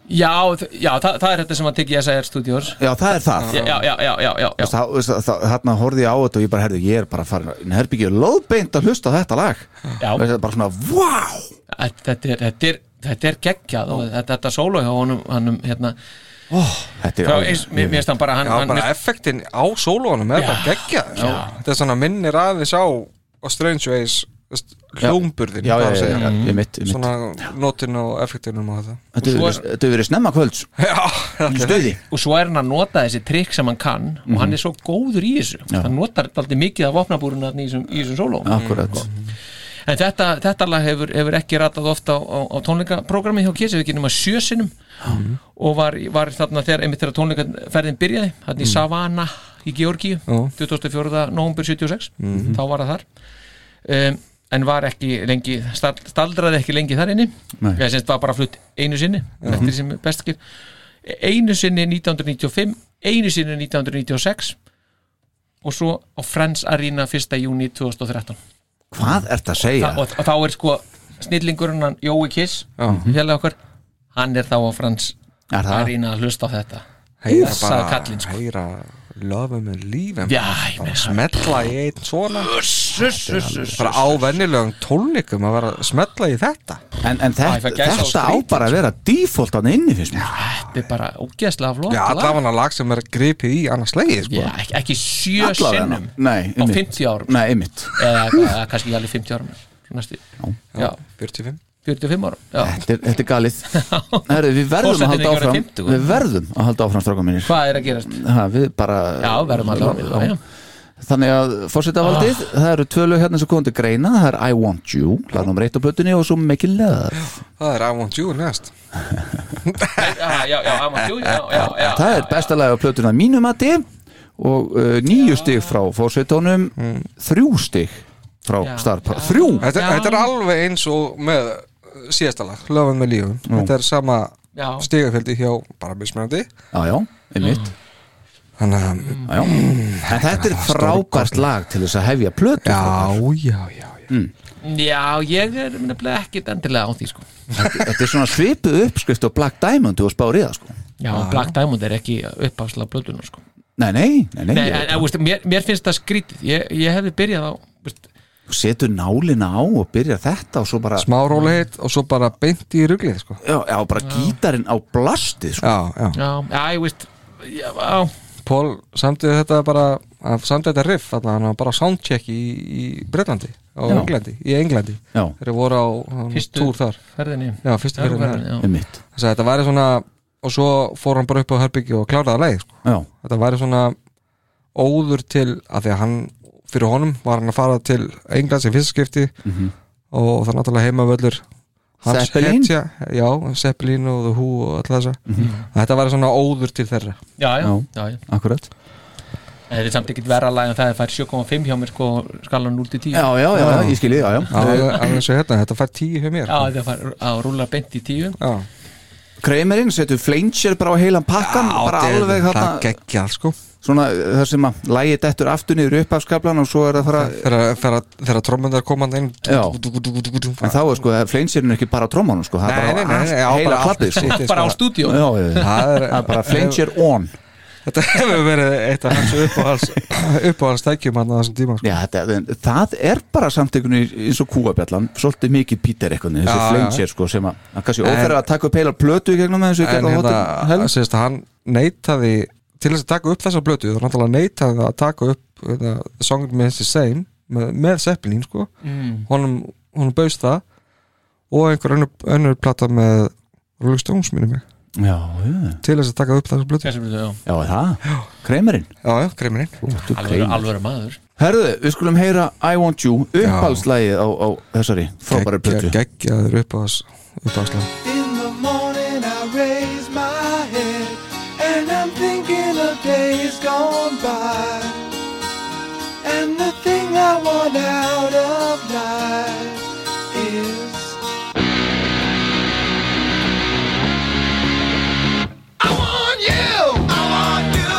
já, þ- já það, það er þetta sem að tekja SR Studios
Já það er það
já, já, já, já, já, já, já.
Þá, veist, þá, hérna horfði ég á þetta og ég bara herði ég er bara farin að herbyggja lóðbeint að hlusta á þetta lag
Já.
Veist, bara svona, wow
Þetta, þetta, er, þetta, er, þetta er geggjað og þetta, þetta sólo hjá honum, honum hérna,
Þetta er
frá,
alveg-
eins, mér, mér stann bara hann,
Já,
hann
bara
mér,
effektin á sólónum er bara geggjað sko. Þetta er svona minnir aðeins á á Strange Ways þú veist, hljómburðin
Já, já,
það að
já,
segja.
já,
Mm.
já, ég mitt, ég mitt.
Svona notin og effektinum og þetta
Þetta hefur
og
verið-
svo-
þetta hefur verið snemma kvölds
Já, þetta er-
Stuði
og svo er hann að nota þessi trikk sem hann kann og
Mhm.
hann er svo góður í þessu hann notar alltaf mikið af vopnabúruna þarna í þessum, í þessum sóló
Akkurat
En þetta, þetta lag hefur, hefur ekki ratað ofta á, á, á tónleikaprogrammi hjá Kiss, hefur ekki nema sjö sinnum og var, var þarna þegar, einmitt þegar tónleikaferðin byrjaði, þarna í Savana í Georgíu, 24. november 76, þá var það þar um, en var ekki lengi stald, staldraði ekki lengi þar inni
Nei.
eða semst var bara flutt einu sinni eftir sem best skil einu sinni 1995, einu sinni 1996 og svo á Friends Arena 1. júni 2013
Hvað ert að segja?
og, og þá er sko snillingurinn hann Jói Kiss félag okkar, hann er þá á frans
Er það?
að rýna að hlusta á þetta
heyra
Úff, sagði
bara
kallinn, sko.
heyra lofum með lífum
Já, ég
bara
meina.
smetla í einn svona bara á vennilegum tónleikum að vera að smetla í þetta
En, en
Æ, ég
þetta,
fæ gæsa á
þetta á
skrítið,
bara að vera default hann inni fyrst mér
þetta er bara ógeðslega flott
Já,
lag.
allavega lag sem er gripið í annars leið sko.
Já, ekki, ekki sjö
Allavega.
sinnum
Nei,
á
einmitt.
50 árum
Nei, einmitt
eða, eða kannski alveg 50 árum svo næstu, já,
45
45 árum já.
Þetta er, þetta er galið Herru, Við verðum að
Forsetinn
halda
ekki
áfram
orðinn 50.
Við verðum að halda áfram strákum mínir
hvað er að gerast?
ha, Við bara
já, verðum að Ah. láta já.
Þannig að fórsetavaldið Það eru tvö lög hérna sem komum til greina Það er I Want You Lagnum reitt á plötunni og svo Make It Love
Það er I Want You næst
já, já, já, amma, jú, já, já, já
Það er besta lag á plötunna mínum mati Og uh, níu stig frá fórsetónum Þrjú stig frá
Mm. Já.
starpar Þrjú
þetta,
Já.
þetta er alveg eins og með síðasta lag, lofum með lífum Þetta er sama
Já.
stigafjöldi hjá bara mismunandi
Já, já, einmitt
Þannig að,
Mm,
Já, já. En þetta er frábært lag til þess að hefja plötu
já, já, já, já.
já, ég er nefnilega ekkit endilega á því sko.
Þetta er svona svipuð uppskrift og Black Diamond og spár í það sko
já, Black Diamond er ekki uppafslega blöðunar sko.
Nei, nei, nei, nei,
Nei,
ég-
en, en, veist, mér, mér finnst það skrítið Ég, ég hefði byrjað á veist,
Þú setur nálina á og byrjar þetta og svo bara,
Smá rólegheit og svo bara beint í ruglið sko.
já, já, bara gítarinn á blastið sko.
Já, já
Já, já, ég veist já, á,
Pól samtið þetta bara hann samtið þetta riff, þannig hann var bara á soundcheck í, í Breitlandi og
Já.
Englandi, í Englandi
Já.
þeir voru á um,
Fyrstu-
túr þar
ferðinni
Já, fyrstu ferðinni.
já.
um mitt
þess að þetta væri svona og svo fór hann bara upp á Herbyggi og kláraði leið sko.
Já,
þetta væri svona óður til að því að hann fyrir honum var hann að fara til England sem fyrsta skipti og það er náttúrulega heimavöllur hans
Mhm. Zeppelin? Mhm.
hetja, já, Zeppelin og The Who og alltaf þessa þetta væri svona óður til þeirra
Já, já,
Já.
já, já.
akkurat
Þetta er samt ekkert vera lag en það er fær 7,5 hjá mér sko skala 0 til 10
Já, já, já, já, ég skil ég, já, Eh, já,
Já, alveg alveg eins og hérna, þetta fær tíu hjá mér
Já, þetta fær að rúla beint í 10
Já,
Kramerinn setur flanger bara á heilan pakkan bara
þetta er-
alveg
Það
þarna,
geggja sko
svona eh, þar sem að lægið dettur aftur niður upphafskablan og svo er það fara
Þegar- Þegar þegar trommundar komandi inn
Já. En
En
þá er sko, flangerinn er ekki bara á trómanum sko, það
Nei,
er
nei,
bara
nei, nei,
á
já,
heila
bara allt
klappið sko
sitt.
Bara á stúdíu
Já, já, já,
Það er-
það er bara flanger on
Þetta hefur verið eitt af hans uppáhals uppáhals tækjum hann á þessum tíma sko.
Já, þetta, en það er bara samtökunni eins og kúabjallan, svolítið mikið píter eitthvað, þessi
Já, já.
flensér sko sem að, að kannski
En-
óþæra að taka upp heilar plötu í gegnum með þessu
En
gegnum
hérna,
hótel
sérst, hann neitaði til þess að taka upp þessa blötu þá náttúrulega neitaði það að taka upp hérna, Song með þessi same með, með Zeppelin sko
Mm.
honum, honum baust það og einhver önnur, önnur plata með Rolling Stones minni mig
Já, já,
til þess að taka upp þessa blötu Já,
Þessi blötu, já.
já, það, kremerinn
já, kremirinn
alvöru, alvöru maður
Herðu, við skulum heyra I Want You upphaldslægið á, á þessari frábæri plötu
Geggjaður uppáðs uppáðslega
In the morning I raise my head and I'm thinking of days gone by and the thing I want out of life is
I want you. I want you.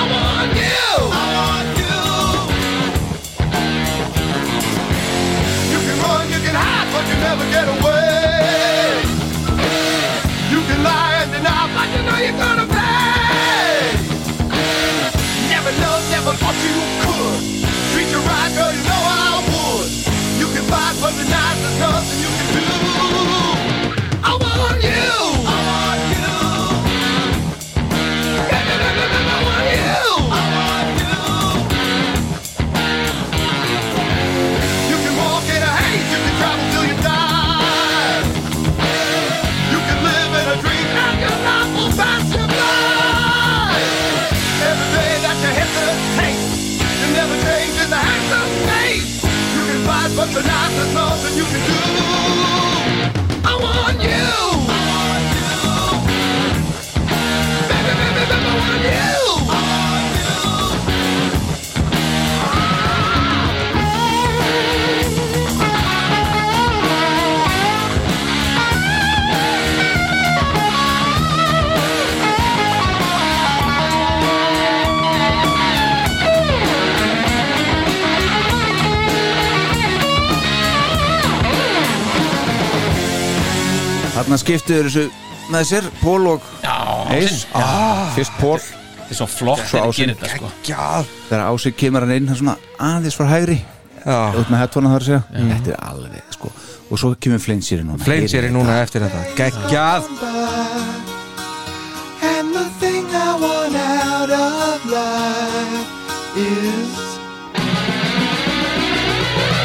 I want you. I want you. You can run, you can hide, but you never get away. You can lie and deny, but you know you're gonna pay. Never loved, never thought you could. Treat you right, girl, you know I would. You can fight, but deny, there's nothing you can do. I want you. I want you. Yeah, yeah, yeah, yeah, yeah, I want you. I want you. You can walk in a haze. You can travel till you die. You can live in a dream and your life will pass you by. Every day that you hesitate, you never change in the hands of fate. You can fight, but tonight there's nothing you can do. I want you. I want you. Baby, baby, baby, I want you. I want you.
Þarna skiptuður þessu með sér, Pól og
já,
Eis
sinn-
ah, Fyrst Pól,
þetta er svo flott
Svo
þegar
ásinn.
gerir þetta sko
Gjall
þegar Ásik kemur hann inn hann svona aðeins frá hægri
Já,
út með hettfónan þar að segja, þetta er alveg sko. og svo kemur fleinsýri núna
fleins er í núna eftir þetta Geggjað
and the thing I want out of life is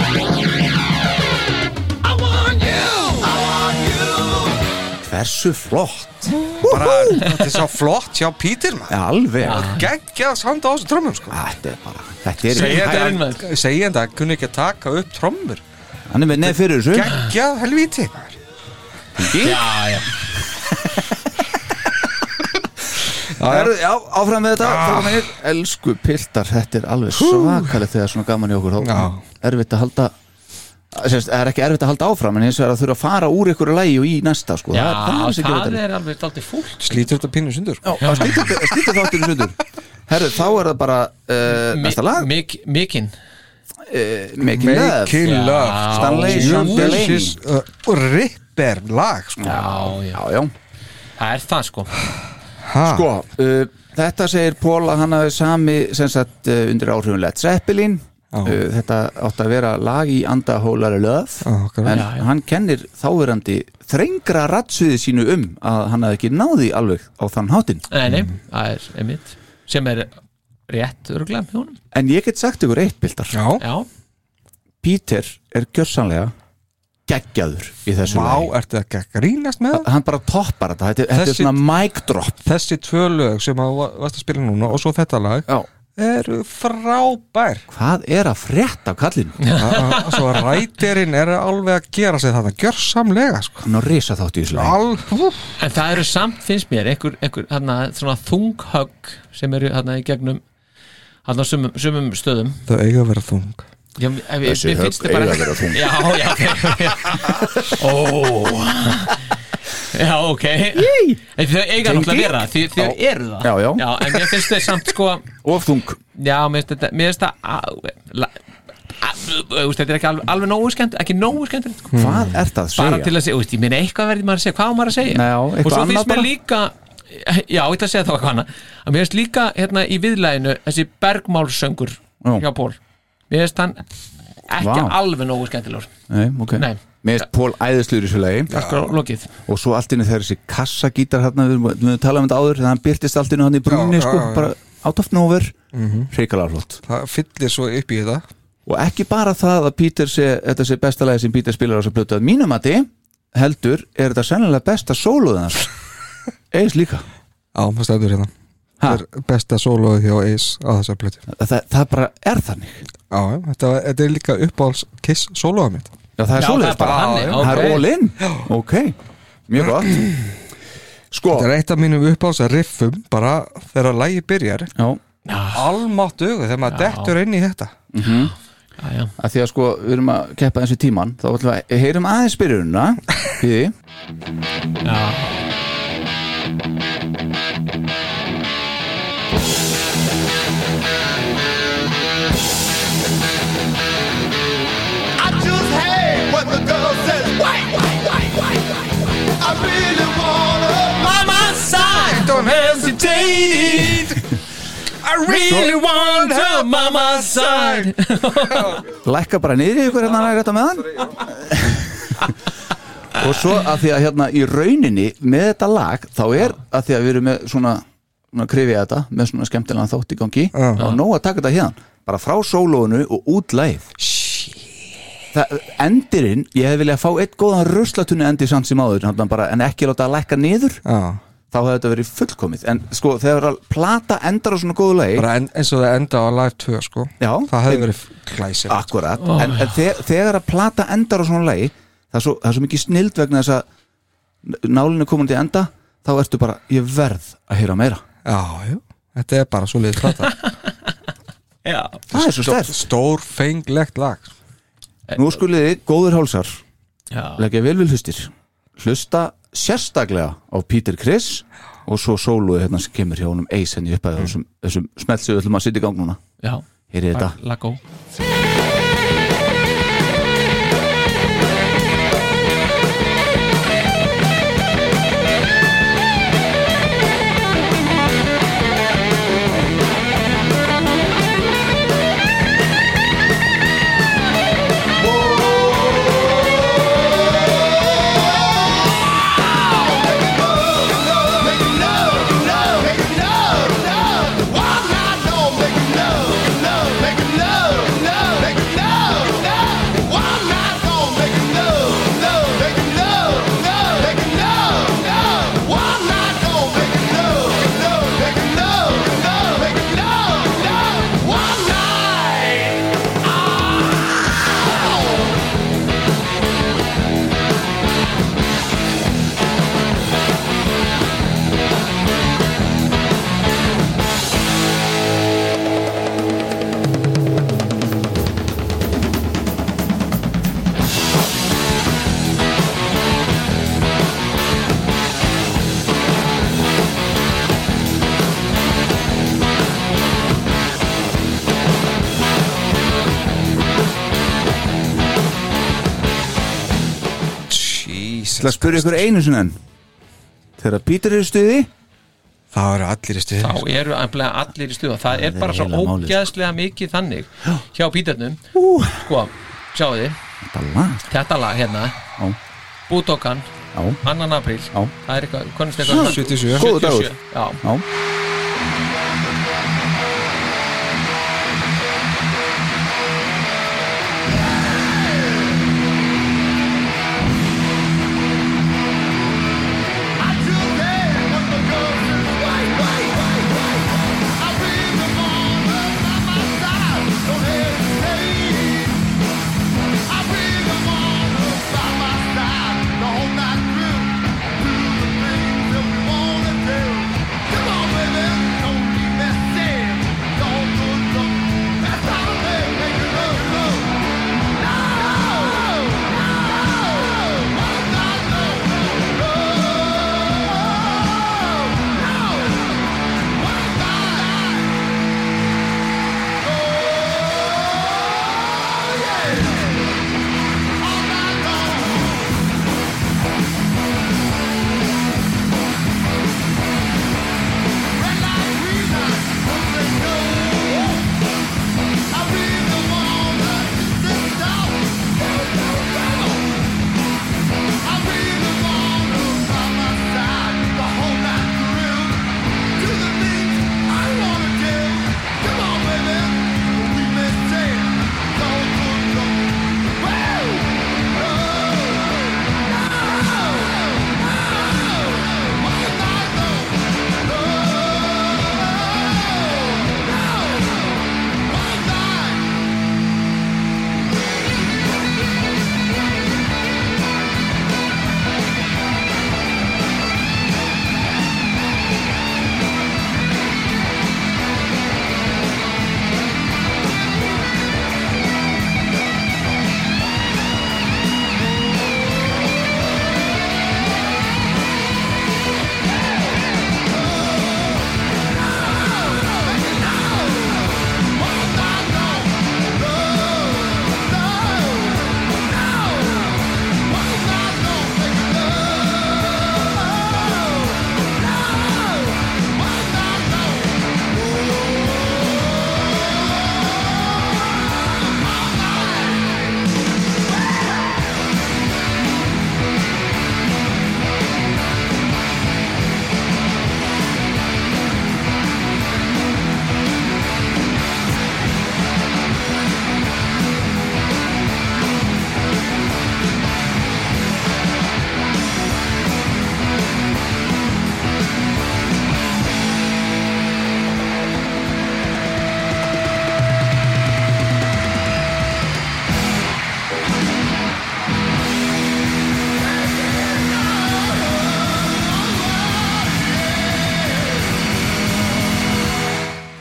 I want you. I want you.
hversu flott
Bara, þetta er svo flott hjá Pítur maður
alveg,
Geggjað sound á þessu trommum sko
þetta er bara þetta er
Segja þetta inn, maður.
Segjandi að hann kunni ekki að taka upp trommur
hann er með neð fyrir þessu
Geggjað helvíti maður
já, já,
Það eru- Já, áfram með þetta frábæra mennir. Elsku piltar, þetta er alveg svakalegt þegar svona gaman í okkur þá
Já.
Erfitt að halda sérst, Það er ekki erfitt að halda áfram en eins og er að þurfa að fara úr ykkur lægi og í næsta sko.
já
það er, það
það
er,
er alveg daldið fúlt
Slítur þetta pínu sundur sko.
það er skýta, skýta þáttir sundur Herru, þá er það bara uh, næsta lag
Mik- Mikinn
Making Love
Making
Já.
Love
Stanley Sean Delaney.
Jesus, uh, Ripper lag sko.
já, já,
Já, já
það er það sko
Ha.
Sko, uh, þetta segir Pól að hann hafi sami sem sagt uh, undir áhrifun Led Zeppelin uh, þetta átti að vera lag í anda Hólari Löf
Já, ok.
en hann kennir þáverandi þrengra ratsuði sínu um að hann hafi ekki náði alveg á þann hátinn
nei, nei, það er einmitt sem er rétt örglega með honum
en ég get sagt ykkur eitt bildar
Já,
já,
Peter er gjörsanlega geggjaður í þessu
Vá,
lagi
ertu ekki að grínast með það?
hann bara toppar þetta, þetta, þetta er
Þessi-
svona mic drop
Þessi tvö lög sem að va- varst að spila núna og svo þetta lag
Já.
eru frábær
hvað er að frétta af kallinu?
A- a- Svo rætirinn er alveg að gera sig þetta gjörsamlega sko.
hann er risa þátt í þessu lagi
Al, hú,
en það eru samt finnst mér einhver, einhver hana, svona þunghögg sem eru hana, í gegnum hana, sumum, sumum stöðum
Þau eiga að vera þung
já, ef- ef- mér finnst þið bara
vera þung
já, já, já, já. ó já, ok En þau eiga náttúrulega að vera því þau eru það
Já, já.
en mér finnst þau samt sko
og þung
Já, mér finnst þetta Mér finnst það á- la- á- þú veist, Þetta er ekki alveg, alveg nógu skemmt Ekki nógu skemmt sko.
Hvað er það að
Bara til
segja?
að segja, þú veist, ég meina eitthvað verði maður að segja Hvað á maður að segja
Já, eitthvað
Og svo
annað
finnst mér
bara.
líka já, ég ætla að segja þá eitthvað hana að mér finnst líka hérna í viðlæðinu þessi bergmálsöngur
Já.
hjá Pól mér finnst hann ekki
Vá.
alveg nógu skemmtilegur
Nei, ok
Nei.
Mér finnst Pól æðisluður í þessu lagi
Akkar lokið
og svo allt inni þegar þessi kassagítar hérna, við við höfum talað um þetta áður, þannig að hann byrtist allt inni hann í brunni,
Já,
sko,
já, já.
bara out of nowhere mm
Mhm.
flott
það fyllir svo upp í þetta
og ekki bara það að Peter sé, þetta sé besta lagi sem Peter spilar á þessu plötu að mínum að heldur er þetta sennilega besta sólóðið hans eins líka
á, það stendur hérna
ha,
það er besta sólóið hjá Ace á þessar plötu já,
það, það bara er þannig
já, þetta, var- þetta er líka uppáhalds Kiss sólóið mitt
já það er
Já, það
sólóðið
er bara
bara,
þannig,
það
ok.
er all in ok, mjög gott sko,
þetta er eitt af mínum uppáhalds riffum bara þegar lagi byrjar
já,
almátt augu þegar maður
Já.
dettur inn í þetta
já, já.
að því að sko við erum að keppa eins í tíman, þá ætlum við að heyrum aðeins byrjununa, því
I just hate when the girl says, wait, wait, wait, wait, wait. I really wanna. Mama side, don't hesitate. I really want her, mama side.
lækka bara niður í ykkur hérna að þetta með hann og svo að því að hérna í rauninni með þetta lag þá er að því að við erum með svona svona krifja þetta með svona skemmtilega þátt í gangi þá er nóg að taka þetta hérna bara frá sólónu og út læð Það, endirinn, ég hefði viljað fá eitt góðan ruslatunni endi samt sem áður þarna bara, en ekki láta að lækka niður
já.
þá hefði þetta verið fullkomið en sko þegar að plata endar á svona góðu lagi
bara en, eins og það enda á Live 2 sko
Já.
það hefði verið glæsir
Akkurat, en, en þe þegar að plata endar á svona lagi, það er svo, það er svo mikið snild vegna þess að nálinu komin til enda, þá ertu bara ég verð að heyra meira
já, já, þetta er bara svo liðið plata
Já.
Það er svo stærst
stór fenglegt lag
Nú skulið þið góður hálsar
Já.
leggja vel við hlustir hlusta sérstaklega á Peter Criss og svo sóluðu hérna sem kemur hjá honum Ace hérna henni upp að þessum, þessum smelt sem við ætlum að sitja í gang núna
já.
Heyrið þetta
Lago
Það
Jesus,
að spyrja ykkur einu sinni en þegar Peter er í stuði
það eru allir í stuði
þá eru nefnilega allir í stuða það er
er
bara svo
heila málið, sko.
ógeðslega mikið þannig hjá Pítarnum sko, sjáu þið,
þetta lag
þetta lag hérna
Já.
Búdókan,
Já.
2. apríl
Já.
það er eitthvað, konust eitthvað
77
Góður dagur.
77, já,
Já.
Come on, baby, don't be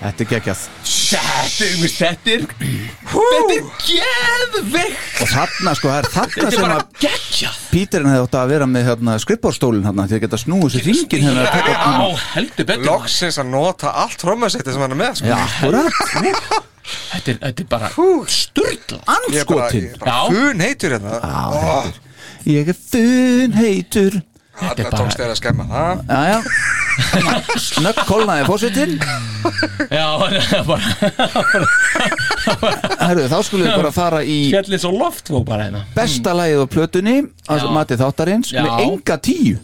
Þetta er geggjað
Þetta er, veist, þetta er Þetta er geðveikt
Og þarna sko, það er þarna
Þetta er
sem
bara
að
geggjað
Píturinn hefði átt að vera með hérna, skrippbórstólinn hérna, því að geta snúið sér ringin hérna að taka
Á, heldur betur
Loksins að nota allt trommasetti sem hann er með sko.
Já, akkurat,
Þetta er, þetta er bara sturla
Ég er bara,
anskotin
ég er bara
Já.
fun heitur hérna Ó,
Ég er fun heitur
Þetta
Alla
er bara-
tókst þér að skemma það
Jæja Snögg kólnaði fósitinn
Já, það er bara
Herru, þá skulum við bara fara í
Fjallið svo loft fór bara hérna
besta lagið á plötunni að
Já.
mati þáttarins
Já.
með enga tíu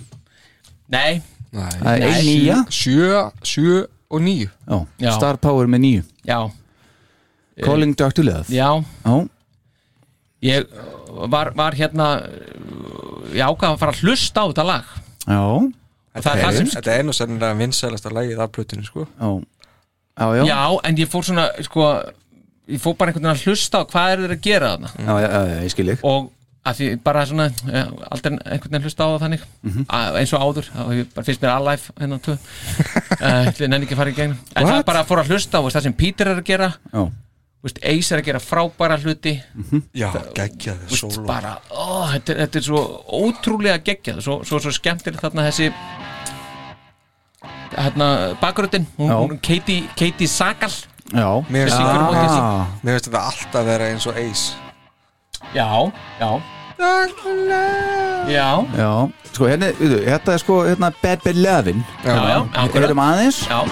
Nei,
Það er ein nýja
Sjö, sjö og níu
Já.
Já.
Star Power með níu
já,
Calling Dr. Love
já
Já.
Ég var, var hérna Ég ákvað að fara að hlusta á þetta lag
Já.
Og það er það sem
Þetta er einu sennilega vinsælasta lagið af plötinu sko.
Já. Já, já, já,
Já, en ég fór svona, sko Ég fór bara einhvern veginn að hlusta á hvað er þeir að gera þarna
já, já, já, ég skil ég
og að því bara svona eh, aldrei einhvern veginn hlusta á það þannig að, eins og áður, þá hef ég bara fyrst mér Alive hennan tvö uh, ég nenni ekki að fara í gegn en það bara fór að hlusta á veist, það sem Peter er að gera
Já,
veist, Ace er að gera frábæra hluti
Já, geggjaði
veist,
sóla
bara, ó, þetta, er- þetta er svo ótrúlega geggjað svo, svo, svo skemmtilegt þarna þessi hérna bakgröndin hún,
Já.
hún Katie, Katie Sagal
já,
Mér finnst
Já.
þetta-
Já.
mér finnst þetta alltaf vera eins og Ace
já, já já,
já. Sko, hérna, veitu, þetta er sko hérna Bad Bad Lovin
já, já,
Við
akkurat
erum aðeins
já,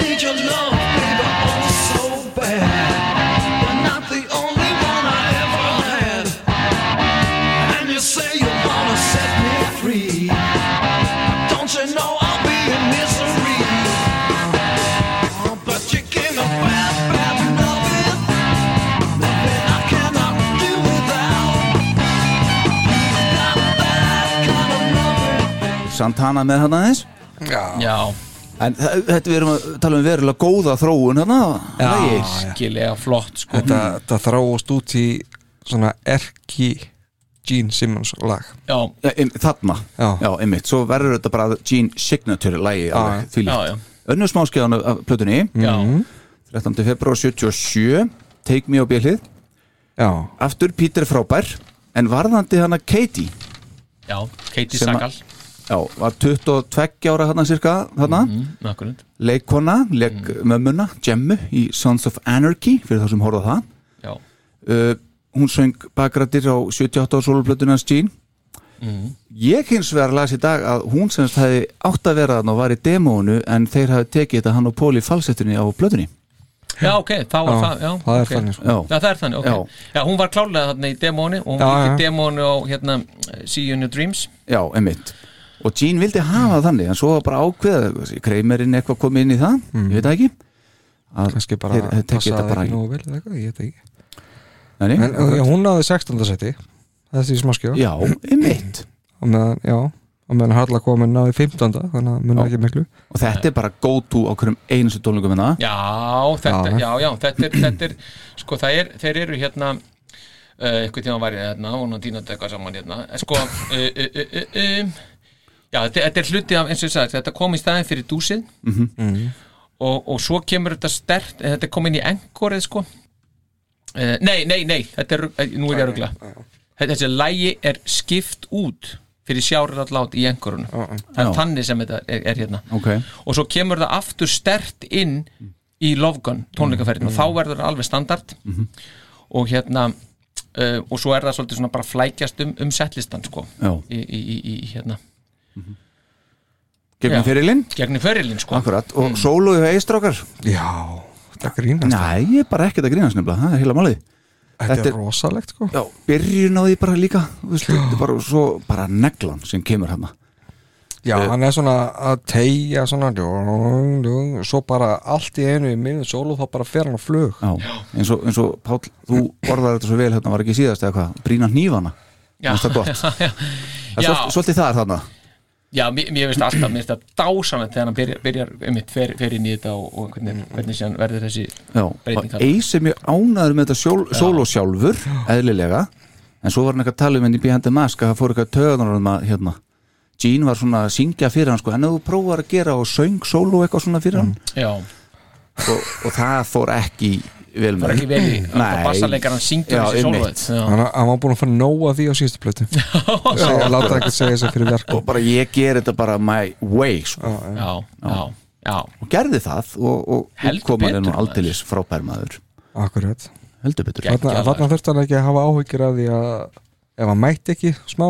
Need your love, baby, oh so bad. You're not the only one I ever had. And you say you wanna set me free. Don't you know I'll be in misery? Oh, But you gave me bad, bad loving, loving I cannot do without. You got that kind of loving.
Santana með hann aðeins
já,
En þa- þetta við erum að tala um verulega góða þróun hérna lagi.
skilega flott sko
Þetta, þetta þráast út í svona erki Gene Simmons lag
já,
Já, em, Þarna, já.
Já.
einmitt Svo verður þetta bara Gene Signature lagi alveg
já, Mm. já.
þvílíkt. Önnur smáskeiðan af plötunni
já,
Mhm.
13. februar 77 Take Me á bjölið
Já,
Aftur Peter Frábær En varðandi hana Katie
já, Katie
Sem að-
Sagal
Já, var 22 ára hana cirka hana.
Akkurat.
Leikona, leik
Mm.
mömmuna, Gemmu í Sons of Anarchy fyrir þá sem horfa á það
já,
uh, hún söng bakgrættir á 78 á soloplötunans Jean
Mm.
ég hins vegar las í dag að hún semst hefði átt að vera þann og var í demónu en þeir hafi tekið þetta hann og Póli falsettunni á plötunni
já, ok, þá var
Já,
það já,
það er
ok.
þannig, sko.
já,
Já, það er þannig, ok
Já.
já. hún var klálega þarna í demóni og hún
Já,
líti
já.
demónu á hérna See You In Your Dreams
já, emitt og Jean vildi hafa þannig en svo var bara ákveða kreimerinn eitthvað komið inn í það
Mm.
ég veit það ekki að
kannski bara
þeir, þeir tekið
passaði
þetta bara
ekki
í
nógu vel eða eitthvað, ég veit ekki
Nei,
En já, hún náði 16. seti Það er því smaskjóð
já, emitt
og meðan, já, og meðan Harla komin náði 15. þannig að munna ekki miklu
og þetta er bara go to á hverjum einustu hérna. tólingum en það
Já, þetta,
Já.
já, já, þetta er, þetta er sko, það er, þeir eru hérna uh, eitthvað tíma var ég hérna og hún og Dína dökka saman hérna En sko, uh, uh, uh, uh, um, já, þetta, þetta er hluti af, eins og ég sagði, þetta kom í staðin fyrir dúsið og, og svo kemur þetta stert, eh, þetta er komin í engorið, sko uh, Nei, nei, nei, þetta er, rugl- eh, nú er ég að rugla Þetta- Þessi lægi er skipt út fyrir sjárið lát í engorinu Það
Já.
er þannig sem þetta er, er hérna
ok,
og svo kemur það aftur stert inn í Love Gun tónleikaferðin
Mm,
og þá verður það alveg standard
Mhm.
og hérna uh, og svo er það svolítið svona bara flækjast um, um setlistan sko
já,
í, í, í, í hérna
gegnum
Já.
fyrirlinn
gegn í förilin sko
akkurat, og mm. sóluðu hei strákar
Já, þetta grínast
Nei, ég er bara ekkert að grínast nefnilega, það er heila málið
Þetta
þetta er-
er rosalegt sko
Já, byrjun á því bara líka þú veist, Þetta er bara svo, bara neglan sem kemur hérna. hana
Já, hann er svona að tegja svona djón, djón, svo bara allt í einu í minni sólu þá bara fer hann á flug
Já, eins og, eins og Páll, þú orðar þetta svo vel hérna, var ekki síðast eða hvað, brína hnífana
Já.
Mér finnst það gott.
já,
Það er svol- Svolítið það er þarna
Já, mér, mér finnst alltaf, mér finnst það dásanlega þegar hann byrjar, byrjar einmitt, fer, fer inn í þetta og, og hvernig, hvernig síðan verður þessi
Mm. Já,
breyting
og
þarna.
Eis er mjög ánæður með þetta sjól, sól og sjálfur eðlilega, en svo var hann eitthvað að tala um henni behind the mask að það fór eitthvað töðunar um að hérna, Gene var svona að syngja fyrir hann sko, en ef þú prófar að gera og söng sól og eitthvað svona fyrir hann
Já,
og, og það fór ekki vel með
það er Mm. ekki vel í
Nei.
bassarleikar hann syngja
Já,
þessi
einmitt.
sólvöld
hann, hann var búin að fá nóa því á síðustu plötu Segja- láta ekki segja þess að fyrir verk
og bara ég ger þetta bara my way sko.
Já, já, já
og gerði það og, og
Heldur
útkoman er nú
betur, maður.
aldeilis frábær maður
akkurat
heldur betur
Gegn.
þarna, þarna þurfti hann ekki að hafa áhyggjur af því að ef hann mætti ekki smá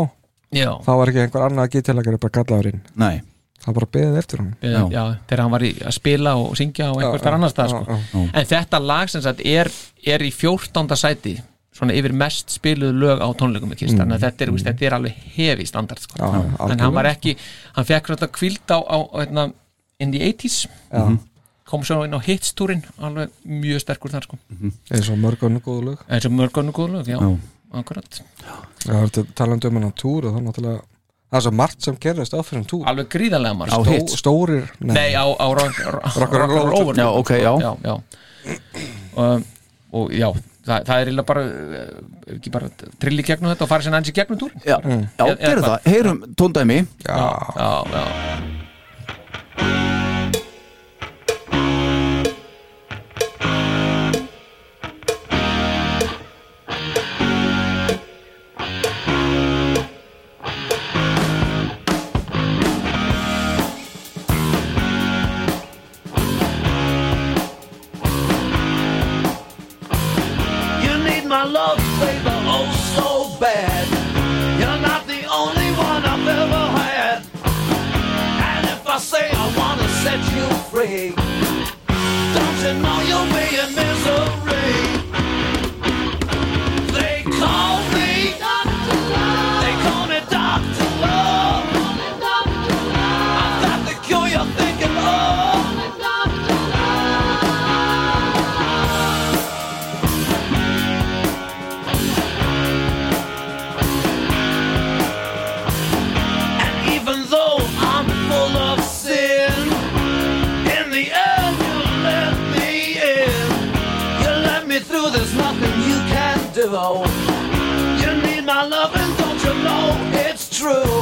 Já,
þá var ekki einhver annað að geta leikari bara gallaður inn
Nei,
það bara beðið eftir hann
já, já þegar hann var í, að spila og syngja og einhvers þar annars það sko. En þetta lag sem sagt er, er í 14. sæti svona yfir mest spiluð lög á tónleikum ekki, mm. þannig að þetta er, mm. þetta er alveg hefi standard sko.
Já,
en
já,
hann
algjörlega.
var ekki, hann fekk þetta kvild á, á hérna, in the 80s kom svo inn á hitstúrin alveg mjög sterkur þar sko
eins og mörg annu góðu lög
eins og mörg önnu góð lög, já,
Já.
akkurat
það var þetta talandi um hennan túr og það er náttúrulega það er svo margt sem gerðist á fyrir hann túr
alveg gríðarlega marg
á
Stó-
hitt
stórir
nei, á, á rock, rock,
and Roll Over.
Já, ok, já.
já, já. Um, og já, það, það er eiginlega bara eh, ekki bara trill í gegnum þetta og fara sér aðeins í gegnum túrin
Já, já
Eða- eða
gerðu
hvað?
það, heyrum tóndæmi
já, já,
You need my love, baby, oh so bad. You're not the only one I've ever had. And if I say I wanna set you free, don't you know you'll be in misery? They call me Doctor Love. They call me Doctor Love. I've got the cure you're thinking of. And even though I'm full of sin, in the end you let me in. You let me through, there's nothing you can do. You need my love, and don't you know it's true?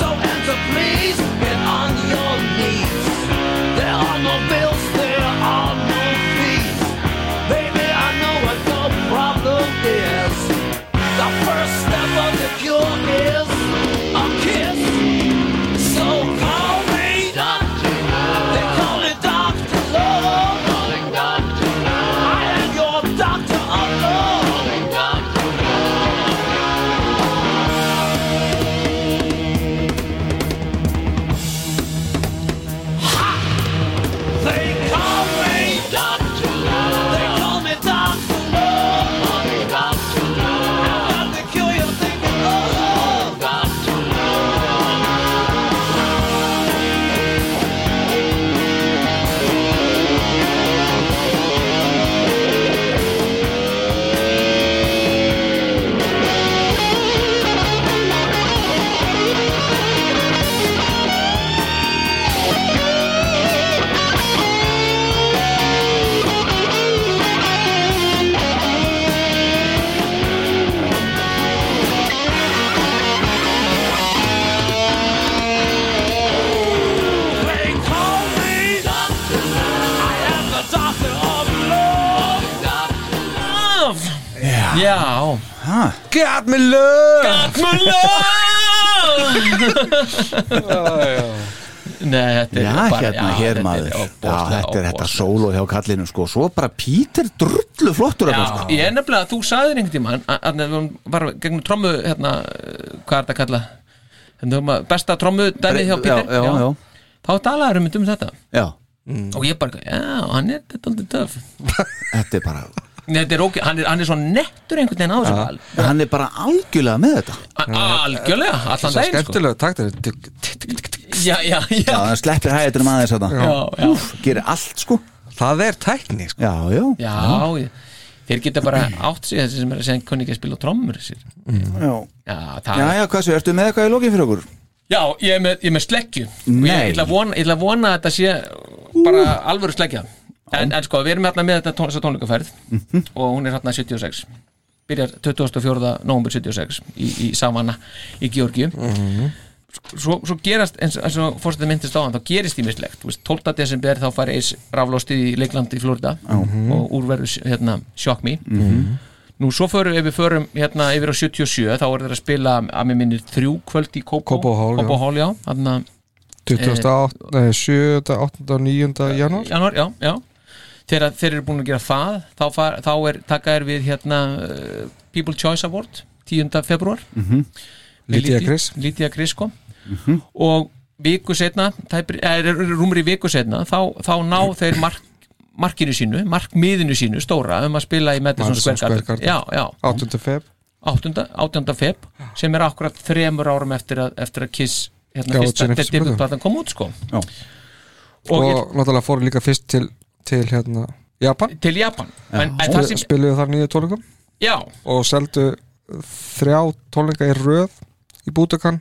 So enter, please, get on your knees. There are no bills, there are no fees. Baby, I know what your problem is. The first step of the cure is a kiss. So call me Doctor Love. They call it Doctor Love. Calling Doctor Love. I am your Doctor of Love. Calling Doctor They call me Doctor Love. They call me Doctor Love. Calling Doctor Love. I've got the cure you're thinking of. Doctor They call me Doctor Love. I am the Doctor of Love.
já.
Gat með lög
Nei, þetta
Já,
er bara,
hérna, hér
þetta er
maður Já,
ofboðslega-
þetta er þetta
ofboðslega.
sólo hjá kallinu sko Svo bara Pítur drullu flottur
Já,
þarna, sko.
ég er nefnilega að þú saðir einhvern tímann að- að við varum- varum gegnum trommu hérna, eh, hvað er þetta að kalla hérna, um að besta trommu dæmið hjá
Já,
Pítur
já, Mm. já.
þá talaður um þetta
Já,
og ég bara, já, hann er þetta er aldrei töf
þetta er bara
þetta er ok, hann er, hann er svo nettur einhvern veginn á þessu val
Hann er bara algjörlega með þetta
A- algjörlega, allan
það er
daginn sko.
skemmtilega taktir
já, já,
Já,
já,
hann sleppir hæðutunum aðeins þetta
já, já.
Gerir allt sko
það er tækni sko.
Já, já,
já ég- þeir geta bara átt sig þessi sem er að segja kunni ekki að spila á trommur þessir.
já
já, það
Já, já, hvað séu, ertu með eitthvað í lokin fyrir okkur?
Já, ég er með, ég er með sleggju Og Ég
Nei.
ætla að vona, ég ætla að vona að þetta sé bara alvöru sleggja en, en sko, við erum hérna með þetta tón, þessa tónleikaferð
Mhm.
og hún er hérna 76 byrjar 24. november 76 í, í Savanna í Georgíu svo, svo gerast, eins, eins og fórsetið myndist á hann þá gerist ímislegt, Þú veist, 12. desember þá fær eis raflóstið í Leiklandi í Florida
Mhm.
og úrverður hérna, Shock Me Nú svo förum við, ef við förum hérna yfir á 77 þá er þeir að spila að mér minnir þrjú kvöld í Kópó
Kópó Hall, já.
Kópó Hall, já, þarna Eh.
28, nei, 7, 8 og 9. janúar
januar, já, já þegar þeir eru búin að gera það þá, far, þá er, taka er við hérna uh, People Choice Award 10. februar
Lydia Chris.
Lítiða Chris kom og viku setna tæpri, er, rúmri viku setna þá, þá ná þeir mark, markinu sínu markmiðinu sínu stóra um að spila í Madison
Madison
Square Garden,
Square Garden.
Já, já,
8. feb
8. 8. feb sem er akkurat þremur árum eftir að, eftir að Kiss hérna,
Gáfu út
fyrsta
sína fyrstu plötu.
debutplatan kom út sko
Já.
og
um. og
ég,
náttúrulega fóru líka fyrst til, til hérna, Japan
til Japan en, en það
Sp
sem,
spiluðu þar nýju tólingum
já,
og seldu þrjá tólinga í röð í Bútakan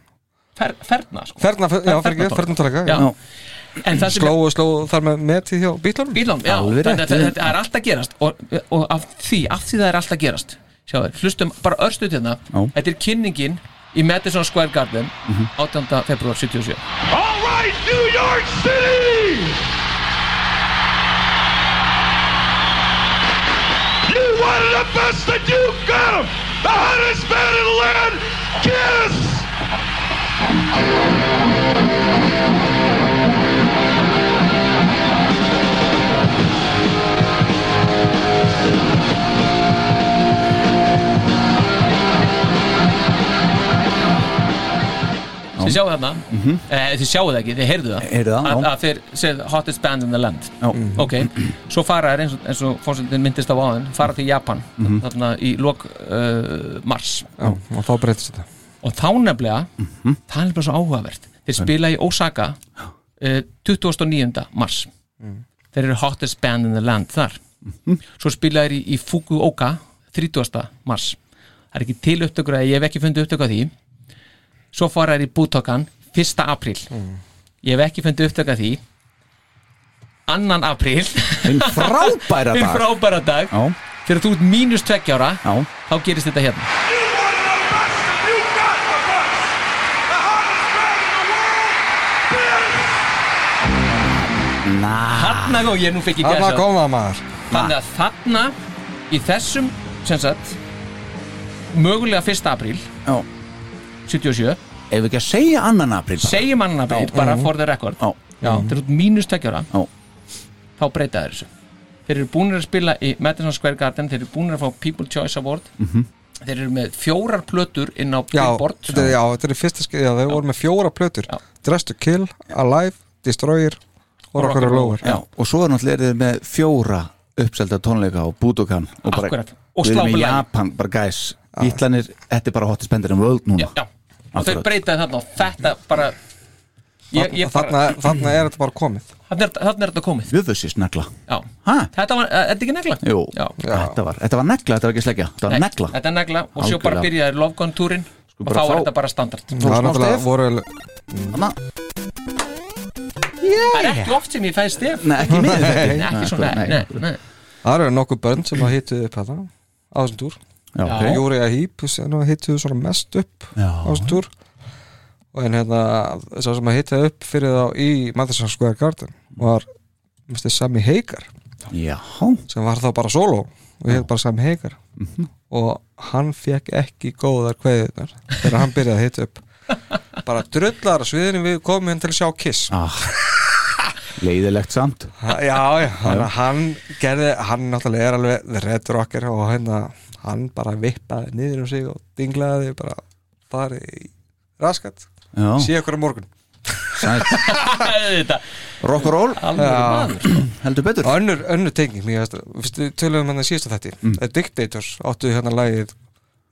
fer, ferna sko.
ferna, fer- Sko, já,
Fer-
fyrir ekki,
fernatónleika.
ferna tólinga
já. en það sem er
slóðu, slóðu þar með metið hjá bílunum
bílum já,
Alveg
þannig
rétt.
að þetta þetta er alltaf gerast og, og af því, af því það er alltaf gerast sjáðu, hlustum bara örstuð hérna
Já. Mhm.
þetta er kynningin í Madison Square Garden 18. februar 77
All right, New York City! You wanted the best that you got 'em! The hottest man in the land! Kiss!
þið sjáu þarna, mm -hmm. þið sjáu það ekki, þið heyrðu það
Mhm. Heyrðu það,
að,
já.
að þeir segð hottest band in the land
Já.
ok, svo fara þær eins og, eins og fórsöndin myndist á áðan, fara til Japan
Mhm.
þarna í lok uh, mars
já, og þá breytist þetta
og þá nefnilega
Mhm.
það er nefnilega svo áhugavert þeir spila í Osaka uh, 29. mars þeir eru hottest band in the land þar
Mhm.
svo spila þeir í, í Fukuoka 30. mars það er ekki til upptökur að ég hef ekki fundið upptöku að því svo fara þeir í Butokan 1. apríl ég hef ekki fundið upptöku að því 2. apríl
Einn frábæra
Hinn
dag
frábæra dag
Já,
þegar þú ert mínus 20 ára
Já.
þá gerist þetta
You
hérna
wanted the best that you got the best! The hottest man in the world! Kiss!
Hanna og ég nú fekk ég
þarna
gæsa
kom það maður
Þannig að þarna í þessum sem sagt mögulega 1. apríl
já
77,
Ef við ekki að segja annan april
segjum annan apríl bara for the record
Mhm. Já. Mhm.
Já, þeir eru mínus tekjara
Já.
þá breyta þeir þessu þeir eru búinir að spila í Madison Square Garden þeir eru búinir að fá People Choice Award
Mhm.
þeir eru með fjórar plötur inn á
já,
Billboard
þetta er, já, þetta er í fyrsta skeiði þau voru með fjóra plötur
Já.
Dress to Kill, Alive, Destroyer og
Rock and
Rockar og
Roll.
Lower
Já, og svo er náttúrulega eruð þið með fjóra uppselda tónleika á Budokan og bara,
Akkurat. Og
við erum í
slápulagi.
Japan, bara gæs Ítlanir, þetta er bara hottest bendur en world núna
já, já. og þeir
Akkurat.
breytaði þarna og þetta bara ég, ég
þarna,
bara,
þarna er þetta bara komið
þarna er, þarna er þetta komið
Jöfussi snegla
já.
Ha?
þetta var, er þetta ekki negla?
Jú,
Já.
Þetta, var, þetta var negla, þetta var ekki sleggja Þetta var
Nei,
negla
Þetta er negla og svo
Algjörlega. Sko
bara byrjaði lofgóntúrin og
bara
þá er
fá-
þetta bara standard
það
smá
er náttúrulega
stef.
voru
Þarna-
Það er ekki oft sem ég fæði stef
Nei, ekki mér
Nei, ekki svona, nei, nei, nei.
það eru nokkuð börn sem að hittu upp þetta á þessum túr
Já,
Já.
ok.
Júri að Hýp hittuðu svona mest upp
Já.
á þessum túr og en hérna sá sem að hitta upp fyrir þá í Madison Square Garden var misti, Sammy Hagar
Já,
sem var þá bara solo og hétt bara Sammy Hagar og hann fekk ekki góðar kveðunar þegar hann byrjaði að hitta upp bara drullar að sviðinu við komum hérna til að sjá Kiss
ah. leiðilegt samt
Ha- já, já, hann, hann gerði, hann náttúrulega er alveg the red rocker og hérna, hann bara vippaði niður um sig og dinglaði bara farið í raskat
Já,
sé okkur á morgun
Þetta,
rock'n'roll,
alveg maður sko.
heldur betur
önnur, önnur tenging, mér veist, fyrst við töluðum hann að síðast að þetta, mm. Dictators áttu hérna lagið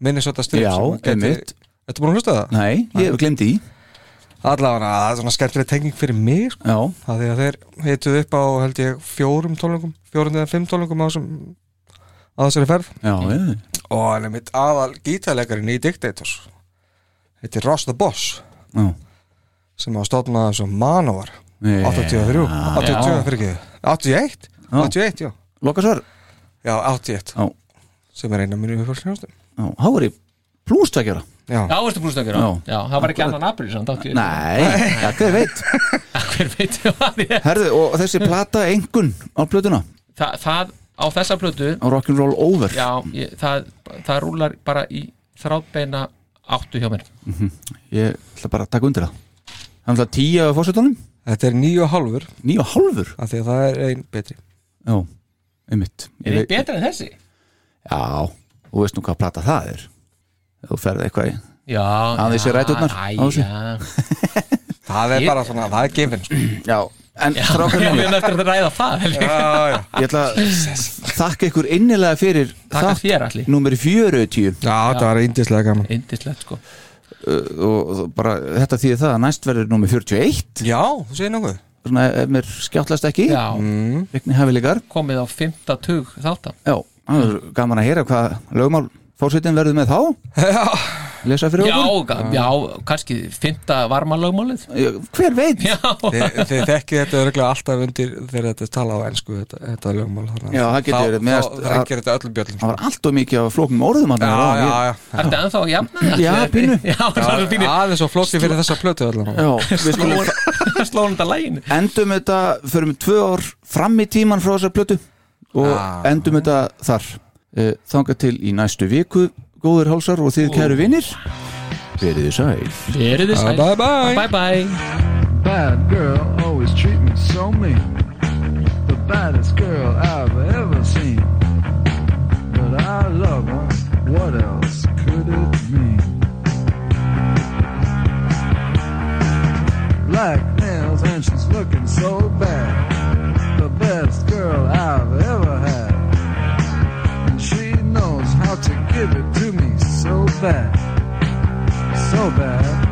Minnesota Strip
Já, einmitt.
Þetta búin að hlusta á það?
Nei, ég hef glemt í
Allavega, það er svona skemmtileg tenging fyrir mig sko.
Já,
Það því að þeir heituð upp á held ég fjórum tólungum, fjórum eða fimm tólungum á, þessum, á þessari ferð
já, ég
og hann er mitt aðal gítarleikarinn í Dictators heitir Ross the Boss
Já,
sem hafa stofnað þessu Manowar
Já.
83, 82 fyrir ekki 81, 81 já
Lokasvar
já 81,
Já.
sem er eina minni uppfólksljónstum
Já, Há er ég plústakjara
Já, veistu brústökjur, já.
Já.
já, það var ekki annan april samt átti ég
Nei, já, hver veit
Hver veit hvað ég
Herðu, og þessi plata engun á plötuna á
Þa, Það, á þessa plötu
Rock'n'Roll Over
Já, ég, það, það rúlar bara í þráðbeina áttu hjá mér
Ég ætla bara að taka undir það Það er náttúrulega tíu af fórsetunum
þetta er 9,5
Níu og hálfur
af því að það er ein betri
Já, einmitt Ég
Er
veit-
þið betra en þessi?
Já, þú veist nú hvað plata það er Þú ferði eitthvað í
Já
Aðeins í
já,
ræturnar,
æ,
á þessu.
já.
það er
Ég-
bara svona, það er gefin sko.
Já, en
Já,
strákar
við
mínir,
erum eftir að ræða það held ég.
já, já.
ég ætla að þakka ykkur innilega fyrir
Takk að þér allir
Númer 40
já, það var índislega gaman
Indislegt sko
og og bara þetta þýðir það að næst verður númer 41
já, þú segir nokkuð
svona ef mér skjáttlast ekki
Já,
vegni hefilegar
komið á fymta tug þáttan
Já, það er gaman að heyra hvað lögmál fórsetin verður með þá lesa fyrir
Já,
okkur
ga- já, kannski fymta varmalögmálið
Ég- Hver veit?
Já,
Þið, þið þekkið þetta örgulega alltaf undir þegar þetta er talað á ennsku þetta, þetta er lögmál þannig að
Já, það getur
þá-
verið, mér
þá
finnst-
það reykir þetta öllum bjöllum
Það var allt og mikið af flóknum orðum
já, já, já,
ertu ennþá að jafna það?
Ah. Já, pínu. Ah.
Já, það er
já
pínu
aðeins og flókið fyrir þessa plötu allan
já Við skulum
Sko-
Slóðan þetta lægin
endum þetta förum tvö ár fram í tíman frá þessar plötu og
Já.
endum þetta þar Eh, þangað til í næstu viku góðir hálsar og þið kæru vinnir verið þið sæl
Verið þið sæl
Bye, bye.
Bye bye
bad girl always treat me so mean. The baddest girl I've ever seen. But I love her. What else could it mean? Black nails and she's looking so bad. The best girl I've ever had. And she knows how to give it to me so bad. So bad.